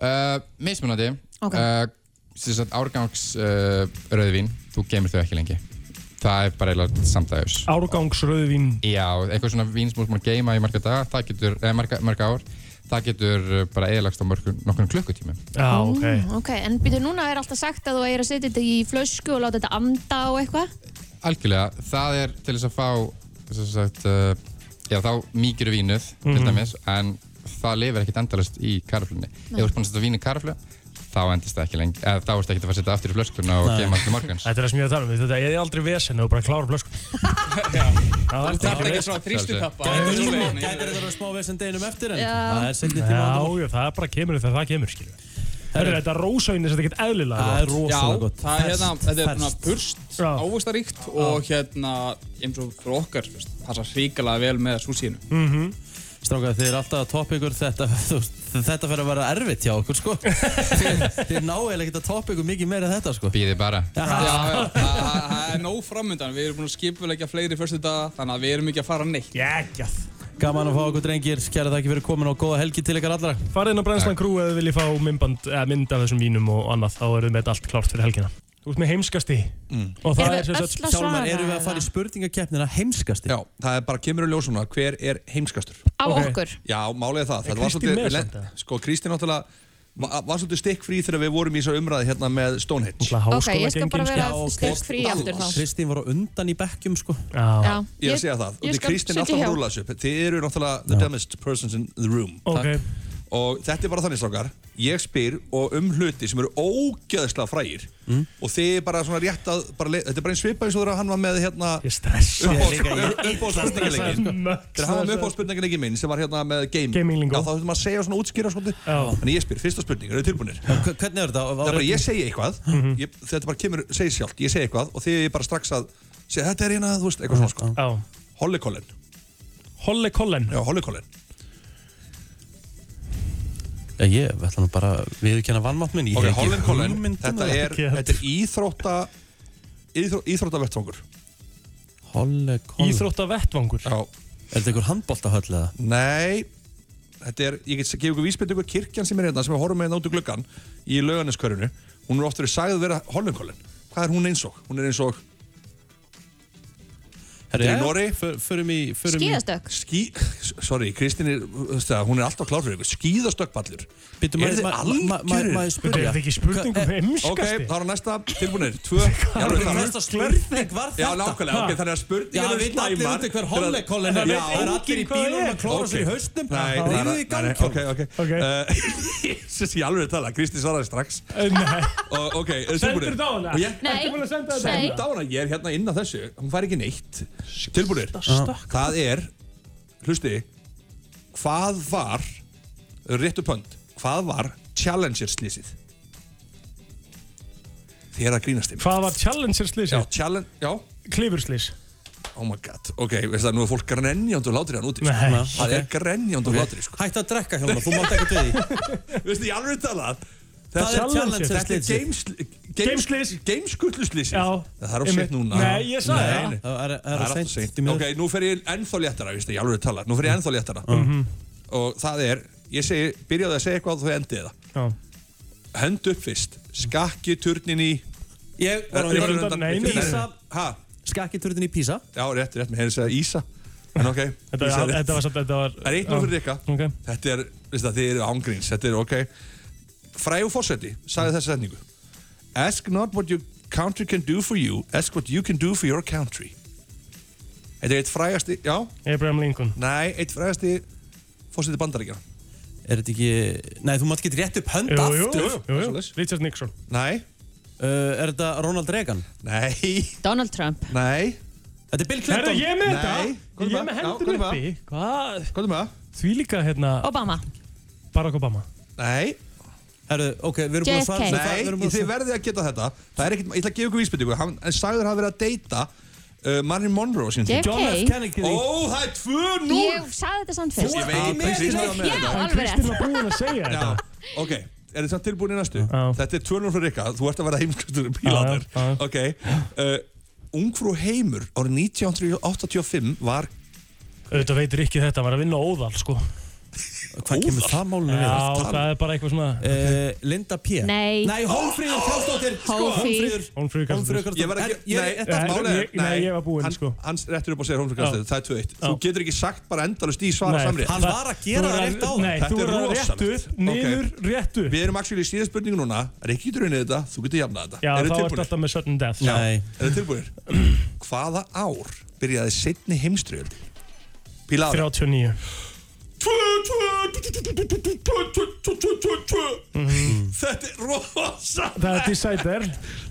[SPEAKER 12] Uh, mismunandi,
[SPEAKER 2] Ok.
[SPEAKER 12] uh, sem sagt árgangs uh, rauðvin, þú geimir þau ekki lengi. Það er bara eiginlega samdægurs.
[SPEAKER 3] Árgangsrauðvín
[SPEAKER 12] Já, eitthvað svona vín sem þú maður geima í marga daga, það getur, eða marga, marga ár, það getur uh, bara eðalagst á mörgum, nokkrum klukkutímum.
[SPEAKER 3] Já, ok.
[SPEAKER 2] Ok, en býtu núna er alltaf sagt að þú eigir að setja þetta í flösku og láta þetta anda og eitthvað
[SPEAKER 12] Algjörlega, það er til þess að fá, sem sagt, uh, já þá mýkir vínuð, til
[SPEAKER 3] Mhm.
[SPEAKER 12] dæmis, en það lifir ekkit endalast í karaflunni. Ef
[SPEAKER 3] Nei.
[SPEAKER 12] þú ert búin að setja vín í karaflu, þá endist það ekki lengi, eða þá ertu ekki að fara að setja aftur í flöskuna og
[SPEAKER 3] Nei.
[SPEAKER 12] geima til morguns.
[SPEAKER 3] Þetta er það sem ég er að tala um, þetta er aldrei vesen og bara klára blöskum Það er
[SPEAKER 12] þarft ekki
[SPEAKER 3] vesen.
[SPEAKER 12] svona þrýstitappa.
[SPEAKER 1] Gæti þetta að vera smá vesen deginum eftir en...
[SPEAKER 3] Já.
[SPEAKER 1] Það er seinni tíma vandamál.
[SPEAKER 3] Já, já, það bara kemur þegar það kemur, skilju Herru, þetta rósauðin er þetta ekkert eðlilega
[SPEAKER 1] Það er
[SPEAKER 3] gott.
[SPEAKER 1] rosalega gott.
[SPEAKER 13] það er hérna, þetta er svona
[SPEAKER 3] ferskt.
[SPEAKER 13] purst, ávistaríkt og hérna, eins og fyrir okkar, veist, passa hrikalega vel með súsínu.
[SPEAKER 1] Mhm. Strákar, þið er alltaf að toppa ykkur þetta, þú veist, þetta fer að vera erfitt hjá okkur, sko. þið þið náðu eiginlega ekki að toppa ykkur mikið meira en þetta, sko.
[SPEAKER 12] Býði bara.
[SPEAKER 13] Já, já, það- það það er nóg framundan, við erum búin að skipulegja fleiri fyrstu daga, þannig að við erum ekki að fara neitt.
[SPEAKER 3] Jækjað.
[SPEAKER 1] Gaman að fá okkur drengir, kæra þakki fyrir komin og góða helgi til ykkar allra.
[SPEAKER 3] Farið inn á Brennslan Crew eða viljið fá myndband, eða mynd af þessum vínum og annað, þá erum við með þetta allt klárt fyrir helgina. Þú ert með heimskasti
[SPEAKER 13] Mm.
[SPEAKER 3] og það er sem sagt
[SPEAKER 14] Hjálmar, erum við að fara í
[SPEAKER 10] spurningakeppnina heimskasti? Já, það er bara kemur í ljósuna, hver er heimskastur?
[SPEAKER 2] Á Ok. okkur.
[SPEAKER 10] Já, málið er það,
[SPEAKER 14] Er
[SPEAKER 10] það var
[SPEAKER 14] Kristín
[SPEAKER 10] svolítið,
[SPEAKER 14] með
[SPEAKER 10] við
[SPEAKER 14] samt
[SPEAKER 10] lent- sko Kristín náttúrulega va- var svolítið stikkfrí þegar við vorum í þessu umræði hérna með Stonehenge
[SPEAKER 2] Ok, ég skal
[SPEAKER 10] sko.
[SPEAKER 2] bara vera stikkfrí aftur þá.
[SPEAKER 10] Kristín var á undan í bekkjum sko
[SPEAKER 2] Já. Ég-
[SPEAKER 10] Ég er að segja það,
[SPEAKER 2] ég
[SPEAKER 10] og því
[SPEAKER 2] skal
[SPEAKER 10] Kristín
[SPEAKER 2] sitja
[SPEAKER 10] er alltaf
[SPEAKER 2] hjá.
[SPEAKER 10] að rúla þessu upp Þið eru náttúrulega the dumbest persons in the room
[SPEAKER 3] Ok.
[SPEAKER 10] Og þetta er bara þannig strákar Ég spyr og um hluti sem eru ógjöðslega frægir Og þið er bara svona rétt að bara, le- Þetta er bara einn svipa eins og þegar hann var með hérna Ég stressa Uppbóðspurningalegin Þegar hann var með uppbóðspurningalegin minn sem var hérna með gaming Gaming lingo Já þá þurfum að segja svona útskýra svona Þannig ég spyr, fyrsta spurning, eru þið tilbúinir? Hvernig er þetta? Það er bara ég segi eitthvað ég, Þetta bara kemur, segi sjálft, ég segi eitthvað Og þið er bara strax að segja þetta er hérna, þú veist, eitthvað svona sko
[SPEAKER 3] Já
[SPEAKER 10] Hollikollen
[SPEAKER 3] Hollikollen
[SPEAKER 10] Já, hollikollen
[SPEAKER 14] Já, ég ætla nú bara við kenna vannmátt minn.
[SPEAKER 10] Ok, hollikollen, þetta er, þetta er íþrótta íþró, Íþróttavettvangur
[SPEAKER 14] Hollikollen.
[SPEAKER 3] Íþrótta vettvangur?
[SPEAKER 10] Já
[SPEAKER 14] Er þetta einhver handbóltahöll eða?
[SPEAKER 10] Nei, þetta er, ég get gefið ykkur vísbyrningu kirkjan sem er hérna, sem við horfum með hérna út úr gluggan í laugarneskörinu, hún er oft verið sagð vera hollinkollen, hvað er hún eins og? Hún er eins og Þetta er í Nóri
[SPEAKER 14] Förum í... förum í-
[SPEAKER 2] Skíðastökk.
[SPEAKER 10] Skí, sorry, Kristín er, þú veist það, hún er alltaf klár fyrir ykkur, skíðastökkpallur
[SPEAKER 14] Bíddu,
[SPEAKER 10] Er
[SPEAKER 14] maður-
[SPEAKER 10] þið
[SPEAKER 14] ma-
[SPEAKER 10] algjörir?
[SPEAKER 14] ma- ma- ma- maður spurði. Bíddu, er þetta ekki spurning um heimskasti?
[SPEAKER 10] Ok, þá er næsta, tilbúinir, tvö Já,
[SPEAKER 14] alveg
[SPEAKER 10] það-
[SPEAKER 14] næsta spurning var
[SPEAKER 10] Já,
[SPEAKER 14] þetta?
[SPEAKER 10] nákvæmlega, ok, þannig að
[SPEAKER 14] Já,
[SPEAKER 10] spurningar
[SPEAKER 14] það veit allir úti hver hollekollen er.
[SPEAKER 10] Já,
[SPEAKER 14] Það er allir í bílunum að klóra sér í hausnum.
[SPEAKER 10] Nei,
[SPEAKER 14] Rífið
[SPEAKER 10] það er-
[SPEAKER 14] í gang,
[SPEAKER 10] nei, nei, ok, ok Eh, Þessi ég alveg að tala, Kristi svaraði strax
[SPEAKER 3] Eh, Nei
[SPEAKER 10] Og, Ok, er þið
[SPEAKER 3] Sendur
[SPEAKER 10] tilbúinir?
[SPEAKER 3] þetta á hana?
[SPEAKER 10] Og ég-
[SPEAKER 3] Nei. Ertu búin að senda þetta á hana?
[SPEAKER 10] Senda á hana, ég er hérna inn á þessu Hún fær ekki neitt Tilbúinir,
[SPEAKER 3] stökk.
[SPEAKER 10] það er Hlusti, hvað var Réttu pönd Hvað var Challenger slísið? Þið er að grínast þeim
[SPEAKER 3] Hvað var Challenger slísið?
[SPEAKER 10] Já, Challenger, já
[SPEAKER 3] Klifurslís
[SPEAKER 10] Oh my god, ok, veist það, nú er fólk grenjandi og látri hann úti, sko.
[SPEAKER 3] Nei.
[SPEAKER 10] það er grenjandi og
[SPEAKER 14] Ok.
[SPEAKER 10] látri, sko.
[SPEAKER 14] Hættu að drekka, Hjálmar, þú mátt ekki til því.
[SPEAKER 10] Veistu, ég alveg talað,
[SPEAKER 14] Það er Challenger
[SPEAKER 10] þetta er
[SPEAKER 14] slysið.
[SPEAKER 10] gamesl- games- gameskulluslýsið, það er á
[SPEAKER 14] einmitt.
[SPEAKER 10] sitt núna.
[SPEAKER 14] Nei, ég sagði það.
[SPEAKER 10] nei.
[SPEAKER 14] Það er- það er á
[SPEAKER 10] allt
[SPEAKER 14] seint,
[SPEAKER 10] of seint.
[SPEAKER 14] því miður.
[SPEAKER 10] Ok, nú fer ég ennþá léttara, veistu, ég alveg talað, nú fer ég ennþá léttara. Og það er, ég segi, byrjaði að segja eitthvað og þú endið það.
[SPEAKER 3] Já.
[SPEAKER 10] Hend upp fyrst, skakki turnin í...
[SPEAKER 14] Ég var á undan- Nei, nei, nei. Písa.
[SPEAKER 10] Skakki turnin í Písa? Já, rétt, rétt, mér hefði segjað Ísa. En ok,
[SPEAKER 3] Þetta
[SPEAKER 10] Ísa er
[SPEAKER 3] var-
[SPEAKER 10] rétt.
[SPEAKER 3] þetta var samt, þetta var
[SPEAKER 10] Það er eitt nú fyrir Rikka
[SPEAKER 3] Ok.
[SPEAKER 10] Þetta er, veist það, þið eru ángríns Þetta er ok Fræðu fórseti sagði þessa setningu Ask not what your country can do for you Ask what you can do for your country Þetta er eitt frægasti, já
[SPEAKER 3] Abraham Lincoln
[SPEAKER 10] Nei, eitt frægasti fórseti bandaríkjana
[SPEAKER 14] Er þetta ekki... Nei, þú mátt ekki rétt upp hönd
[SPEAKER 3] Jú,
[SPEAKER 14] aftur.
[SPEAKER 3] jú, jú, jú. Richard Nixon.
[SPEAKER 10] Nei.
[SPEAKER 14] Uh, er þetta Ronald Reagan?
[SPEAKER 10] Nei.
[SPEAKER 2] Donald Trump.
[SPEAKER 10] Nei.
[SPEAKER 14] Þetta er Bill
[SPEAKER 3] Herra,
[SPEAKER 14] Clinton.
[SPEAKER 3] ég er með þetta Ég er með hendur uppi Hvað?
[SPEAKER 10] Hvað er með það?
[SPEAKER 3] Því líka hérna
[SPEAKER 2] Obama.
[SPEAKER 3] Barack Obama
[SPEAKER 10] Nei
[SPEAKER 14] Herru, ok, við
[SPEAKER 3] erum búin að svara- JFK. við
[SPEAKER 10] Nei,
[SPEAKER 3] erum búin að
[SPEAKER 10] þið
[SPEAKER 3] svara-
[SPEAKER 10] verðið að geta þetta Það er ekkert, ég ætla að gefa ykkur vísbendingu Hann hann sagður að hafa verið að deyta uh, Marilyn Monroe sín
[SPEAKER 2] JFK? John F. Kennedy.
[SPEAKER 10] Ó, það er 2-0
[SPEAKER 2] Ég sagði þetta samt fyrst.
[SPEAKER 10] Ég veit, Kristín var með
[SPEAKER 2] Já,
[SPEAKER 10] þetta.
[SPEAKER 2] alveg rétt.
[SPEAKER 3] búin að segja
[SPEAKER 10] þetta Ok, er þið samt tilbúin í næstu? Þetta er 2-0 fyrir Rikka, þú ert að vera heimskastur pílatur Ok uh, Ungfrú heimur árið 1985 var
[SPEAKER 3] Auðvitað veitur ekki þetta, hann var að vinna á óðal sko
[SPEAKER 14] Hvað kemur það málinu við?
[SPEAKER 3] Já, það er bara eitthvað svona
[SPEAKER 14] uh, Linda P.
[SPEAKER 2] Nei.
[SPEAKER 14] Nei, Hólmfríður Kástóttir.
[SPEAKER 11] Sko,
[SPEAKER 2] Hófríður.
[SPEAKER 3] Hólmfríður
[SPEAKER 14] Hólmfríður Kástóttir.
[SPEAKER 10] Ég var ekki,
[SPEAKER 14] Er-
[SPEAKER 10] nei,
[SPEAKER 14] ég-
[SPEAKER 10] þetta er málið er-
[SPEAKER 14] Nei, ég var búinn,
[SPEAKER 10] hann-
[SPEAKER 14] sko.
[SPEAKER 10] Hans réttur upp á sér Hólmfríður
[SPEAKER 14] Já.
[SPEAKER 10] Það er 2-1 Þú getur ekki sagt bara endalust í svara
[SPEAKER 14] Nei,
[SPEAKER 10] samrið
[SPEAKER 14] hann var að gera það rétt áðan.
[SPEAKER 3] Nei, þú er að rétt upp, niður, rétt upp
[SPEAKER 10] Við erum actually í síðan spurningu núna Rikki getur unnið þetta, þú getur jafnað þetta
[SPEAKER 3] Já,
[SPEAKER 10] Eruð
[SPEAKER 3] þá
[SPEAKER 10] þið
[SPEAKER 3] ertu
[SPEAKER 10] tilbúnir?
[SPEAKER 3] alltaf með sudden death sko.
[SPEAKER 10] Já, Er það tilbúinir? Hvaða ár byrjaði setni heimströld? Píla ára
[SPEAKER 3] 39
[SPEAKER 10] Þetta er rosa
[SPEAKER 3] Það er decider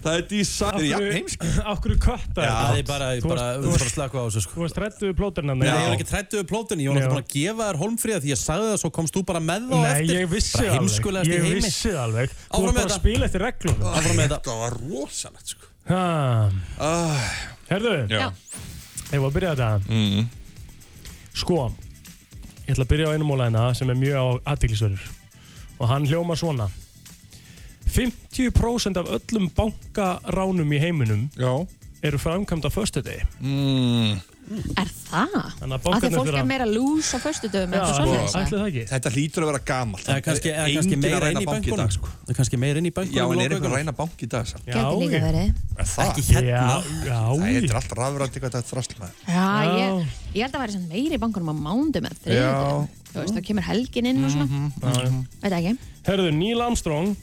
[SPEAKER 10] Það er decider, jafn heimsk.
[SPEAKER 3] Akkur kötta
[SPEAKER 14] Já, það er bara, ég bara, við bara slaka á þessu sko.
[SPEAKER 3] Þú varst rættu við plóterna
[SPEAKER 14] Nei, ég var ekki trættu við plótunni, ég var náttúrulega bara að gefa þér holmfríða því ég sagði það, svo komst þú bara með það á
[SPEAKER 3] Nei,
[SPEAKER 14] eftir.
[SPEAKER 3] ég vissi
[SPEAKER 14] Bara
[SPEAKER 3] það
[SPEAKER 14] heimskulegast
[SPEAKER 3] alveg
[SPEAKER 14] í
[SPEAKER 3] Ég
[SPEAKER 14] heimi.
[SPEAKER 3] vissi það alveg Þú
[SPEAKER 14] Áfram með
[SPEAKER 3] var bara að
[SPEAKER 14] þetta.
[SPEAKER 3] spila eftir reglum
[SPEAKER 14] Áfram með þetta.
[SPEAKER 10] Þetta var rosalegt sko
[SPEAKER 3] Herðu
[SPEAKER 10] Já. Mm-hmm.
[SPEAKER 3] Ég var að byrja þetta mm. Sko Ég ætla að byrja á einum mólæðina sem er mjög á aðtiklisverður og hann hljóma svona 50% af öllum bankaránum í heiminum
[SPEAKER 10] Já.
[SPEAKER 3] eru framkvæmd á föstudegi mm.
[SPEAKER 2] Er það?
[SPEAKER 3] Þannig að
[SPEAKER 2] Af því
[SPEAKER 3] bankarnir
[SPEAKER 2] að fólk
[SPEAKER 3] þurfa-
[SPEAKER 2] er meira lús á föstudöfum eða
[SPEAKER 3] Já,
[SPEAKER 2] eitthvað
[SPEAKER 14] sko,
[SPEAKER 2] svona
[SPEAKER 3] ætli það ekki?
[SPEAKER 10] Þetta hlýtur að vera gamalt.
[SPEAKER 14] Eða kannski, eða kannski
[SPEAKER 10] Enginn að
[SPEAKER 14] meira
[SPEAKER 10] ræna
[SPEAKER 14] inn í
[SPEAKER 10] banka í
[SPEAKER 14] bankunum
[SPEAKER 10] dag, sko.
[SPEAKER 14] Það er kannski meira inn í bankunum
[SPEAKER 10] Já, en
[SPEAKER 14] og
[SPEAKER 10] er eitthvað að
[SPEAKER 14] lokaugunum.
[SPEAKER 10] ræna bank í dag samt?
[SPEAKER 2] Gæti líka verið
[SPEAKER 10] Er það?
[SPEAKER 14] Ekki hérna. Já,
[SPEAKER 10] já. Það er alltaf rafrænt eitthvað þetta þrasl með.
[SPEAKER 2] Já, ég, ég held að væri svona meiri í bankunum á mándum eða þriðutum Þú veist, þá kemur helgin inn og svona
[SPEAKER 10] Mhm. Mm-hmm.
[SPEAKER 2] Veit ekki
[SPEAKER 3] Herðu, Neil Armstrong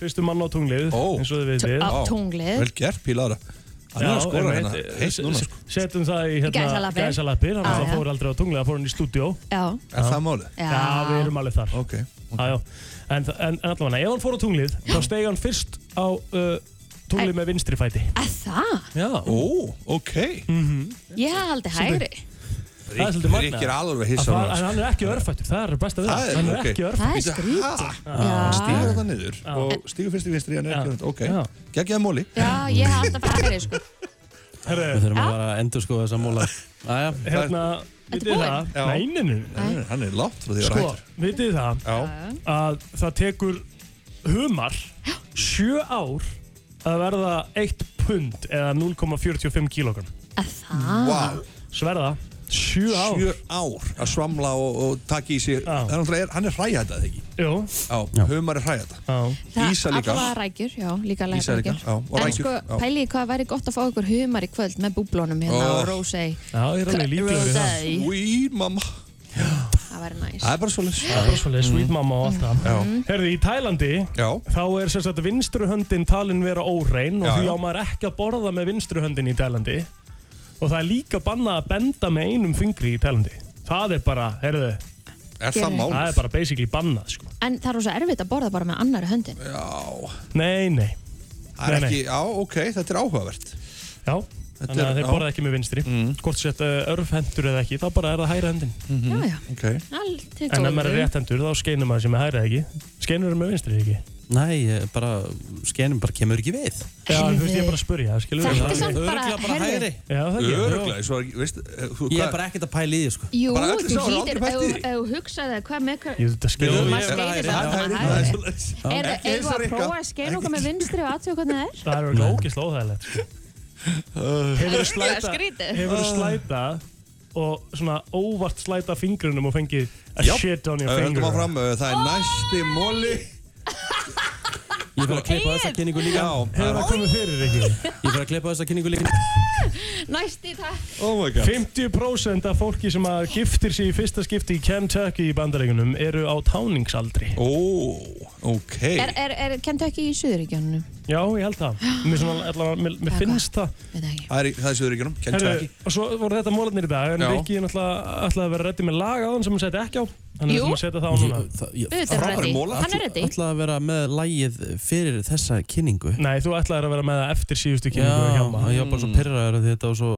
[SPEAKER 3] Fyrstu mann á tunglið oh. eins og þið veitir
[SPEAKER 2] Á tunglið. Vel
[SPEAKER 10] gert, pílaður Hann er að skora hérna, heitt núna, sko.
[SPEAKER 3] Setjum það í hérna,
[SPEAKER 2] Gæsalappir.
[SPEAKER 3] gæsalappir Þannig
[SPEAKER 2] Já,
[SPEAKER 3] að
[SPEAKER 2] já.
[SPEAKER 3] það fór aldrei á tunglið, það fór hann í stúdíó
[SPEAKER 2] Já,
[SPEAKER 10] Er það málið?
[SPEAKER 3] Já,
[SPEAKER 2] Já.
[SPEAKER 3] við erum alveg þar
[SPEAKER 10] okay.
[SPEAKER 3] Já, En, en, en allavega, ef hann fór á tunglið þá stegi hann fyrst á uh, tunglið með vinstri fæti
[SPEAKER 2] Það?
[SPEAKER 3] Já
[SPEAKER 10] Ó, ok
[SPEAKER 2] Ég haldi hægri
[SPEAKER 3] Það er svolítið magnað.
[SPEAKER 10] Ríkir er alveg hissa
[SPEAKER 3] Að það-
[SPEAKER 10] núna,
[SPEAKER 3] En
[SPEAKER 10] sko.
[SPEAKER 3] hann er ekki örfættur, það er best að
[SPEAKER 10] Það er-
[SPEAKER 3] vera Hann er
[SPEAKER 10] ok.
[SPEAKER 3] ekki
[SPEAKER 2] Það er
[SPEAKER 3] örfættur
[SPEAKER 2] skrítið
[SPEAKER 10] Hann stígur þetta niður og stígur fyrst í vinstri hann er ekki hérna, ok, geggjaði móli
[SPEAKER 2] Já, ég haldi að fara hægri sko
[SPEAKER 3] Við
[SPEAKER 14] þurfum að fara að endur sko þessa móla Æja,
[SPEAKER 3] Hérna, vitið þið
[SPEAKER 14] búinn?
[SPEAKER 3] það?
[SPEAKER 14] Já.
[SPEAKER 3] Nei, nei, nei, nei.
[SPEAKER 10] Hann er látt frá því að
[SPEAKER 3] Sko,
[SPEAKER 10] hættur.
[SPEAKER 3] vitið þið það
[SPEAKER 10] Já.
[SPEAKER 3] að það tekur humar sjö ár að verða 1 pund eða 0,45 kílógram
[SPEAKER 2] Það
[SPEAKER 3] Sverða, sjö ár
[SPEAKER 10] Sjö ár að svamla og, og taka í sér Það er náttúrulega, er- hann er hræðað eða ekki?
[SPEAKER 3] Jú
[SPEAKER 10] Já, humar er hræðað Ísa líka
[SPEAKER 2] Allavega rækjur, já, líka
[SPEAKER 10] Ísa líka,
[SPEAKER 2] rækjur
[SPEAKER 10] já, og
[SPEAKER 2] En
[SPEAKER 10] rækjur,
[SPEAKER 2] sko,
[SPEAKER 10] já.
[SPEAKER 2] pæliði hvað væri gott að fá ykkur humar í kvöld með búblónum hérna
[SPEAKER 10] Ó.
[SPEAKER 2] og rósei
[SPEAKER 3] Já, ég er alveg líklegur í það.
[SPEAKER 10] Sweet mama
[SPEAKER 2] Það væri næs
[SPEAKER 10] Það er bara svolítið
[SPEAKER 3] Það er bara svolítið sweet mamma og allt það
[SPEAKER 2] Mm.
[SPEAKER 3] Herði, í Tælandi
[SPEAKER 10] Já.
[SPEAKER 3] þá er sem sagt vinstru höndin talin vera órein og
[SPEAKER 10] Já,
[SPEAKER 3] því
[SPEAKER 10] já.
[SPEAKER 3] á maður ekki að borða með vinstru höndin í Tælandi og það er líka bannað að benda með einum fingri í Tælandi Það er bara, herðu
[SPEAKER 10] Er
[SPEAKER 2] það málið?
[SPEAKER 3] Það er bara basically bannað, sko
[SPEAKER 2] En það er rosa erfitt að borða bara með annari höndin
[SPEAKER 10] Já,
[SPEAKER 3] Nei, nei
[SPEAKER 10] það er
[SPEAKER 3] Nei, nei.
[SPEAKER 10] ekki, já, ok, þetta er áhugavert
[SPEAKER 3] Já,
[SPEAKER 10] Þetta
[SPEAKER 3] þannig
[SPEAKER 10] er-
[SPEAKER 3] að þeir
[SPEAKER 10] já. Mm.
[SPEAKER 3] borða ekki með vinstri Hvort sett örfhendur eða ekki, þá bara er það hæra hendin
[SPEAKER 2] Já, já,
[SPEAKER 10] Mhm. Ok
[SPEAKER 2] allt til
[SPEAKER 3] En ef maður er
[SPEAKER 2] góðu.
[SPEAKER 3] rétthendur, þá skeinur maður sem er hæra ekki Skeinur með vinstri ekki
[SPEAKER 14] Nei, ég bara, skenum bara kemur ekki við
[SPEAKER 3] Já, þú veist, ég er bara að spurja, skilur
[SPEAKER 2] Þetta er samt bara,
[SPEAKER 14] Örugglega bara hægri.
[SPEAKER 2] heyrðu,
[SPEAKER 3] Já, það ekki
[SPEAKER 10] Öruglega, svo er, veist eh, þú,
[SPEAKER 14] Ég
[SPEAKER 10] hvað-
[SPEAKER 14] er bara ekkert að pæla í því sko
[SPEAKER 2] Jú,
[SPEAKER 10] Bara allir
[SPEAKER 2] þú
[SPEAKER 10] sá, það er
[SPEAKER 2] hlýtir,
[SPEAKER 10] aldrei pælt í
[SPEAKER 2] ef
[SPEAKER 10] því.
[SPEAKER 2] ef þú hugsaði hvað með hver
[SPEAKER 3] Jú, þetta skilur
[SPEAKER 14] Jú,
[SPEAKER 2] maður
[SPEAKER 14] ég- það er-
[SPEAKER 2] skeiðir það
[SPEAKER 14] það
[SPEAKER 2] með
[SPEAKER 14] er-
[SPEAKER 2] hægri
[SPEAKER 14] Já.
[SPEAKER 2] Er
[SPEAKER 10] Ekki
[SPEAKER 2] það
[SPEAKER 10] eins og
[SPEAKER 2] að
[SPEAKER 10] Rikka.
[SPEAKER 2] prófa að skeina okkar með vinstri og aðtöku hvernig það er?
[SPEAKER 3] Það er alveg ógeðslega óþægilegt sko.
[SPEAKER 10] Öh.
[SPEAKER 2] Það
[SPEAKER 3] Hefur
[SPEAKER 2] er virkilega skrítið.
[SPEAKER 3] Hefur slætað og svona óvart slætað fingrunum og fengið a
[SPEAKER 10] Já.
[SPEAKER 3] shit on your
[SPEAKER 10] Ö,
[SPEAKER 3] finger
[SPEAKER 10] Öh, Höldum áfram, ö, það er næsti móli
[SPEAKER 14] Ég fyrir að klippa þessa kynningu líka
[SPEAKER 3] Hefur það komið fyrir ekki
[SPEAKER 14] Ég fyrir að klippa þessa kynningu líka
[SPEAKER 2] Næsti takk
[SPEAKER 10] Oh my god
[SPEAKER 3] 50% af fólki sem að giftir sig í fyrsta skipti í Kentucky í bandaríkunum eru á táningsaldri
[SPEAKER 10] Ó, ok
[SPEAKER 2] Er, er, er Kentucky í Suðuríkjónunum?
[SPEAKER 3] Já, ég held það Mér, svona, allavega, mér, mér
[SPEAKER 2] Það er
[SPEAKER 3] finnst það
[SPEAKER 2] Veit ekki
[SPEAKER 10] Það er, í- það er söðuríkjunum,
[SPEAKER 3] Herru,
[SPEAKER 10] Kentucky
[SPEAKER 3] og svo voru þetta mólarnir í dag en
[SPEAKER 10] Já.
[SPEAKER 3] Rikki náttúrulega ætlaði að vera reddi með lag á hann sem hann setti ekki á Þannig að
[SPEAKER 2] Jú.
[SPEAKER 3] við ætlum að setja það á núna
[SPEAKER 2] Auðvitað er hann
[SPEAKER 10] Frábæri
[SPEAKER 2] ready.
[SPEAKER 10] mólar.
[SPEAKER 2] Hann er ready.
[SPEAKER 14] Ætla að vera með lægið fyrir þessa kynningu
[SPEAKER 3] Nei, þú ætlaðir að vera með það eftir síðustu
[SPEAKER 14] Já,
[SPEAKER 3] kynningu hjá maður
[SPEAKER 14] ég var bara svo pyrraður því þetta var svo